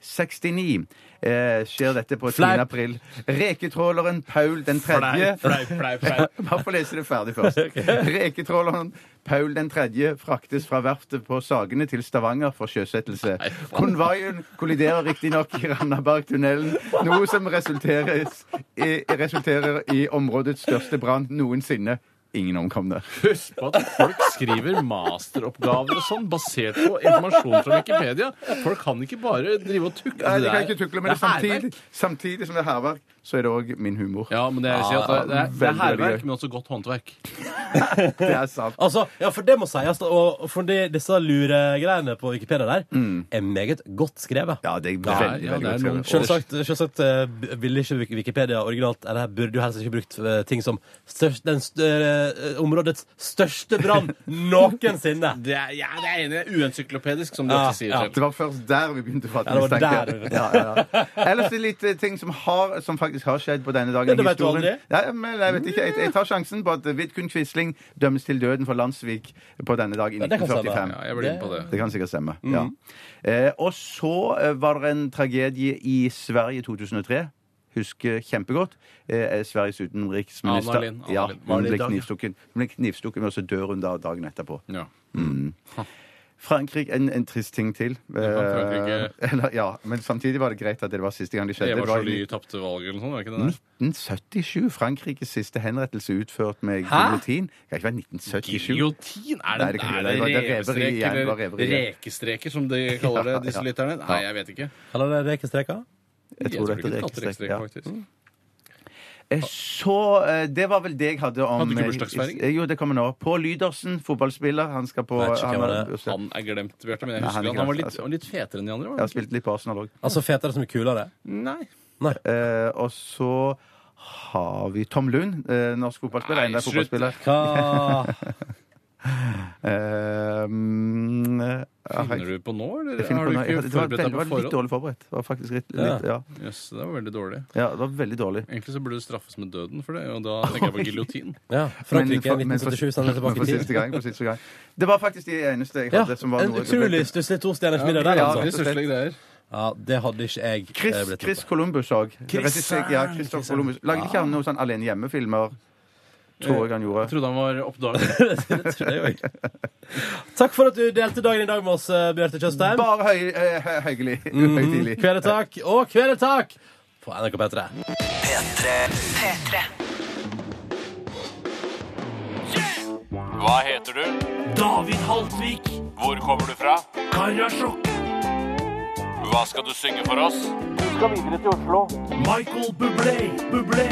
Speaker 4: 1969 eh, skjer dette på 10.
Speaker 3: Fleip.
Speaker 4: april. Reketråleren Paul den tredje Bare få lese det
Speaker 5: <laughs>
Speaker 4: ferdig først. Reketråleren Paul den tredje fraktes fra verftet på Sagene til Stavanger for sjøsettelse. Konvaien kolliderer riktignok i Randabergtunnelen, noe som resulteres i, resulterer i områdets største brann noensinne. Ingen omkomne.
Speaker 5: Husk på at folk skriver masteroppgaver og sånn basert på informasjon fra Wikipedia. Folk kan ikke bare drive og tukle
Speaker 4: Nei, de kan
Speaker 5: der.
Speaker 4: ikke tukle med det.
Speaker 5: er hærverk.
Speaker 4: Samtidig, samtidig som det er hærverk, så er det òg min humor.
Speaker 5: Ja, men det, jeg sier at det, det, er, det er
Speaker 4: veldig, veldig
Speaker 5: hærverk,
Speaker 4: gøy.
Speaker 5: men også godt håndverk.
Speaker 4: Det er sant.
Speaker 3: Altså, ja, for det må sies, da, og for de, disse luregreiene på Wikipedia der, er meget godt skrevet.
Speaker 4: Ja, det er
Speaker 5: Ja,
Speaker 4: veldig,
Speaker 5: ja,
Speaker 4: veldig
Speaker 5: det er
Speaker 4: godt
Speaker 5: noen
Speaker 4: skrevet.
Speaker 3: Selvsagt, selvsagt eh, b- ville ikke Wik- Wikipedia originalt Eller her burde jo helst ikke brukt eh, ting som størst, den stø, eh, områdets største brann noensinne.
Speaker 5: Det er, ja, det er enig. Uencyklopedisk, som du
Speaker 3: Ja,
Speaker 5: ofte sier.
Speaker 3: ja.
Speaker 5: Selv.
Speaker 4: Det var først der vi begynte å fatte
Speaker 3: Ja, det var
Speaker 4: mistanke.
Speaker 3: der vi-
Speaker 4: Ja, ja, ja. Ellers er det litt eh, ting som, har, som faktisk har skjedd på denne dagen.
Speaker 3: Ja, det
Speaker 4: i
Speaker 3: vet du
Speaker 4: historien.
Speaker 3: aldri.
Speaker 4: Ja, men jeg vet ikke. Jeg, jeg tar sjansen på at Vidkun Quisling dømmes til døden for Landsvik på denne dag i
Speaker 3: det kan stemme. Mm.
Speaker 4: 1945.
Speaker 5: Ja, jeg blir inne på det.
Speaker 4: Det kan sikkert stemme. ja. Eh, og så eh, var det en tragedie i Sverige i 2003. Husker kjempegodt. Eh, Sveriges utenriksminister
Speaker 5: Anna Lindh, Anna
Speaker 4: Ja,
Speaker 5: Lindh. Var
Speaker 4: hun
Speaker 5: det i
Speaker 4: ble
Speaker 5: dag, ja?
Speaker 4: knivstukket, hun ble knivstukket, men så dør hun da dagen etterpå.
Speaker 5: Ja.
Speaker 4: Frankrike, en, en trist ting til.
Speaker 5: var Frankrike.
Speaker 4: Eh, <laughs> eller, ja, men samtidig var det greit at det var siste gang det skjedde.
Speaker 5: Eva
Speaker 4: Det var
Speaker 5: Joly
Speaker 4: i
Speaker 5: tapte valget eller noe sånt, var det ikke det? der?
Speaker 4: 1977. Frankrikes siste henrettelse utført med giljotin. Det kan ikke være 1977.
Speaker 5: Giljotin? Er
Speaker 4: Nei,
Speaker 5: det,
Speaker 4: det kan ikke
Speaker 5: er
Speaker 4: være. Det var- det var
Speaker 5: revestreker
Speaker 4: reveri igjen, det var
Speaker 5: eller
Speaker 4: reveri igjen.
Speaker 5: rekestreker, som de kaller det, disse
Speaker 4: Ja, ja.
Speaker 5: lytterne? Nei, jeg vet ikke.
Speaker 3: Kaller det rekestreker?
Speaker 4: Jeg tror det
Speaker 5: ikke
Speaker 4: er
Speaker 5: de kalte
Speaker 4: rekestrekk.
Speaker 5: rekestreker,
Speaker 4: Ja. Mm.
Speaker 5: faktisk.
Speaker 4: Eh, Så eh, Det var vel det jeg hadde om
Speaker 5: Hadde du ikke bursdagsfeiring?
Speaker 4: Eh, Jo, det kommer nå. Pål Lydersen, fotballspiller. Han skal på
Speaker 3: Vet ikke hvem
Speaker 4: han, har-
Speaker 3: det er.
Speaker 5: Han er glemt, Bjarte, men jeg
Speaker 4: Nei, han
Speaker 5: husker
Speaker 4: er
Speaker 5: han. Han var
Speaker 4: glemt,
Speaker 5: litt,
Speaker 4: altså.
Speaker 5: han var litt fetere enn de andre.
Speaker 4: Jeg har
Speaker 5: Var han?
Speaker 4: spilt litt på Arsenal òg.
Speaker 3: Altså fetere som er kulere?
Speaker 5: Nei.
Speaker 3: Nei.
Speaker 4: Eh, og så har vi Tom Lund, eh, norsk fotballspiller.
Speaker 5: Nei,
Speaker 4: Enda
Speaker 5: slutt.
Speaker 4: fotballspiller.
Speaker 3: Hva
Speaker 4: Eh, mm, eh,
Speaker 5: Finner du på nå, eller
Speaker 4: Jeg finner
Speaker 5: har du
Speaker 4: på noe-
Speaker 5: ikke
Speaker 4: det var,
Speaker 5: forberedt
Speaker 4: veldig,
Speaker 5: deg
Speaker 4: det
Speaker 5: på
Speaker 4: var litt
Speaker 5: forhånd?
Speaker 4: dårlig forberedt. Det var faktisk litt, litt, ja.
Speaker 5: Jøss, det var veldig dårlig.
Speaker 4: ja, det var veldig dårlig.
Speaker 5: Egentlig så burde du straffes med døden for det, og
Speaker 4: <laughs>
Speaker 5: da tenker jeg på giljotin.
Speaker 3: Ja, Frankrike
Speaker 4: for- men for-
Speaker 3: 1977 sender det
Speaker 4: <laughs> men
Speaker 3: tilbake
Speaker 4: for
Speaker 3: i tid.
Speaker 4: siste gang, for siste gang. Det var faktisk de eneste jeg
Speaker 3: Ja,
Speaker 4: hadde som var
Speaker 3: en
Speaker 4: noe
Speaker 3: utrolig stusslig tostjerners middag der,
Speaker 4: Ja,
Speaker 5: Det er
Speaker 3: altså.
Speaker 5: stusslige greier.
Speaker 3: Ja, det hadde ikke jeg eh,
Speaker 4: Chris,
Speaker 3: blitt
Speaker 4: Chris Columbus òg. Ja, Christopher Columbus. Lagde ikke han noen sånn alene hjemme-filmer? Tror jeg han
Speaker 5: Jeg
Speaker 4: gjorde.
Speaker 5: trodde han var oppdaget.
Speaker 3: Det tror jeg også. Takk for at du delte dagen i dag med oss, eh, Bjarte Tjøstheim.
Speaker 4: Bare høy, eh, høy, høygelig. Høytidlig.
Speaker 3: Kvelertak og kvelertak på NRK P3.
Speaker 2: P3
Speaker 1: P3.
Speaker 7: Hva heter du? David Haltvik. Hvor kommer du fra? Karasjok. Hva skal du synge for oss? Du skal videre til Oslo. Michael Bublé, Bublé.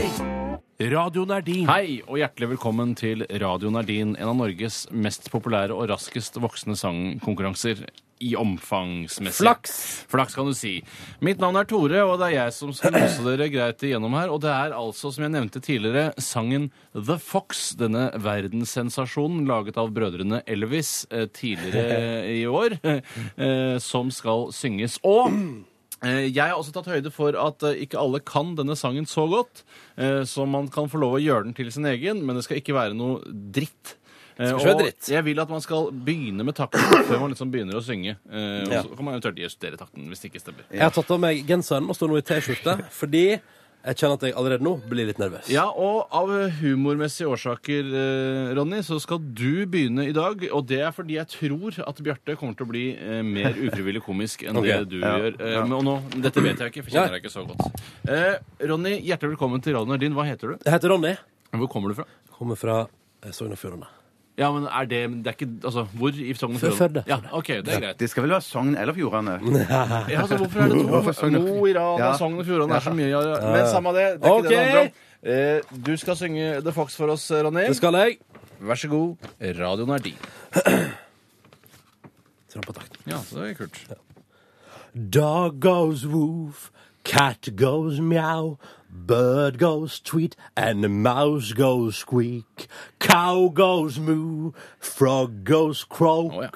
Speaker 7: Radioen er din.
Speaker 5: Hei, og hjertelig velkommen til Radio Nardin, en av Norges mest populære og raskest voksende sangkonkurranser i omfangsmessig.
Speaker 3: Flaks!
Speaker 5: Flaks kan du si. Mitt navn er Tore, og det er jeg som skal lose dere greit igjennom her. Og det er altså, som jeg nevnte tidligere, sangen The Fox, denne verdenssensasjonen laget av brødrene Elvis eh, tidligere i år, eh, som skal synges. Og Eh, Jeg har også tatt høyde for at eh, ikke alle kan denne sangen så godt, eh, så man kan få lov å gjøre den til sin egen, men det skal ikke være noe dritt. Eh,
Speaker 3: ikke være
Speaker 5: og
Speaker 3: dritt.
Speaker 5: Jeg vil at man skal begynne med takten før man liksom begynner å synge. eh, Og
Speaker 3: Ja.
Speaker 5: så kan man eventuelt justere takten hvis det ikke stemmer.
Speaker 3: Jeg har tatt av meg genseren og står nå i T-skjorte fordi jeg kjenner at jeg allerede nå blir litt nervøs.
Speaker 5: Ja, og av humormessige årsaker, eh, Ronny, så skal du begynne i dag. Og det er fordi jeg tror at Bjarte kommer til å bli eh, mer ufrivillig komisk enn
Speaker 3: Ok.
Speaker 5: det du gjør. Eh, Men, og nå, dette vet jeg ikke, for jeg kjenner deg ikke så godt. Eh, Ronny, hjertelig velkommen til radioen din. Hva heter du?
Speaker 3: Jeg heter Ronny.
Speaker 5: Hvor kommer du fra?
Speaker 3: Kommer fra eh, Sogn og Fjordane. <laughs>
Speaker 5: Ja, men er det, det er ikke, altså, Hvor i Sogn og
Speaker 3: Før-
Speaker 5: Fjordane?
Speaker 3: Førde.
Speaker 5: Ja, ok, det er greit.
Speaker 4: Det skal vel være Sogn eller Fjordane?
Speaker 5: Ja, altså, hvorfor er det to?
Speaker 4: Hvorfor Sogn og-
Speaker 5: Mo i rad
Speaker 4: Ja.
Speaker 5: av Sogn og Fjordane er så mye. Ja, ja. Men samme det. Det er ikke det det
Speaker 3: Ok.
Speaker 5: handler om. Eh, du skal synge The Fox for oss, Ronny.
Speaker 3: Det skal jeg.
Speaker 5: Vær så god. Radioen er din.
Speaker 3: Trampetakten.
Speaker 5: Ja, så det er kult.
Speaker 3: Dog goes woof, cat goes meow, bird goes tweet, and mouse goes squeak. Cow goes moo, frog goes croak,
Speaker 5: Å, ja.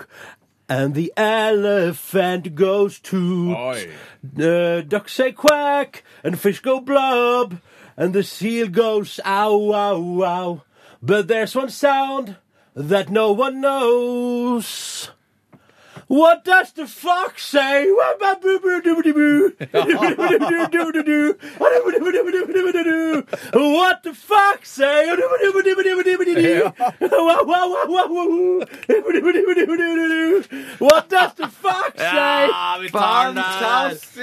Speaker 3: and the elephant goes toot.
Speaker 5: Oi.
Speaker 3: The ducks say quack, and fish go blub, and the seal goes ow, ow, ow. But there's one sound that no one knows. What does the fox say? What the fox say? What does the fox say?
Speaker 5: vi
Speaker 4: Fantastisk!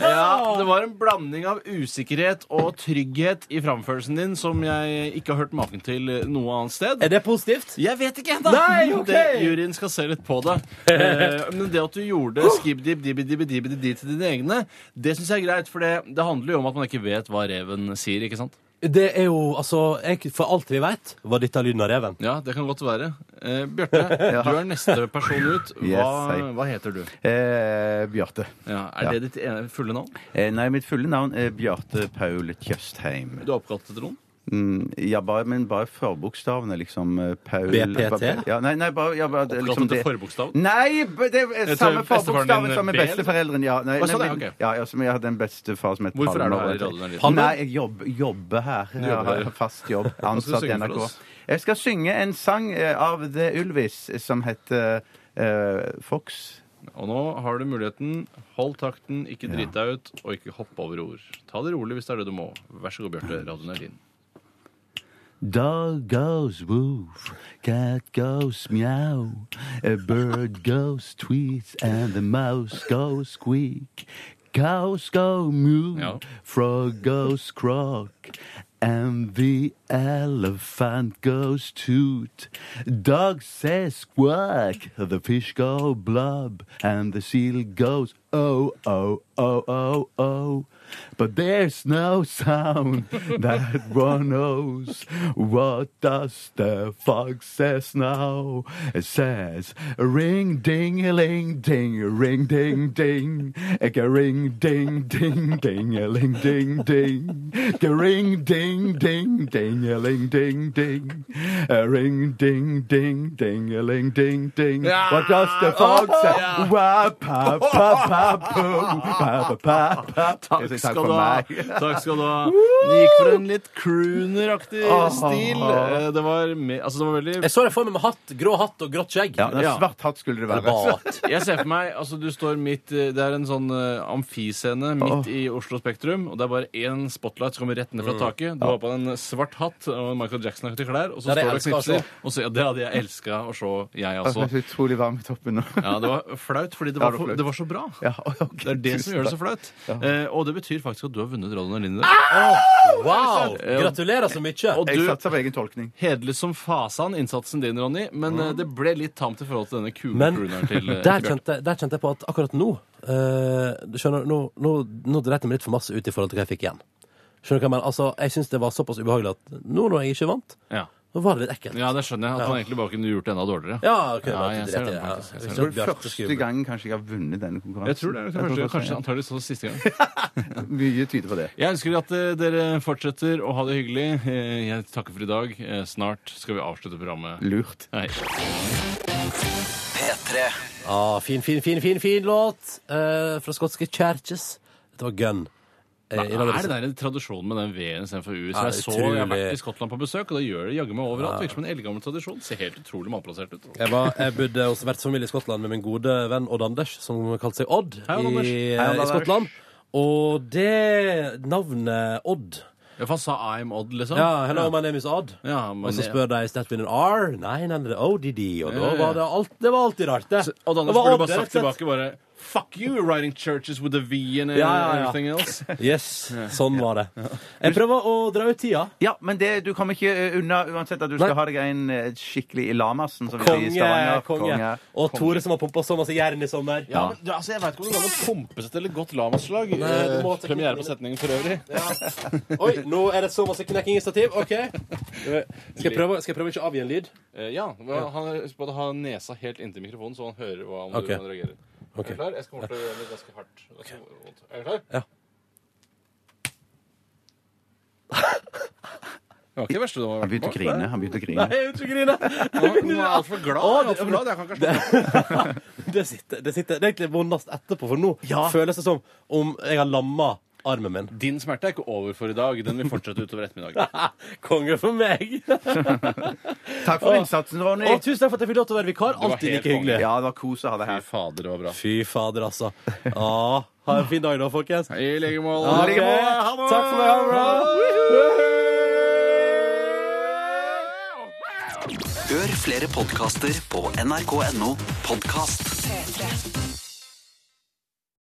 Speaker 5: Ja, det var en blanding av usikkerhet og trygghet i framførelsen din som jeg ikke har hørt maken til noe annet sted.
Speaker 3: Er det positivt?
Speaker 5: Jeg vet ikke ennå!
Speaker 3: Nei, ok.
Speaker 5: Det- Juryen skal se litt på det. Eh, men det at du gjorde skibdib-dibbi-dibbi-dibbi til dine egne, det syns jeg er greit, for det, det handler jo om at man ikke vet hva reven sier, ikke sant?
Speaker 3: Det er jo, altså, jeg, for alt vi veit, var dette lyden av reven.
Speaker 5: Ja, det kan godt være. Eh, Bjarte, <laughs> du er neste person ut.
Speaker 4: Yes, hei.
Speaker 5: Hva, hva heter du?
Speaker 4: Eh, Bjarte.
Speaker 5: Ja, er
Speaker 4: Ja.
Speaker 5: det ditt ene fulle navn?
Speaker 4: Eh, nei, mitt fulle navn er Bjarte Paul Tjøstheim.
Speaker 5: Du er oppkalt etter noen?
Speaker 4: Mm, ja, bare, men bare forbokstavene, liksom. eh, Paul
Speaker 3: BPT?
Speaker 4: Ja, nei, nei, bare, ja, bare
Speaker 5: Oppkalt
Speaker 4: liksom
Speaker 5: etter
Speaker 4: det.
Speaker 5: forbokstaven?
Speaker 4: Nei, b- det er
Speaker 5: Etter bestefaren
Speaker 4: samme
Speaker 5: din,
Speaker 4: forbokstaven som med
Speaker 5: B, eller?
Speaker 4: besteforeldrene. Ja, nei,
Speaker 5: Å, sånn,
Speaker 4: nei,
Speaker 5: ja,
Speaker 4: men-
Speaker 5: ok.
Speaker 4: ja, ja, som jeg hadde en bestefar som het
Speaker 5: Hvorfor er du her
Speaker 4: Palme,
Speaker 5: i
Speaker 4: og-
Speaker 5: radioen, Erlend?
Speaker 4: Palme? Nei, jeg jobb, jobber her. Jeg
Speaker 5: jobber
Speaker 4: har
Speaker 5: her.
Speaker 4: fast
Speaker 5: <laughs>
Speaker 4: jobb.
Speaker 5: skal du
Speaker 4: Ansatt i
Speaker 5: synge for
Speaker 4: NRK.
Speaker 5: oss?
Speaker 4: Jeg skal synge en sang eh, av The Ulvis eh, som heter eh, Fox.
Speaker 5: Mm. Og nå har du muligheten. Hold takten, ikke drit deg ut, og ikke hopp over ord. Ta det rolig hvis det er det du må. Vær så god, Bjarte. Radioen er din.
Speaker 4: Dog goes woof, cat goes meow, a bird goes tweet, and the mouse goes squeak. Cows go moo,
Speaker 5: Ja.
Speaker 4: frog goes croak, and the elephant goes toot. Dog says squawk, the fish go blub, and the seal goes oh, oh, oh, oh, oh. But there's no <laughs> sound that one knows. What does the fox says now? It says ring ding a ling ding ring ding ding a ring ding ding ding a ling ding ding a ring ding ding ding a ling ding ding a ring ding ding ding a ling ding ding. What does the fox say? Wah pa pa pa boom pa pa pa pa.
Speaker 5: Takk skal du ha. <laughs> Takk skal du ha. Det gikk for en litt crooneraktig stil. Eh, Det var, me altså, det var veldig
Speaker 3: Jeg så deg for meg med hatt, grå hatt og grått skjegg.
Speaker 4: Ja, det er
Speaker 5: Ja.
Speaker 4: svart hatt skulle det være.
Speaker 3: Bare hatt.
Speaker 5: jeg ser for meg, altså du står midt i- Det er en sånn eh, amfiscene midt i Oslo Spektrum, og det er bare én spotlight som kommer rett ned fra taket. Du har på deg en svart hatt og en Michael Jackson-aktig klær, og så
Speaker 3: Det
Speaker 5: står
Speaker 3: hadde
Speaker 5: du og
Speaker 3: jeg elsket å
Speaker 5: knipser. Og så, ja, det hadde jeg elska å se, <laughs> jeg
Speaker 4: Det
Speaker 5: også.
Speaker 4: er så utrolig varm i toppen nå.
Speaker 5: Ja, det var flaut, fordi det
Speaker 4: Ja,
Speaker 5: var,
Speaker 4: det var
Speaker 5: for,
Speaker 4: flaut.
Speaker 5: det var så bra.
Speaker 4: Ja, <laughs> ok,
Speaker 5: Det er det som
Speaker 4: tusen
Speaker 5: gjør det så
Speaker 4: takk.
Speaker 5: flaut. Eh, og det betyr faktisk at du har vunnet Radioen Erlinde.
Speaker 3: Wow! Gratulerer så mye.
Speaker 5: Og
Speaker 4: Jeg
Speaker 5: du
Speaker 4: satser på egen tolkning.
Speaker 5: Hederlig som fasan, innsatsen din, Ronny, men eh, det ble litt tamt i forhold til denne kule
Speaker 3: Men
Speaker 5: crooneren til eh,
Speaker 3: der
Speaker 5: til Bjørn.
Speaker 3: kjente, der kjente jeg på at akkurat nå eh, du skjønner, Nå, nå, nå dreit jeg meg litt for masse ut i forhold til hva jeg fikk igjen. Skjønner du hva Jeg mener? Altså, jeg syns det var såpass ubehagelig at nå når jeg ikke vant,
Speaker 5: Ja.
Speaker 3: nå var det litt ekkelt.
Speaker 5: ja, det skjønner jeg. At man egentlig bare kunne gjort det enda dårligere.
Speaker 3: Ja, ok,
Speaker 5: Ja,
Speaker 3: bare
Speaker 5: jeg
Speaker 3: drit
Speaker 5: ser
Speaker 3: i
Speaker 5: det
Speaker 3: det, ja.
Speaker 5: faktisk, jeg ser
Speaker 3: Ikke
Speaker 5: det.
Speaker 3: sant, Bjarte
Speaker 4: Første
Speaker 3: Skrubb.
Speaker 4: gangen kanskje jeg har vunnet denne konkurransen.
Speaker 5: Jeg tror det er kanskje, kanskje
Speaker 4: også,
Speaker 5: antageligvis også siste gang.
Speaker 4: ja. sånn Mye tyder på det.
Speaker 5: Jeg ønsker at eh, dere fortsetter å ha det hyggelig. Eh, Jeg takker for i dag. Eh, Snart skal vi avslutte programmet.
Speaker 4: Lurt.
Speaker 5: Hei.
Speaker 2: P3
Speaker 3: Ah, fin, fin, fin, fin, fin låt eh, fra skotske Churches. Dette var Gun. Eh, i dag
Speaker 5: Er det der en tradisjon med den V-en istedenfor U? Så
Speaker 3: Ja,
Speaker 5: jeg så jeg har
Speaker 3: utrolig.
Speaker 5: vært i Skottland på besøk, og da gjør det jaggu meg overalt. Virker som en eldgammel tradisjon. Ser helt utrolig malplassert ut.
Speaker 3: Jeg, var, jeg bodde hos vertsfamilie i Skottland med min gode venn Odd Anders, som kalte seg Odd
Speaker 5: Hei, Odd Anders.
Speaker 3: i,
Speaker 4: Hei, Odd
Speaker 3: i
Speaker 4: Anders.
Speaker 3: Skottland. Og det navnet Odd
Speaker 5: Ja, for han sa I'm odd, liksom.
Speaker 3: Ja, hello, my name is Odd.
Speaker 5: Ja, men-
Speaker 3: og så spør de Stat with an R. Nei, nei, det er ODD. Og
Speaker 5: Ja,
Speaker 3: da
Speaker 5: ja, ja.
Speaker 3: var det, alt, det var alltid rart, det.
Speaker 5: Så- Og
Speaker 3: Det
Speaker 5: Anders
Speaker 3: var
Speaker 5: burde
Speaker 3: Odd,
Speaker 5: bare
Speaker 3: rett og
Speaker 5: sagt
Speaker 3: slett.
Speaker 5: tilbake bare Fuck you, writing churches with a V and
Speaker 3: ja, ja.
Speaker 5: everything else.
Speaker 3: Yes, sånn var det. Jeg prøver å dra ut tida.
Speaker 4: Ja, men det, du kommer ikke eh, unna uansett at du
Speaker 3: Nei.
Speaker 4: skal ha deg en eh, skikkelig i lamasen. Som vi sier i
Speaker 3: Konge,
Speaker 4: Stavanger.
Speaker 3: konge. Og Tore som har pumpa så masse jern i sommer.
Speaker 5: Ja, men, du, altså, jeg veit ikke om det går an å pumpe seg til et godt lamaslag. Eh,
Speaker 3: må tenke
Speaker 5: Premiere
Speaker 3: på
Speaker 5: på setningen for øvrig.
Speaker 3: Oi, nå er det så masse knekking i stativ. OK. Skal jeg prøve, skal jeg prøve ikke å avgi en lyd?
Speaker 5: Eh, ja, men han husk på å ha nesa helt inntil mikrofonen, så han hører hva om
Speaker 3: Ok.
Speaker 5: du, om han reagerer. Er du klar? Jeg skal til å gjøre det ganske hardt. Ganske vondt. Er du klar?
Speaker 3: Ja.
Speaker 5: Det var ikke det verste du
Speaker 4: Han
Speaker 5: har
Speaker 4: begynte å grine. Han begynte å grine.
Speaker 3: Nei, jeg vil ikke grine.
Speaker 5: Nå nå er jeg altfor glad. Jeg er alt for glad. Jeg kan ikke slutte.
Speaker 3: <laughs> Det sitter, det sitter det er egentlig vondest etterpå, for nå føles det som om jeg har lamma armen min. <laughs>
Speaker 5: Din smerte er ikke over for i dag. Den vil fortsette utover ettermiddagen.
Speaker 3: Konge for meg!
Speaker 4: Takk for innsatsen, Ronny.
Speaker 3: Og tusen takk for at jeg fikk lov til å være vikar.
Speaker 5: var
Speaker 3: Alltid
Speaker 5: helt
Speaker 3: like hyggelig.
Speaker 4: Ja, det var kos å ha deg
Speaker 5: Fy
Speaker 4: her.
Speaker 5: fader, det var bra.
Speaker 3: Fy fader, altså. Ja, ha en fin dag da, folkens.
Speaker 5: I like
Speaker 3: Ha
Speaker 5: måte.
Speaker 3: det. Takk for meg. Ha det bra.
Speaker 2: Hør flere podkaster på nrk.no podkast.
Speaker 1: P3.